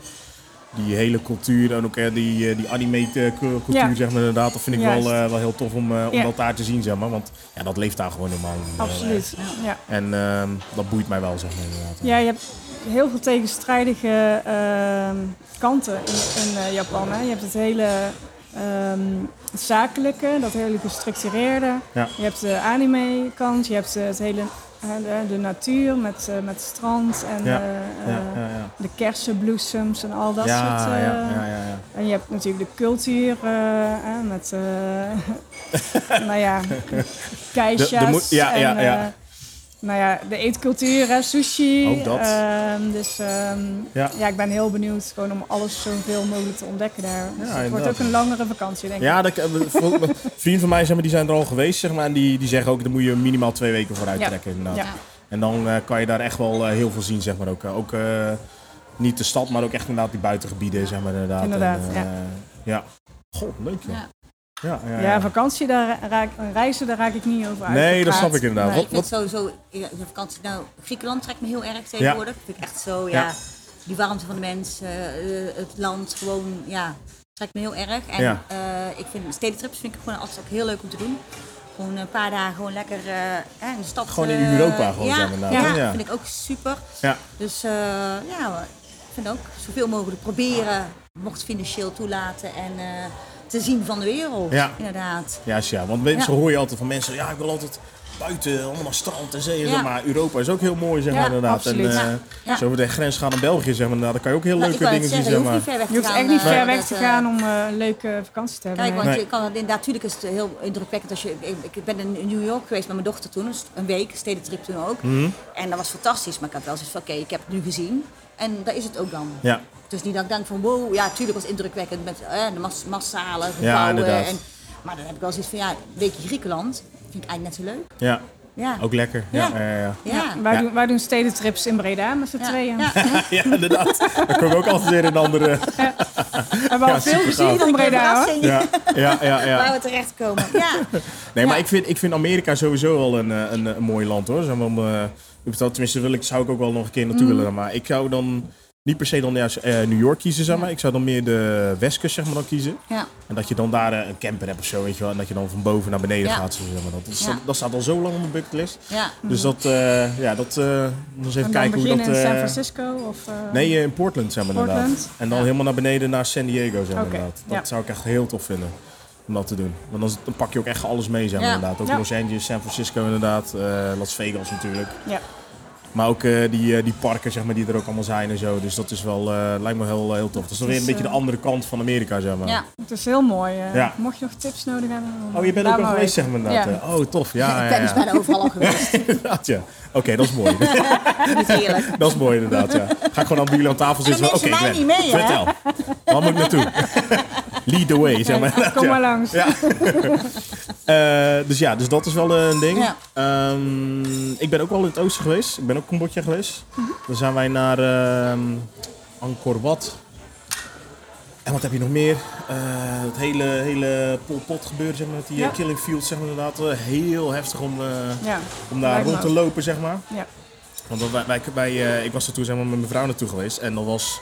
S1: die hele cultuur en ook eh, die, eh, die anime-cultuur,
S3: Ja.
S1: zeg maar inderdaad, dat vind ik wel,
S3: Juist.
S1: eh, wel heel tof om, eh, om
S3: Ja.
S1: dat daar te zien, zeg maar. Want ja, dat leeft daar gewoon helemaal. eh,
S3: absoluut. Ja.
S1: En ehm, dat boeit mij wel, zeg maar inderdaad.
S3: Ja, je hebt heel veel tegenstrijdige ehm, kanten in, in eh, Japan. Hè? Je hebt het hele ehm, zakelijke, dat hele gestructureerde.
S1: Ja.
S3: Je hebt de anime kant, je hebt eh, het hele, eh, de, de natuur met, eh, met strand en
S1: Ja,
S3: eh,
S1: Ja,
S3: eh,
S1: ja, ja.
S3: de kersenbloesems en al dat
S1: ja,
S3: soort... eh,
S1: ja, ja, ja, ja.
S3: En je hebt natuurlijk de cultuur eh, eh, met, eh nou ja, keisjes.
S1: De- de moe- ja,
S3: en,
S1: ja, ja.
S3: eh, nou ja, de eetcultuur, hè, sushi.
S1: Ook dat.
S3: ehm, dus ehm,
S1: Ja.
S3: ja. ik ben heel benieuwd gewoon om alles zoveel mogelijk te ontdekken daar. Dus het wordt
S1: inderdaad.
S3: ook een langere vakantie, denk ik.
S1: Ja, dat, eh, voor- vrienden van mij zeg maar, die zijn er al geweest, zeg maar, en die, die zeggen ook, dan moet je minimaal twee weken vooruit
S3: Ja.
S1: trekken. Inderdaad.
S3: Ja.
S1: En dan eh, kan je daar echt wel eh, heel veel zien, zeg maar ook. eh, ook eh, niet de stad, maar ook echt inderdaad die buitengebieden, zeg maar inderdaad.
S3: Inderdaad,
S1: En, eh, ja. God, leuk joh.
S2: Ja.
S1: Ja, ja, ja.
S3: Ja, vakantie, daar raak, reizen, daar raak ik niet over uit.
S1: Nee, dat snap ik inderdaad.
S2: Maar
S1: Wat-
S2: ik vind sowieso, ja, de vakantie, nou, Griekenland trekt me heel erg tegenwoordig. Vind ik echt zo, ja,
S1: Ja.
S2: Die warmte van de mensen, eh, het land, gewoon, ja, trekt me heel erg. En
S1: Ja.
S2: eh, ik vind stedentrips vind ik gewoon altijd ook heel leuk om te doen. Gewoon een paar dagen gewoon lekker eh, hè, in de stad.
S1: Gewoon in
S2: eh,
S1: Europa gewoon,
S2: ja,
S1: zeg maar,
S2: Ja,
S1: inderdaad. Ja.
S2: vind ik ook super.
S1: Ja.
S2: Dus eh, ja, ik vind ook zoveel mogelijk proberen, mocht het financieel toelaten en eh, te zien van de wereld,
S1: Ja.
S2: inderdaad.
S1: Ja, is ja, want mensen
S2: Ja.
S1: hoor je altijd van mensen, ja, ik wil altijd buiten, allemaal strand en zee. en
S2: Ja.
S1: zo, Maar Europa is ook heel mooi, zeg maar
S2: Ja,
S1: inderdaad.
S3: absoluut.
S1: En eh,
S2: Ja. Ja.
S1: zo over de grens gaan naar België, zeg maar inderdaad. Dan kan je ook heel
S2: Nou, ik
S1: leuke
S2: wou
S1: dingen
S2: net
S1: zien,
S2: zeggen,
S1: zeg
S2: je hoeft
S1: maar.
S2: niet ver weg te
S3: Je hoeft
S2: gaan,
S3: echt niet
S2: eh, dat,
S3: ver weg te
S2: eh,
S3: gaan om eh, een leuke vakantie te hebben.
S2: Kijk, want
S1: Nee.
S2: je kan het inderdaad, natuurlijk is het heel indrukwekkend als je. Ik, ik ben in New York geweest met mijn dochter toen, dus een week, stedentrip toen ook.
S1: Mhm.
S2: En dat was fantastisch, maar ik had wel zoiets van: oké, ik heb het nu gezien. En daar is het ook dan.
S1: Ja,
S2: Het is niet dat ik denk van: wow, ja, natuurlijk was het indrukwekkend met eh, de mas- massale
S1: Ja,
S2: gebouwen.
S1: inderdaad.
S2: en, maar dan heb ik wel zoiets van: ja, een weekje Griekenland vind ik eigenlijk net zo leuk.
S1: ja.
S2: Ja.
S1: Ook lekker. Ja, ja. ja,
S2: Ja.
S1: ja.
S2: Ja.
S3: Wij,
S1: Ja.
S3: Doen, wij doen stedentrips in Breda met z'n
S2: Ja.
S3: tweeën.
S2: Ja.
S1: Ja, inderdaad. Dan komen we ook altijd weer een andere.
S3: Hebben we
S1: Ja,
S3: al veel
S1: super gaaf.
S3: gezien van
S2: Een
S3: Breda, hoor.
S2: verrassing
S1: Ja, ja, ja.
S2: Waar
S1: ja.
S2: we terechtkomen. Ja.
S1: Nee, maar
S2: Ja.
S1: ik vind, ik vind Amerika sowieso wel een, eh, een, een mooi land hoor. Zeg maar, om, eh, ik bedoel, tenminste, wil ik, zou ik ook wel nog een keer naartoe willen. Maar ik zou dan niet per se dan juist eh, New York kiezen, zeg maar. Ik zou dan meer de westkust, zeg maar, dan kiezen.
S2: ja.
S1: En dat je dan daar eh, een camper hebt of zo, weet je wel. En dat je dan van boven naar beneden
S2: Ja.
S1: gaat, zo, zeg maar. Dat, dat,
S2: Ja.
S1: staat- dat staat al zo lang op mijn bucketlist.
S2: ja.
S1: Dus dat, eh, ja, dat, eh, moet eens even
S3: En dan
S1: kijken hoe dat...
S3: beginnen in San
S1: eh,
S3: Francisco of... eh,
S1: Nee, eh, in Portland zeg maar
S3: Portland.
S1: inderdaad. En dan
S2: Ja.
S1: helemaal naar beneden naar San Diego zeg maar
S3: Oké,
S1: inderdaad. Dat
S3: ja.
S1: zou ik echt heel tof vinden om dat te doen. Want dan, dan pak je ook echt alles mee zeg maar
S2: Ja.
S1: inderdaad. Ook
S3: Ja.
S1: Los Angeles, San Francisco inderdaad, eh, Las Vegas natuurlijk.
S3: Ja.
S1: Maar ook eh, die, eh, die parken zeg maar die er ook allemaal zijn en zo. Dus dat is wel, eh, lijkt me heel, heel tof. Dat is dan weer een
S3: is,
S1: beetje de
S3: eh,
S1: andere kant van Amerika zeg maar.
S2: ja.
S3: Het is heel mooi. eh.
S1: Ja.
S3: Mocht je nog tips nodig hebben. dan
S1: Oh, je bent
S3: laat
S1: ook al
S3: maar
S1: geweest zeg
S3: weten.
S1: maar inderdaad.
S3: Ja.
S1: eh. Oh, tof. Ja, ja,
S2: Ik ben dus
S1: ja.
S2: bijna overal al geweest.
S1: Inderdaad, ja. Oké, dat is mooi.
S2: Niet eerlijk.
S1: dat is mooi inderdaad, ja. Ga ik gewoon aan jullie aan tafel
S2: En
S1: zitten.
S2: dan
S1: van, Oké,
S2: nemen ze mij
S1: Gwen,
S2: niet mee, hè?
S1: vertel. Waar moet ik naartoe? Lead the way, zeg maar.
S3: Kom
S1: Ja.
S3: maar langs.
S1: Ja. Eh, dus ja, dus dat is wel een ding.
S2: Ja.
S1: Ehm, ik ben ook wel in het oosten geweest. Ik ben ook Cambodja geweest.
S3: Mhm.
S1: Dan zijn wij naar ehm Angkor Wat. En wat heb je nog meer? Eh, het hele, hele Pol Pot gebeuren, zeg maar, met die eh,
S3: Ja.
S1: Killing Fields, zeg maar inderdaad. Eh, heel heftig om, eh,
S3: Ja.
S1: om daar
S3: Lijkt me
S1: rond te
S3: ook.
S1: lopen, zeg maar.
S3: Ja.
S1: Want wij, wij, wij, eh, ik was er toen zeg maar, met mijn vrouw naartoe geweest en dat was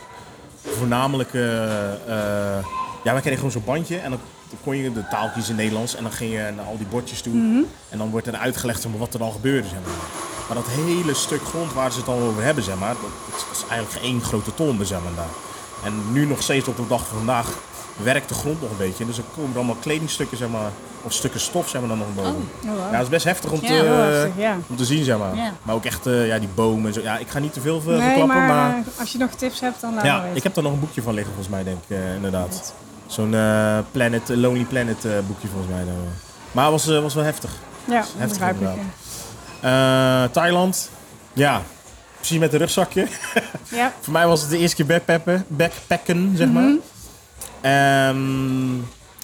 S1: voornamelijk. eh, eh, ja, wij kregen gewoon zo'n bandje en dan kon je de taal kiezen in Nederlands en dan ging je naar al die bordjes toe.
S3: Mhm.
S1: En dan wordt er uitgelegd zeg maar, wat er al gebeurde. Zeg maar. maar dat hele stuk grond waar ze het al over hebben, zeg maar, dat, dat is eigenlijk één grote tombe zeg maar, daar. En nu nog steeds op de dag van vandaag werkt de grond nog een beetje. Dus er komen er allemaal kledingstukken, zeg maar, of stukken stof zeg maar, dan nog boven.
S3: Oh, wow.
S1: Ja, dat is best heftig om
S2: Ja,
S1: te,
S2: heel
S3: heftig, ja.
S1: om te zien, zeg maar.
S2: Ja.
S1: Maar ook echt eh, ja, die bomen en zo. Ja, ik ga niet te veel eh,
S3: Nee,
S1: verklappen, maar...
S3: maar, eh, als je nog tips hebt, dan laat
S1: ja,
S3: maar weten.
S1: ik heb daar nog een boekje van liggen, volgens mij, denk ik, eh, inderdaad. Zo'n eh, Planet, Lonely Planet eh, boekje, volgens mij. Dan. Maar het was, eh, was wel heftig.
S3: ja,
S1: heftig
S3: begrijp ik.
S1: inderdaad. Eh, Thailand, ja, precies met een rugzakje.
S3: Ja.
S1: Voor mij was het de eerste keer backpacken, backpacken zeg maar.
S3: Mhm.
S1: Ehm,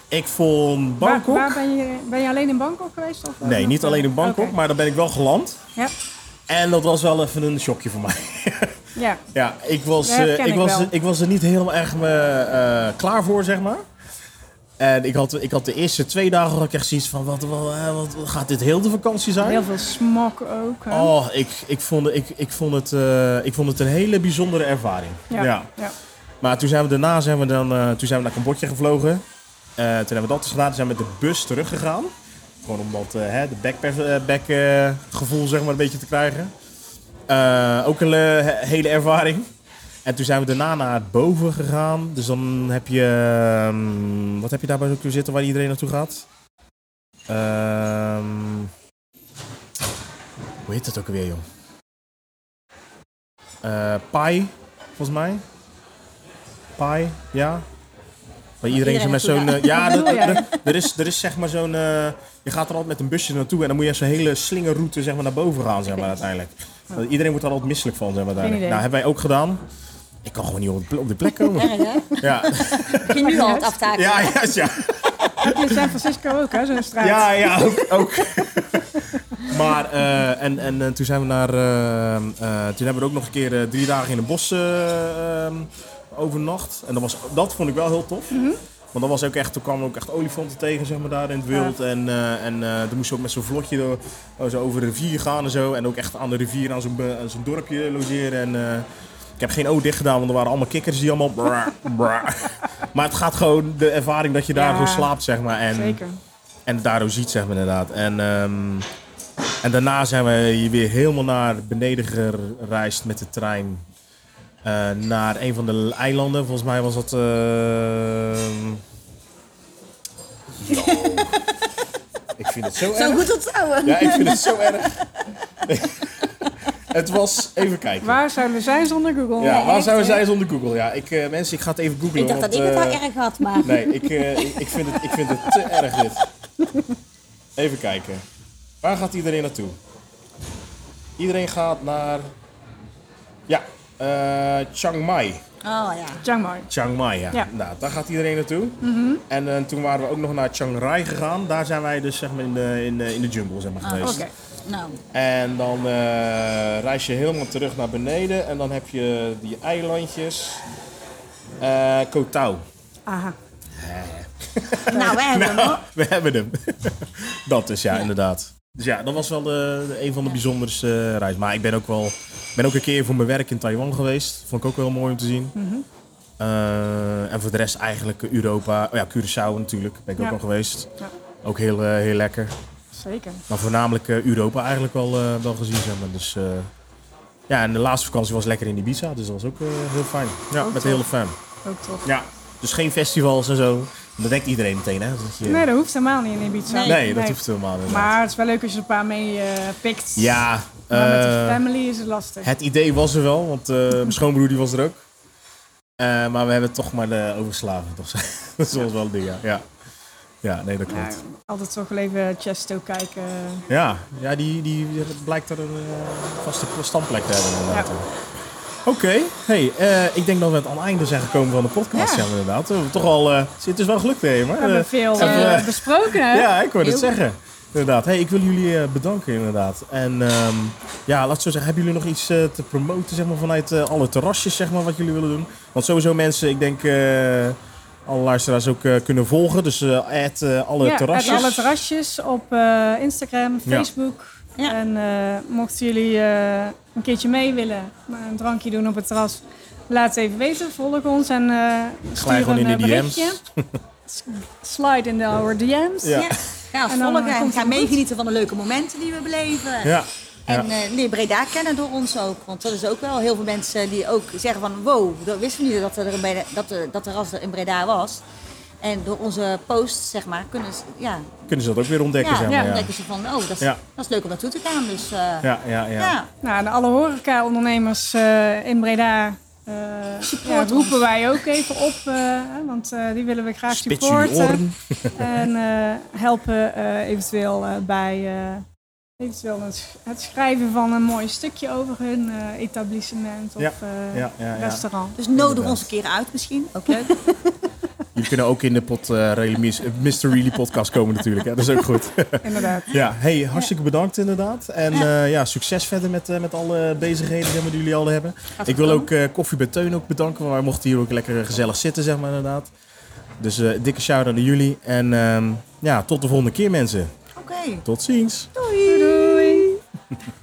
S1: ik vond
S3: Waar,
S1: Bangkok...
S3: waar ben, je, ben je alleen in Bangkok geweest? Of
S1: Nee, niet alleen in Bangkok,
S3: Oké.
S1: maar daar ben ik wel geland.
S3: Ja.
S1: En dat was wel even een shockje voor mij.
S3: Ja.
S1: Ja, ik was,
S3: Dat
S1: eh,
S3: herken
S1: ik
S3: ik
S1: was,
S3: wel.
S1: ik was er niet helemaal erg me, eh, klaar voor, zeg maar. En ik had, ik had de eerste twee dagen had ik echt zoiets van, wat, wat, eh, wat, wat gaat dit heel de vakantie zijn?
S3: Heel veel smok ook. hè?
S1: Oh, ik, ik, vond, ik, ik, vond het, eh, ik vond het een hele bijzondere ervaring.
S3: ja. ja.
S1: Maar toen zijn we daarna zijn we dan, eh, toen zijn we naar Cambodja gevlogen. Eh, toen hebben we dat dus gedaan. Toen zijn we met de bus teruggegaan. Gewoon om dat eh, hè, de backpack, eh, back, eh, gevoel zeg maar, een beetje te krijgen. Eh, ook een eh, he- hele ervaring. En toen zijn we daarna naar het boven gegaan. Dus dan heb je... ehm, wat heb je daarbij zo zitten waar iedereen naartoe gaat? Ehm, hoe heet dat ook alweer, jong? Eh Pai, volgens mij. Pai, ja. Waar iedereen zo
S2: iedereen
S1: met zo'n...
S2: naartoe
S1: eh, ja,
S3: Wat
S1: er,
S3: bedoel
S1: er,
S3: jij?
S1: er is, er is zeg maar zo'n... eh, je gaat er altijd met een busje naartoe en dan moet je zo'n hele slingerroute zeg maar, naar boven gaan, zeg maar, uiteindelijk.
S2: Oh.
S1: Want Iedereen wordt er altijd misselijk van, zeg maar, uiteindelijk.
S3: idee.
S1: Nou, hebben wij ook gedaan. Ik kan gewoon niet op de pl- op de plek komen.
S2: Erg, hè?
S1: Ja,
S2: Begin nu al het aftaken.
S1: ja, juist, ja.
S3: Heb je in San Francisco ook, hè, zo'n straat?
S1: Ja, ja, ook. ook. maar, eh, en, en eh, toen zijn we naar. eh, eh, toen hebben we ook nog een keer eh, drie dagen in het bos eh, ehm, overnacht. En dat, was, dat vond ik wel heel tof.
S3: Mhm.
S1: Want dat was ook echt, toen kwamen we ook echt olifanten tegen, zeg maar, daar in het wild. En, eh en eh toen moesten we ook met zo'n vlotje door, oh, zo over de rivier gaan en zo. En ook echt aan de rivier, aan zo'n, be- aan zo'n dorpje logeren. En, eh, ik heb geen O dicht gedaan, want er waren allemaal kikkers die allemaal... brrr, brrr. maar het gaat gewoon de ervaring dat je daar
S3: Ja.
S1: gewoon slaapt, zeg maar. En,
S3: Zeker.
S1: en het daardoor ziet, zeg maar inderdaad. En, ehm, en daarna zijn we hier weer helemaal naar beneden gereisd met de trein. eh, naar een van de eilanden. Volgens mij was dat. ehm, Yo. ik vind het zo erg.
S2: Zo goed onthouden.
S1: Ja, ik vind het zo erg. het was. Even kijken.
S3: Waar zijn we zijn zonder Google?
S1: ja, waar
S2: echt,
S1: zouden
S2: hè?
S1: zij zonder Google? Ja, ik, eh, mensen, ik ga het even googlen.
S2: Ik dacht dat
S1: want,
S2: ik het al
S1: eh,
S2: erg had, maar
S1: Nee, ik, eh, ik, ik vind het, ik vind het te erg dit. Even kijken. Waar gaat iedereen naartoe? Iedereen gaat naar... Ja, eh, Chiang Mai.
S2: oh ja.
S3: Chiang Mai.
S1: Chiang Mai, ja.
S3: Ja.
S1: Nou, daar gaat iedereen naartoe. En eh, toen waren we ook nog naar Chiang Rai gegaan. Daar zijn wij dus zeg maar in de, in de, in de jungle zeg maar,
S3: Oké.
S1: geweest.
S2: Nou,
S1: En dan eh, reis je helemaal terug naar beneden. En dan heb je die eilandjes. Eh Koh Tao.
S3: Aha.
S2: nou hè,
S1: Nou, we hebben hem. dat is ja, inderdaad. Dus ja, dat was wel de, de- een van de bijzonderste eh, reis. Maar ik ben ook wel ben ook een keer voor mijn werk in Taiwan geweest. Vond ik ook wel mooi om te zien.
S3: Mhm.
S1: Eh, en voor de rest eigenlijk Europa. Oh ja, Curaçao natuurlijk. Ben ik ook
S3: Ja.
S1: al geweest.
S3: Ja.
S1: Ook heel, eh, heel lekker.
S3: Zeker.
S1: Maar voornamelijk eh, Europa eigenlijk wel, eh, wel gezien. Zeg maar. dus, eh, ja, en de laatste vakantie was lekker in Ibiza. Dus dat was ook eh, heel fijn. Ja, met de hele fam.
S3: Ook tof.
S1: Ja. Dus geen festivals en zo. Dat denkt iedereen meteen hè. Dat je,
S3: Nee, dat hoeft helemaal niet in Ibiza.
S2: Nee.
S1: Nee, dat hoeft helemaal niet.
S3: Maar het is wel leuk als je er een paar mee eh, pikt.
S1: Ja,
S3: Maar met de
S1: eh,
S3: family is het lastig.
S1: het idee was er wel, want eh, mijn schoonbroer die was er ook. Eh, maar we hebben het toch maar de overslaven. Toch? dat is wel een ding, ja. ja. Ja, nee, dat
S3: Ja,
S1: klopt.
S3: altijd toch wel even Chesto kijken.
S1: Ja, ja die, die blijkt er een eh, vaste standplek te hebben inderdaad.
S3: Ja.
S1: Oké, hey, eh, ik denk dat we aan het einde zijn gekomen van de podcast. Ja.
S3: Ja.
S1: inderdaad. We hebben toch al, eh, het is wel gelukt, hè, maar...
S3: We hebben veel eh, besproken, hè?
S1: Ja, ik hoorde het
S3: Heel-
S1: zeggen. Inderdaad. Hey, ik wil jullie eh, bedanken inderdaad. En ehm, ja, laat het zo zeggen, hebben jullie nog iets eh, te promoten zeg maar, vanuit eh, alle terrasjes zeg maar, wat jullie willen doen? Want sowieso mensen, ik denk eh, alle luisteraars ook eh, kunnen volgen. Dus eh add, eh, alle
S3: Ja,
S1: terrasjes.
S3: en alle terrasjes op eh, Instagram,
S1: Ja.
S3: Facebook.
S2: Ja.
S3: En eh, mochten jullie eh, een keertje mee willen, maar een drankje doen op het terras, laat het even weten. Volg ons en eh stuur
S1: gewoon
S3: een
S1: in de
S3: eh,
S1: DM's.
S3: berichtje. S- Slide in our DM's.
S1: Ja.
S2: ja. Ga ons
S3: En dan,
S2: volgen
S3: eh,
S2: en
S3: komt
S2: ga
S3: het goed.
S2: meegenieten van de leuke momenten die we beleven.
S1: Ja.
S2: En
S1: ja.
S2: eh, leer Breda kennen door ons ook. Want dat is ook wel heel veel mensen die ook zeggen van... wow, dat wisten we niet dat er, een Breda- dat er, dat er ras er in Breda was. En door onze posts, zeg maar, kunnen ze... Ja,
S1: Kunnen ze dat ook weer ontdekken?
S2: ja,
S1: zeg
S2: dan
S1: maar, ja.
S2: denken ze van... oh, dat is,
S1: Ja.
S2: dat is leuk om naartoe te gaan. Dus eh,
S1: Ja, ja, ja.
S2: ja.
S3: Nou, en alle horeca-ondernemers eh, in Breda eh, ja,
S2: Support
S3: roepen
S2: ons.
S3: wij ook even op, eh, hè, want eh, die willen we graag
S1: Spits jullie
S3: supporten.
S1: oren.
S3: En eh, helpen eh, eventueel eh, bij eh, eventueel het, sch- het schrijven van een mooi stukje over hun eh, etablissement of
S1: Ja,
S3: eh,
S1: ja, ja, ja.
S3: restaurant.
S2: Dus nodig
S1: Inderdaad.
S2: ons een keer uit misschien. Ook leuk.
S1: Jullie kunnen ook in de pot, eh, Really Mis- Mystery podcast komen natuurlijk. Hè? Dat is ook goed.
S3: Inderdaad.
S1: Ja, hey, hartstikke bedankt inderdaad. En eh, ja, succes verder met, eh, met alle bezigheden zeg maar, die jullie al hebben. Ik wil
S2: gedaan.
S1: ook eh, Koffie bij Teun ook bedanken, want wij mochten hier ook lekker gezellig zitten, zeg maar inderdaad. Dus eh, dikke shout-out naar jullie. En ehm, ja, tot de volgende keer mensen.
S2: Oké.
S1: Tot ziens.
S3: Doei. doei.